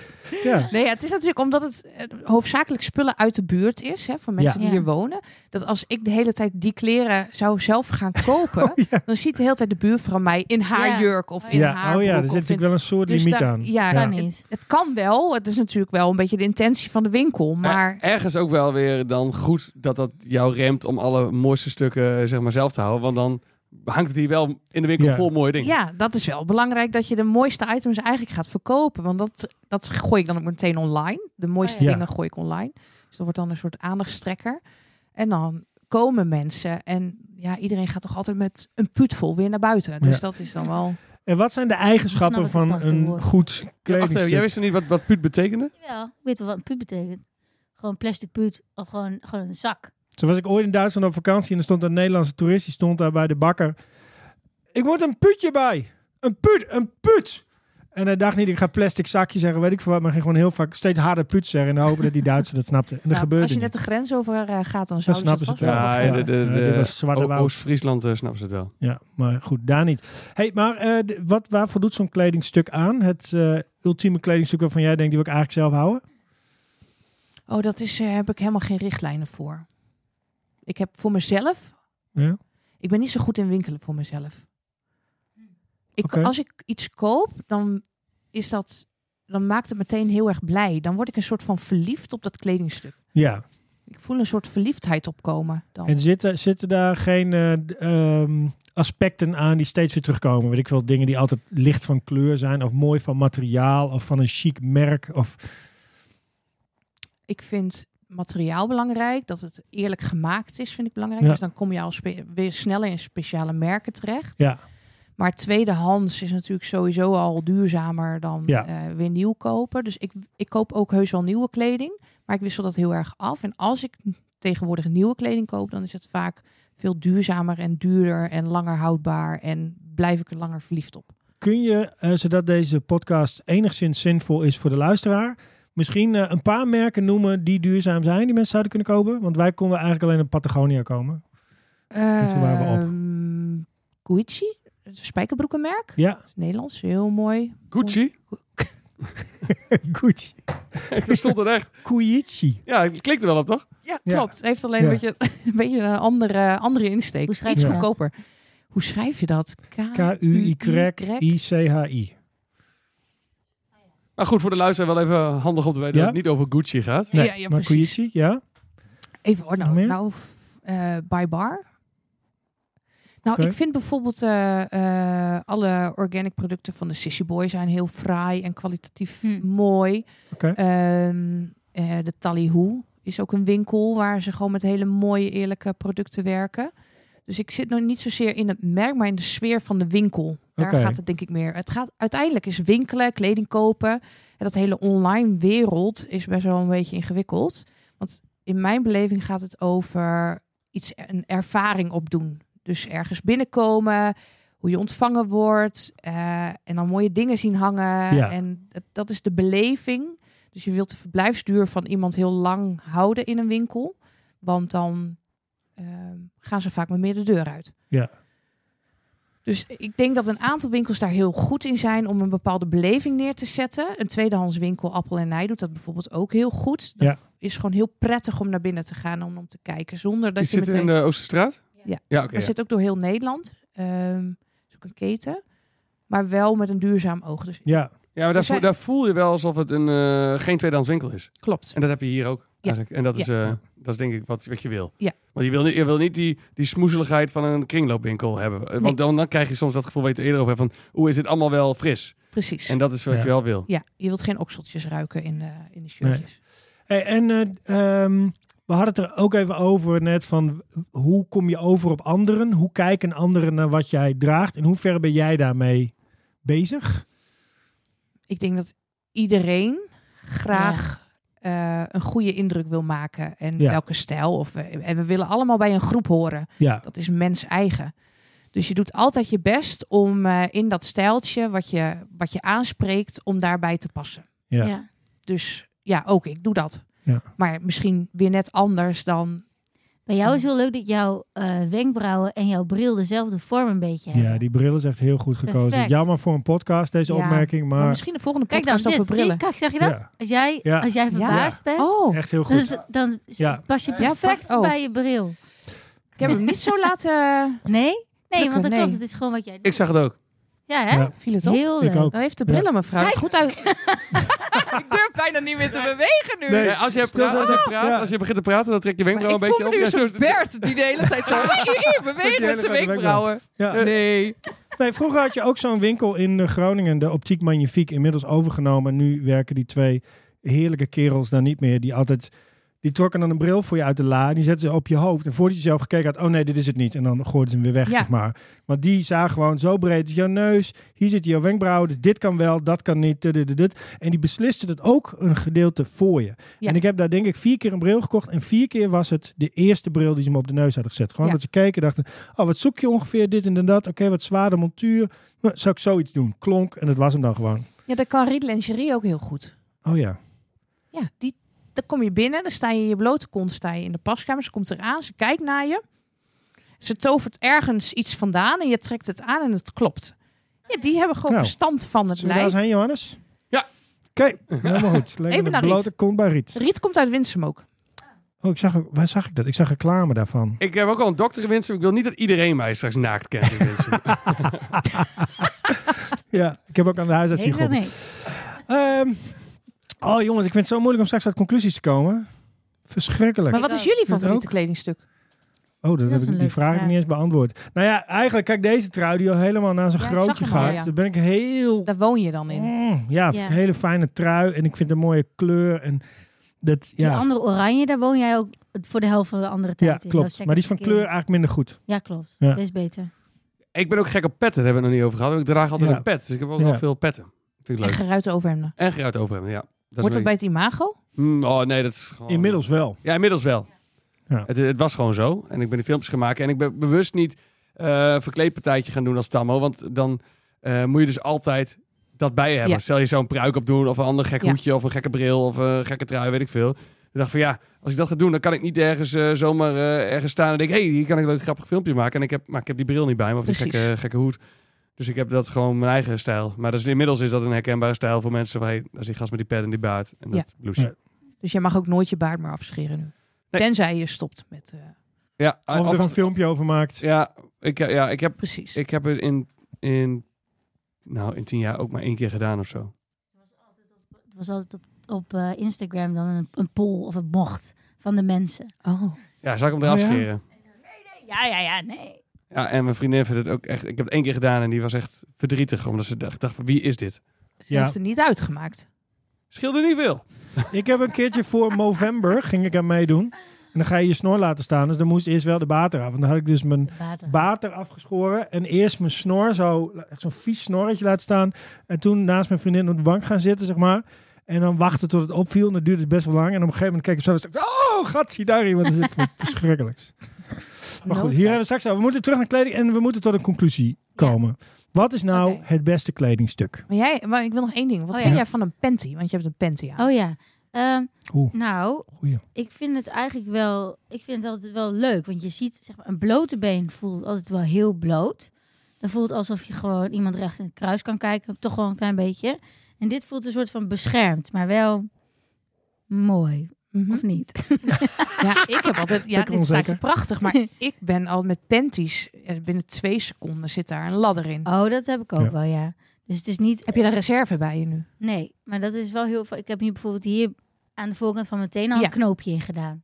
Speaker 2: Ja.
Speaker 6: Nee, ja, het is natuurlijk omdat het eh, hoofdzakelijk spullen uit de buurt is, hè, van mensen
Speaker 1: Ja.
Speaker 6: die
Speaker 1: Ja.
Speaker 6: hier wonen. Dat als ik de hele tijd die kleren zou zelf
Speaker 2: *laughs*
Speaker 6: gaan kopen, dan ziet de hele tijd de buurvrouw mij in haar
Speaker 1: Ja.
Speaker 6: jurk of in haar
Speaker 2: Oh, ja. Oh ja, er zit
Speaker 6: broek of
Speaker 2: natuurlijk
Speaker 6: in-
Speaker 2: wel een soort
Speaker 6: Dus
Speaker 2: limiet
Speaker 6: daar-
Speaker 2: aan.
Speaker 6: ja,
Speaker 1: Kan
Speaker 6: Ja.
Speaker 1: niet.
Speaker 6: Het kan wel, het is natuurlijk wel een beetje de intentie van de winkel, maar...
Speaker 4: Eh, ergens ook wel weer dan goed dat dat jou remt om alle mooiste stukken eh, zeg maar, zelf te houden. Want dan hangt het hier wel in de winkel
Speaker 2: Ja.
Speaker 4: vol mooie dingen.
Speaker 6: Ja, dat is wel belangrijk dat je de mooiste items eigenlijk gaat verkopen. Want dat, dat gooi ik dan ook meteen online. De mooiste
Speaker 2: Oh ja.
Speaker 6: dingen gooi ik online. Dus dat wordt dan een soort aandachtstrekker. En dan komen mensen. En ja, iedereen gaat toch altijd met een put vol weer naar buiten. Dus
Speaker 2: Ja.
Speaker 6: dat is dan wel...
Speaker 2: En wat zijn de eigenschappen
Speaker 1: Ik snap het,
Speaker 2: van
Speaker 1: dat past in
Speaker 2: een
Speaker 1: woord.
Speaker 2: goed
Speaker 4: Ja, wacht even, jij
Speaker 2: kledingstuk?
Speaker 4: wist er niet wat, wat puut betekende?
Speaker 1: Jawel, ik weet wel wat een puut betekent. Gewoon plastic puut of gewoon, gewoon een zak.
Speaker 2: Zo was ik ooit in Duitsland op vakantie en er stond een Nederlandse toerist, die stond daar bij de bakker. Ik moet een putje bij. Een put, een put. En hij dacht niet, ik ga plastic zakje zeggen, weet ik veel wat. Maar ging gewoon heel vaak steeds harder put zeggen. En hopen dat die Duitsers dat snapten. En dat
Speaker 6: Nou,
Speaker 2: gebeurde
Speaker 6: als je
Speaker 2: niet.
Speaker 6: net de grens over eh, gaat, dan
Speaker 2: Dan
Speaker 6: zou
Speaker 2: snappen ze het wel.
Speaker 4: Ja, de- de- de-
Speaker 2: dit was Zwarte
Speaker 4: O-
Speaker 2: Woud.
Speaker 4: Oh, Oost-Friesland eh, snappen ze het wel.
Speaker 2: Ja, maar goed, daar niet. hey, maar eh, d- wat, waarvoor doet zo'n kledingstuk aan? Het eh, ultieme kledingstuk waarvan jij denkt, die wil ik eigenlijk zelf houden?
Speaker 6: Oh, dat is, eh, heb ik helemaal geen richtlijnen voor. Ik heb voor mezelf.
Speaker 2: Ja.
Speaker 6: Ik ben niet zo goed in winkelen voor mezelf. Ik,
Speaker 2: Oké.
Speaker 6: Als ik iets koop, dan is dat. Dan maakt het meteen heel erg blij. Dan word ik een soort van verliefd op dat kledingstuk.
Speaker 2: Ja.
Speaker 6: Ik voel een soort verliefdheid opkomen. Dan.
Speaker 2: En zitten, zitten daar geen eh, d- ehm, aspecten aan die steeds weer terugkomen? Weet ik veel, dingen die altijd licht van kleur zijn, of mooi van materiaal, of van een chic merk. Of,
Speaker 6: Ik vind materiaal belangrijk. Dat het eerlijk gemaakt is, vind ik belangrijk.
Speaker 2: Ja.
Speaker 6: Dus dan kom je al spe- weer sneller in speciale merken terecht.
Speaker 2: ja,
Speaker 6: Maar tweedehands is natuurlijk sowieso al duurzamer dan
Speaker 2: Ja.
Speaker 6: eh, weer nieuw kopen. Dus ik, ik koop ook heus wel nieuwe kleding. Maar ik wissel dat heel erg af. En als ik tegenwoordig nieuwe kleding koop, dan is het vaak veel duurzamer en duurder en langer houdbaar. En blijf ik er langer verliefd op.
Speaker 2: kun je, eh, zodat deze podcast enigszins zinvol is voor de luisteraar, misschien eh, een paar merken noemen die duurzaam zijn, die mensen zouden kunnen kopen? Want wij konden eigenlijk alleen op Patagonia komen. toen waren we op.
Speaker 6: Ehm, Gucci, het is een spijkerbroekenmerk.
Speaker 2: Ja,
Speaker 6: *laughs* Het is Nederlands, heel mooi.
Speaker 4: Gucci?
Speaker 2: Gucci.
Speaker 4: *laughs* Er stond het echt.
Speaker 2: Kuichi.
Speaker 4: Ja, het klinkt er wel op, toch?
Speaker 6: Ja,
Speaker 2: Ja.
Speaker 6: klopt. Het heeft alleen
Speaker 2: Ja.
Speaker 6: een, beetje, *laughs* een beetje een andere, andere insteek.
Speaker 1: Hoe schrijf
Speaker 6: Iets
Speaker 2: je dat?
Speaker 6: goedkoper. Hoe schrijf je dat? K-
Speaker 2: K-U-Y-I-C-H-I.
Speaker 4: Maar goed, voor de luisteraar wel even handig om te weten
Speaker 2: Ja?
Speaker 4: dat het niet over Gucci gaat.
Speaker 6: ja, ja,
Speaker 2: maar
Speaker 6: precies.
Speaker 2: Kuichi, ja.
Speaker 6: Even hoor,
Speaker 2: Nog
Speaker 6: nou,
Speaker 2: meer?
Speaker 6: nou f- eh, by bar. Nou,
Speaker 2: Oké.
Speaker 6: ik vind bijvoorbeeld eh, eh, alle organic producten van de Sissy Boy zijn heel fraai en kwalitatief
Speaker 1: Hm.
Speaker 6: mooi.
Speaker 2: Oké.
Speaker 6: Ehm, eh, de Tallyhoe is ook een winkel waar ze gewoon met hele mooie, eerlijke producten werken. Dus ik zit nog niet zozeer in het merk, maar in de sfeer van de winkel. Daar
Speaker 2: Oké.
Speaker 6: gaat het denk ik meer. Het gaat uiteindelijk is winkelen, kleding kopen. En dat hele online wereld is best wel een beetje ingewikkeld. Want in mijn beleving gaat het over iets een ervaring opdoen. Dus ergens binnenkomen, hoe je ontvangen wordt eh, en dan mooie dingen zien hangen.
Speaker 2: Ja.
Speaker 6: En dat, dat is de beleving. Dus je wilt de verblijfsduur van iemand heel lang houden in een winkel, want dan ehm, gaan ze vaak maar meer de deur uit.
Speaker 2: Ja.
Speaker 6: Dus ik denk dat een aantal winkels daar heel goed in zijn om een bepaalde beleving neer te zetten. Een tweedehands winkel, Appel en Nij, doet dat bijvoorbeeld ook heel goed. Dat
Speaker 2: Ja.
Speaker 6: is gewoon heel prettig om naar binnen te gaan om, om te kijken zonder dat
Speaker 4: Die
Speaker 6: je
Speaker 4: zit
Speaker 6: meteen...
Speaker 4: in de Oosterstraat?
Speaker 6: Ja.
Speaker 4: Ja, oké.
Speaker 6: Maar zit ook door heel Nederland. Ehm is ook een keten. Maar wel met een duurzaam oog. Dus
Speaker 2: Ja,
Speaker 4: Ja, maar daar,
Speaker 6: Er
Speaker 4: voel,
Speaker 6: zijn-
Speaker 4: daar voel je wel alsof het een, eh, geen tweedehands winkel is.
Speaker 6: klopt.
Speaker 4: En dat heb je hier ook. Eigenlijk. En dat is, eh, dat is denk ik wat, wat je wil.
Speaker 6: Ja.
Speaker 4: Want je wil niet, je wil niet die, die smoezeligheid van een kringloopwinkel hebben. Eh, Want
Speaker 6: Nee.
Speaker 4: dan, dan krijg je soms dat gevoel, weet je eerder over, hebt, van hoe is dit allemaal wel fris?
Speaker 6: Precies.
Speaker 4: En dat is wat
Speaker 2: Ja.
Speaker 4: je wel wil.
Speaker 6: Ja, je wilt geen okseltjes ruiken in de, in de shirtjes.
Speaker 2: Hey, en eh, ehm, we hadden het er ook even over net van hoe kom je over op anderen? Hoe kijken anderen naar wat jij draagt? In hoeverre ben jij daarmee bezig?
Speaker 6: Ik denk dat iedereen graag eh, een goede indruk wil maken. En
Speaker 2: Ja.
Speaker 6: welke stijl. Of, we- en we willen allemaal bij een groep horen.
Speaker 2: Ja,
Speaker 6: Dat is mens eigen. Dus je doet altijd je best om eh, in dat stijltje wat je, wat je aanspreekt, om daarbij te passen.
Speaker 2: Ja.
Speaker 1: Ja.
Speaker 6: Dus ja, ook ik doe dat.
Speaker 2: Ja.
Speaker 6: Maar misschien weer net anders dan.
Speaker 1: Bij jou is heel leuk dat jouw eh, wenkbrauwen en jouw bril dezelfde vorm een beetje hebben.
Speaker 2: ja die bril is echt heel goed gekozen.
Speaker 1: Perfect.
Speaker 2: Jammer voor een podcast, deze
Speaker 6: Ja,
Speaker 2: opmerking,
Speaker 6: Maar
Speaker 2: maar
Speaker 6: misschien de volgende
Speaker 1: Kijk dan,
Speaker 6: podcast
Speaker 1: dit.
Speaker 6: over
Speaker 1: Zie je,
Speaker 6: brillen.
Speaker 1: kijk, zag je dat?
Speaker 2: Ja.
Speaker 1: Als jij,
Speaker 2: Ja.
Speaker 1: als jij
Speaker 6: Ja.
Speaker 1: verbaasd bent,
Speaker 6: Oh,
Speaker 2: echt heel goed.
Speaker 1: dan, is het- dan is-
Speaker 2: Ja.
Speaker 1: pas je
Speaker 6: Ja,
Speaker 1: perfect
Speaker 6: pak- oh.
Speaker 1: bij je bril.
Speaker 6: ik heb hem niet *laughs* zo laten. eh,
Speaker 1: Nee? Nee,
Speaker 6: Drukken,
Speaker 1: want dat
Speaker 6: nee.
Speaker 1: klopt. Het is gewoon wat jij
Speaker 4: Ik
Speaker 1: doet.
Speaker 4: zag het ook.
Speaker 1: Ja, hè?
Speaker 2: Ja.
Speaker 6: Viel het op?
Speaker 1: Heel leuk.
Speaker 2: ik ook.
Speaker 6: Dan Nou, heeft de
Speaker 2: Ja.
Speaker 6: brillen mevrouw het goed uit. *laughs* ik durf bijna niet meer te bewegen nu.
Speaker 2: Nee.
Speaker 4: Ja, als, je
Speaker 2: Stil
Speaker 4: praat,
Speaker 2: zijn.
Speaker 4: als, je praat,
Speaker 2: Ja.
Speaker 4: als je begint te praten, dan trek je
Speaker 6: Maar
Speaker 4: wenkbrauw een
Speaker 6: ik voel
Speaker 4: beetje
Speaker 6: me
Speaker 4: op.
Speaker 6: nu
Speaker 4: Ja, zo
Speaker 6: zo'n
Speaker 4: is het.
Speaker 6: Bert die de hele tijd zo
Speaker 2: hele
Speaker 6: bewegen met zijn
Speaker 2: grote
Speaker 6: wenkbrauwen.
Speaker 2: Ja.
Speaker 6: Nee.
Speaker 2: Nee, vroeger had je ook zo'n winkel in eh, Groningen, de Optiek Magnifiek, inmiddels overgenomen. Nu werken die twee heerlijke kerels daar niet meer. Die altijd, die trokken dan een bril voor je uit de la en die zetten ze op je hoofd. En voordat je zelf gekeken had, oh nee, dit is het niet. En dan gooiden ze hem weer weg,
Speaker 6: Ja.
Speaker 2: zeg maar. Want die zagen gewoon zo breed, is jouw neus, hier zit jouw wenkbrauw, dus dit kan wel, dat kan niet, dit, dit, dit, dit. En die beslisten het ook een gedeelte voor je.
Speaker 6: Ja.
Speaker 2: En ik heb daar denk ik vier keer een bril gekocht en vier keer was het de eerste bril die ze me op de neus hadden gezet. Gewoon
Speaker 6: Ja.
Speaker 2: dat ze keken, dachten, Oh, wat zoek je ongeveer? Dit en dat. Oké, wat zwaarder montuur. Nou, zou ik zoiets doen? Klonk en dat was hem dan gewoon.
Speaker 6: Ja, dat kan Riet Lingerie ook heel goed.
Speaker 2: Oh ja.
Speaker 6: Ja, die, dan kom je binnen, dan sta je in je blote kont sta je in de paskamer. Ze komt eraan, ze kijkt naar je. Ze tovert ergens iets vandaan en je trekt het aan en het klopt. Ja, die hebben gewoon
Speaker 2: Nou,
Speaker 6: verstand van het
Speaker 2: Zullen we daar
Speaker 6: lijf.
Speaker 2: eens heen, Johannes?
Speaker 4: Ja.
Speaker 2: Oké, helemaal goed. Lekker
Speaker 6: Even
Speaker 2: Even
Speaker 6: naar
Speaker 2: de blote kont bij Riet.
Speaker 6: Riet komt uit Winsum ook.
Speaker 2: Oh, ik zag, ook- waar zag ik dat? Ik zag reclame daarvan.
Speaker 4: Ik heb ook al een dokter in Winsum. Ik wil niet dat iedereen mij straks naakt kent in
Speaker 6: *laughs*
Speaker 4: Winsum.
Speaker 2: Ja, ik heb ook aan de huisarts hier
Speaker 1: Helemaal
Speaker 2: geholpen.
Speaker 1: nee.
Speaker 2: Ehm, oh jongens, ik vind het zo moeilijk om straks uit conclusies te komen. Verschrikkelijk.
Speaker 6: Maar wat is jullie favoriete
Speaker 2: ook?
Speaker 6: kledingstuk?
Speaker 2: Oh, dat,
Speaker 1: is
Speaker 2: heb ik,
Speaker 1: een
Speaker 2: die
Speaker 1: leuke
Speaker 2: vraag heb ik
Speaker 1: vraag.
Speaker 2: niet eens beantwoord. Nou ja, eigenlijk, kijk, deze trui die al helemaal naar zijn
Speaker 6: Ja, ik zag
Speaker 2: grootje
Speaker 6: hem al,
Speaker 2: gaat.
Speaker 6: ja.
Speaker 2: Daar ben ik heel...
Speaker 6: Daar woon je dan in.
Speaker 2: Mm, ja,
Speaker 1: Ja.
Speaker 2: hele fijne trui. En ik vind een mooie kleur. En dat,
Speaker 1: Die
Speaker 2: ja,
Speaker 1: andere oranje, daar woon jij ook voor de helft van de andere tijd.
Speaker 2: ja
Speaker 1: in. Dat
Speaker 2: klopt.
Speaker 1: zeg
Speaker 2: Maar die is
Speaker 1: ik
Speaker 2: van
Speaker 1: een keer.
Speaker 2: kleur eigenlijk minder goed.
Speaker 1: Ja, klopt.
Speaker 2: Ja.
Speaker 1: Dat is beter.
Speaker 4: ik ben ook gek op petten. Daar hebben we het nog niet over gehad. Ik draag altijd
Speaker 2: Ja.
Speaker 4: een pet. Dus ik heb ook
Speaker 2: Ja.
Speaker 4: wel veel petten. Vind ik
Speaker 6: En
Speaker 4: leuk.
Speaker 6: geruite overhemden.
Speaker 4: En geruit over hem, ja. Dat
Speaker 6: Hoort
Speaker 4: is
Speaker 6: dat bij het imago?
Speaker 4: Mm, oh nee, dat is gewoon...
Speaker 2: Inmiddels wel.
Speaker 4: Ja, inmiddels wel.
Speaker 2: Ja.
Speaker 4: Het, het was gewoon zo. En ik ben die filmpjes gaan maken. En ik ben bewust niet eh verkleedpartijtje gaan doen als Tammo. Want dan eh, moet je dus altijd dat bij je hebben.
Speaker 6: Ja.
Speaker 4: Stel je zo'n pruik op doen of een ander gek
Speaker 6: Ja.
Speaker 4: hoedje of een gekke bril of een gekke trui, weet ik veel. Ik dacht van ja, als ik dat ga doen, dan kan ik niet ergens eh, zomaar eh, ergens staan en denk, hey, hier kan ik een leuk grappig filmpje maken. En ik heb, maar ik heb die bril niet bij me of die
Speaker 6: Precies.
Speaker 4: gekke, gekke hoed. Dus ik heb dat gewoon mijn eigen stijl. Maar dat is, inmiddels is dat een herkenbare stijl voor mensen. Van, hey, dat is die gast met die pet en die baard en dat blouseje.
Speaker 2: Ja.
Speaker 6: Dus jij mag ook nooit je baard meer afscheren nu.
Speaker 4: Nee.
Speaker 6: Tenzij je stopt met... eh,
Speaker 4: Ja,
Speaker 2: Of,
Speaker 4: Ah, of-
Speaker 2: er een filmpje over maakt.
Speaker 4: *laughs* ja, ik, ja, ik heb
Speaker 6: precies.
Speaker 4: Ik heb het in, in, nou, in tien jaar ook maar één keer gedaan of zo.
Speaker 1: Het was altijd op, op eh, Instagram dan een, een poll of een mocht van de mensen.
Speaker 6: Oh.
Speaker 4: Ja, zal ik hem eraf
Speaker 2: Oh ja?
Speaker 4: scheren?
Speaker 1: Ja, ja, ja, nee.
Speaker 4: Ja, en mijn vriendin vindt het ook echt... Ik heb het één keer gedaan en die was echt verdrietig. Omdat ze dacht, dacht van, wie is dit?
Speaker 6: Ze
Speaker 2: Ja.
Speaker 6: heeft het niet uitgemaakt.
Speaker 4: Scheelde niet veel.
Speaker 2: Ik heb een keertje voor Movember, ging ik aan meedoen. En dan ga je je snor laten staan. Dus dan moest eerst wel de baard eraf. En dan had ik dus mijn
Speaker 1: De water.
Speaker 2: baard eraf geschoren. En eerst mijn snor, zo, echt zo'n vies snorretje laten staan. En toen naast mijn vriendin op de bank gaan zitten, zeg maar. En dan wachten tot het opviel. En dat duurde het best wel lang. En op een gegeven moment keek ik zo en zei ik, Oh, gat, zie daar iemand. Dat is echt *laughs* voor- verschrikkelijks. Maar goed, hier hebben we straks al. We moeten terug naar kleding en we moeten tot een conclusie komen. Wat is nou
Speaker 6: Oké.
Speaker 2: het beste kledingstuk? Oh,
Speaker 6: Maar, jij, maar ik wil nog één ding. Wat
Speaker 1: Oh, ja.
Speaker 6: vind jij van een panty? Want je hebt een panty aan.
Speaker 1: Oh ja. Ehm,
Speaker 2: Oeh.
Speaker 1: nou,
Speaker 2: Goeie.
Speaker 1: ik vind het eigenlijk wel, ik vind het altijd wel leuk. Want je ziet, zeg maar, een blote been voelt altijd wel heel bloot. Dan voelt het alsof je gewoon iemand recht in het kruis kan kijken. Toch wel een klein beetje. En dit voelt een soort van beschermd, maar wel mooi.
Speaker 6: Mhm.
Speaker 1: Of niet?
Speaker 6: Ja, ik heb
Speaker 2: *laughs*
Speaker 6: altijd... Ja,
Speaker 2: Lekker
Speaker 6: dit staat je
Speaker 2: onzeker. *laughs*
Speaker 6: prachtig. Maar ik ben al met panties... eh, Binnen twee seconden zit daar een ladder in.
Speaker 1: Oh, dat heb ik ook
Speaker 2: Ja.
Speaker 1: wel, ja. Dus het is niet...
Speaker 6: Heb je daar reserve bij je nu?
Speaker 1: Nee, maar dat is wel heel... veel- Ik heb nu bijvoorbeeld hier aan de voorkant van mijn teen al
Speaker 6: Ja.
Speaker 1: een knoopje in gedaan.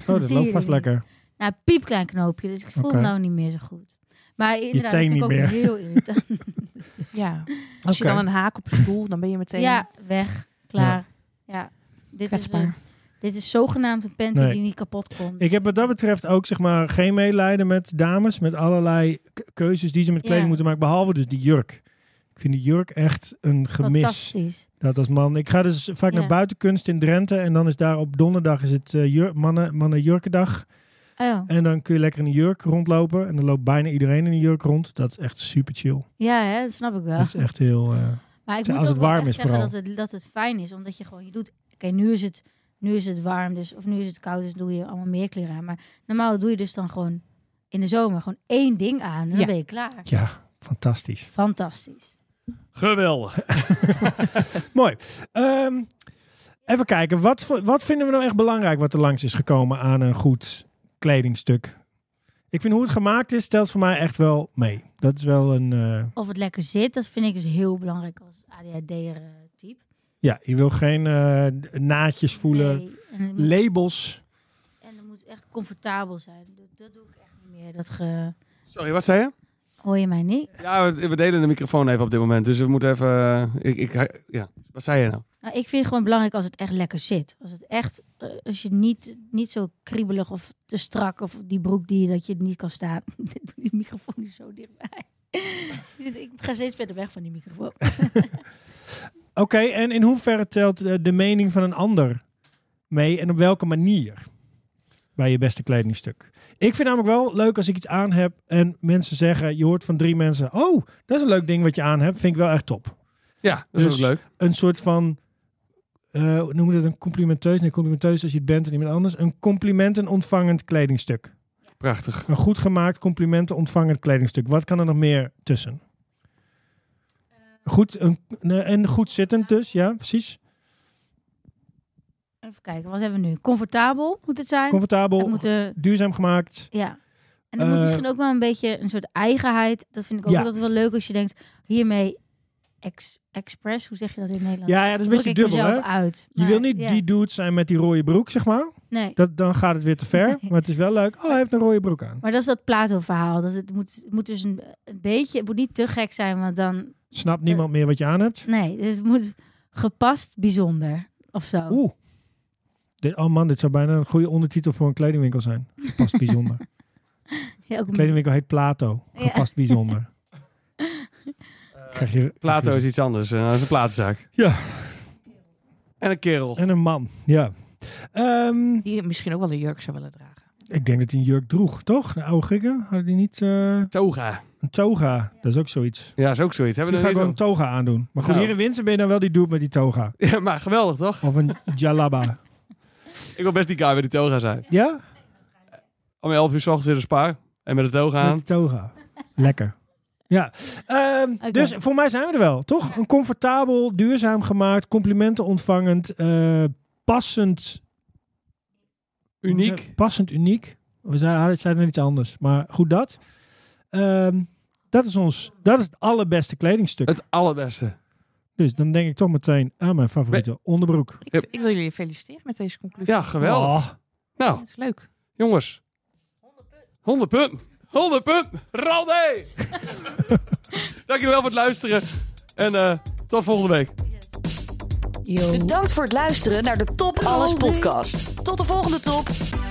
Speaker 2: Oh, dat
Speaker 1: Zie je
Speaker 2: loopt vast
Speaker 1: niet.
Speaker 2: lekker.
Speaker 1: Nou, piepklein knoopje, dus ik voel
Speaker 2: Oké.
Speaker 1: me nou niet meer zo goed. Maar inderdaad,
Speaker 2: teen
Speaker 1: dat vind ik ook
Speaker 2: niet meer. *laughs*
Speaker 1: heel irritant.
Speaker 6: Ja. Als
Speaker 2: Oké.
Speaker 6: je dan een haak op stoel, dan ben je meteen
Speaker 1: ja, weg, klaar. Ja, Dit, is, eh,
Speaker 6: kwetsbaar.
Speaker 1: een- dit is zogenaamd een panty
Speaker 2: Nee.
Speaker 1: die niet kapot komt.
Speaker 2: Ik heb wat dat betreft ook zeg maar geen medelijden met dames. Met allerlei k- keuzes die ze met kleding
Speaker 1: Ja.
Speaker 2: moeten maken. Behalve dus die jurk. Ik vind die jurk echt een gemis.
Speaker 1: Fantastisch.
Speaker 2: Dat als man. Ik ga dus vaak
Speaker 1: Ja.
Speaker 2: naar buitenkunst in Drenthe. En dan is daar op donderdag is het eh, jur- mannen, mannenjurkendag.
Speaker 1: Oh,
Speaker 2: En dan kun je lekker in een jurk rondlopen. En dan loopt bijna iedereen in een jurk rond. Dat is echt super chill.
Speaker 1: ja, hè, dat snap ik wel.
Speaker 2: Dat is echt heel... eh,
Speaker 1: Maar ik
Speaker 2: Zeg,
Speaker 1: moet
Speaker 2: als
Speaker 1: ook
Speaker 2: het
Speaker 1: wel
Speaker 2: warm
Speaker 1: echt
Speaker 2: is
Speaker 1: zeggen
Speaker 2: vooral.
Speaker 1: dat het, dat het fijn is, omdat je gewoon, je doet, oké, nu is het, nu is het warm, dus, of nu is het koud, dus doe je allemaal meer kleren aan. Maar normaal doe je dus dan gewoon in de zomer gewoon één ding aan en dan
Speaker 6: Ja.
Speaker 1: ben je klaar.
Speaker 2: ja, fantastisch. *laughs*
Speaker 1: Fantastisch.
Speaker 4: Geweldig.
Speaker 2: Mooi. Ehm, even kijken. Wat, vo- wat vinden we nou echt belangrijk wat er langs is gekomen aan een goed kledingstuk? Ik vind hoe het gemaakt is, telt voor mij echt wel mee. Dat is wel een... eh,
Speaker 1: Of het lekker zit, dat vind ik dus heel belangrijk als eh, ADHD'er-type.
Speaker 2: ja, je wil geen eh, naadjes voelen.
Speaker 1: en, het moet,
Speaker 2: Labels.
Speaker 1: en het moet echt comfortabel zijn. Dat, dat doe ik echt niet meer. Dat ge...
Speaker 4: Sorry, wat zei je?
Speaker 1: hoor je mij niet.
Speaker 4: Ja, we, we delen de microfoon even op dit moment. Dus we moeten even... eh, ik, ik, ja, wat zei je nou?
Speaker 1: Nou, ik vind het gewoon belangrijk als het echt lekker zit. Als het echt, eh, als je niet, niet zo kriebelig of te strak of die broek die je- dat je het niet kan staan. *laughs* Ik doe die microfoon nu zo dichtbij. *laughs* ik ga steeds verder weg van die microfoon.
Speaker 2: Oké, en in hoeverre telt eh, de mening van een ander mee en op welke manier bij je beste kledingstuk? Ik vind namelijk wel leuk als ik iets aan heb en mensen zeggen, je hoort van drie mensen, oh, dat is een leuk ding wat je aan hebt, vind ik wel echt top.
Speaker 4: Ja, dat is
Speaker 2: Dus-
Speaker 4: ook leuk.
Speaker 2: Een soort van, eh hoe noem je dat, een complimenteus? Nee, complimenteus als je het bent en iemand anders. Een complimenten ontvangend kledingstuk.
Speaker 4: Prachtig.
Speaker 2: Een goed gemaakt complimenten ontvangend kledingstuk. Wat kan er nog meer tussen? Goed, een, nee, en goed zittend dus, ja, precies.
Speaker 1: Even kijken, wat hebben we nu? Comfortabel moet het zijn. Het
Speaker 2: Comfortabel,
Speaker 1: moet eh, er,
Speaker 2: duurzaam gemaakt.
Speaker 1: ja. En het
Speaker 2: Eh,
Speaker 1: moet misschien ook wel een beetje een soort eigenheid. Dat vind ik ook
Speaker 2: Ja.
Speaker 1: altijd wel leuk als je denkt, hiermee ex, express, hoe zeg je dat in Nederland?
Speaker 2: Ja, ja, dat is een
Speaker 1: Druk
Speaker 2: beetje
Speaker 1: ik
Speaker 2: dubbel,
Speaker 1: mezelf
Speaker 2: hè?
Speaker 1: uit.
Speaker 2: Je
Speaker 1: Maar
Speaker 2: wil niet
Speaker 1: ja,
Speaker 2: die dude zijn met die rode broek, zeg maar.
Speaker 1: Nee,
Speaker 2: Dat, dan gaat het weer te ver.
Speaker 1: *laughs* Nee.
Speaker 2: Maar het is wel leuk. Oh, hij heeft een rode broek aan.
Speaker 1: maar dat is dat Plato-verhaal. Dat het moet, het moet dus een, een beetje, het moet niet te gek zijn, want dan,
Speaker 2: Snapt niemand meer wat je aan hebt?
Speaker 1: nee. Dus het moet gepast bijzonder, of zo.
Speaker 2: Oeh. Dit, oh man, dit zou bijna een goede ondertitel voor een kledingwinkel zijn. Gepast bijzonder.
Speaker 1: *laughs* Ja, ook
Speaker 2: De
Speaker 1: een-
Speaker 2: kledingwinkel heet Plato.
Speaker 1: Ja.
Speaker 2: Gepast
Speaker 1: *laughs*
Speaker 2: bijzonder. Krijg je,
Speaker 4: Plato
Speaker 2: krijg
Speaker 4: is iets anders. eh, dat is een platenzaak.
Speaker 2: Ja.
Speaker 4: En een kerel.
Speaker 2: je- En een man, ja. Ehm,
Speaker 6: Die misschien ook wel een jurk zou willen dragen.
Speaker 2: ik denk dat hij een jurk droeg, toch? De oude Grieken hadden die niet eh,
Speaker 4: Toga.
Speaker 2: een toga. Dat is ook zoiets.
Speaker 4: Ja, is ook zoiets.
Speaker 2: Dan
Speaker 4: Hebben
Speaker 2: ga
Speaker 4: we er
Speaker 2: ik wel een
Speaker 4: niet
Speaker 2: toga aandoen. Maar goed,
Speaker 4: Nou.
Speaker 2: hier in Winsen ben je dan wel die dude met die toga.
Speaker 4: zo- Ja, maar geweldig toch?
Speaker 2: Of een
Speaker 4: *laughs*
Speaker 2: jalaba.
Speaker 4: Ik wil best die guy met die toga zijn.
Speaker 2: Ja?
Speaker 4: Om 11 uur 's ochtends in een spaar. En met de toga
Speaker 2: Met
Speaker 4: aan.
Speaker 2: die toga. Lekker. Ja, ehm,
Speaker 1: Oké.
Speaker 2: dus voor mij zijn we er wel, toch? Een comfortabel, duurzaam gemaakt, complimenten ontvangend, eh, passend.
Speaker 4: Uniek.
Speaker 2: Passend uniek. We zeiden, zeiden net iets anders, maar goed dat. Ehm, dat is ons, dat is het allerbeste kledingstuk.
Speaker 4: Het allerbeste.
Speaker 2: Dus dan denk ik toch meteen aan mijn favoriete onderbroek.
Speaker 6: Ik,
Speaker 4: Ja.
Speaker 6: ik wil jullie feliciteren met deze conclusie.
Speaker 4: Ja, geweldig.
Speaker 2: Oh,
Speaker 4: Nou,
Speaker 6: Dat is leuk.
Speaker 4: jongens. 100 punt. 100 punt. Ralde! Dank jullie wel voor het luisteren. En eh, tot volgende week.
Speaker 1: Yo.
Speaker 3: Bedankt voor het luisteren naar de Top Alles podcast. Tot de volgende top.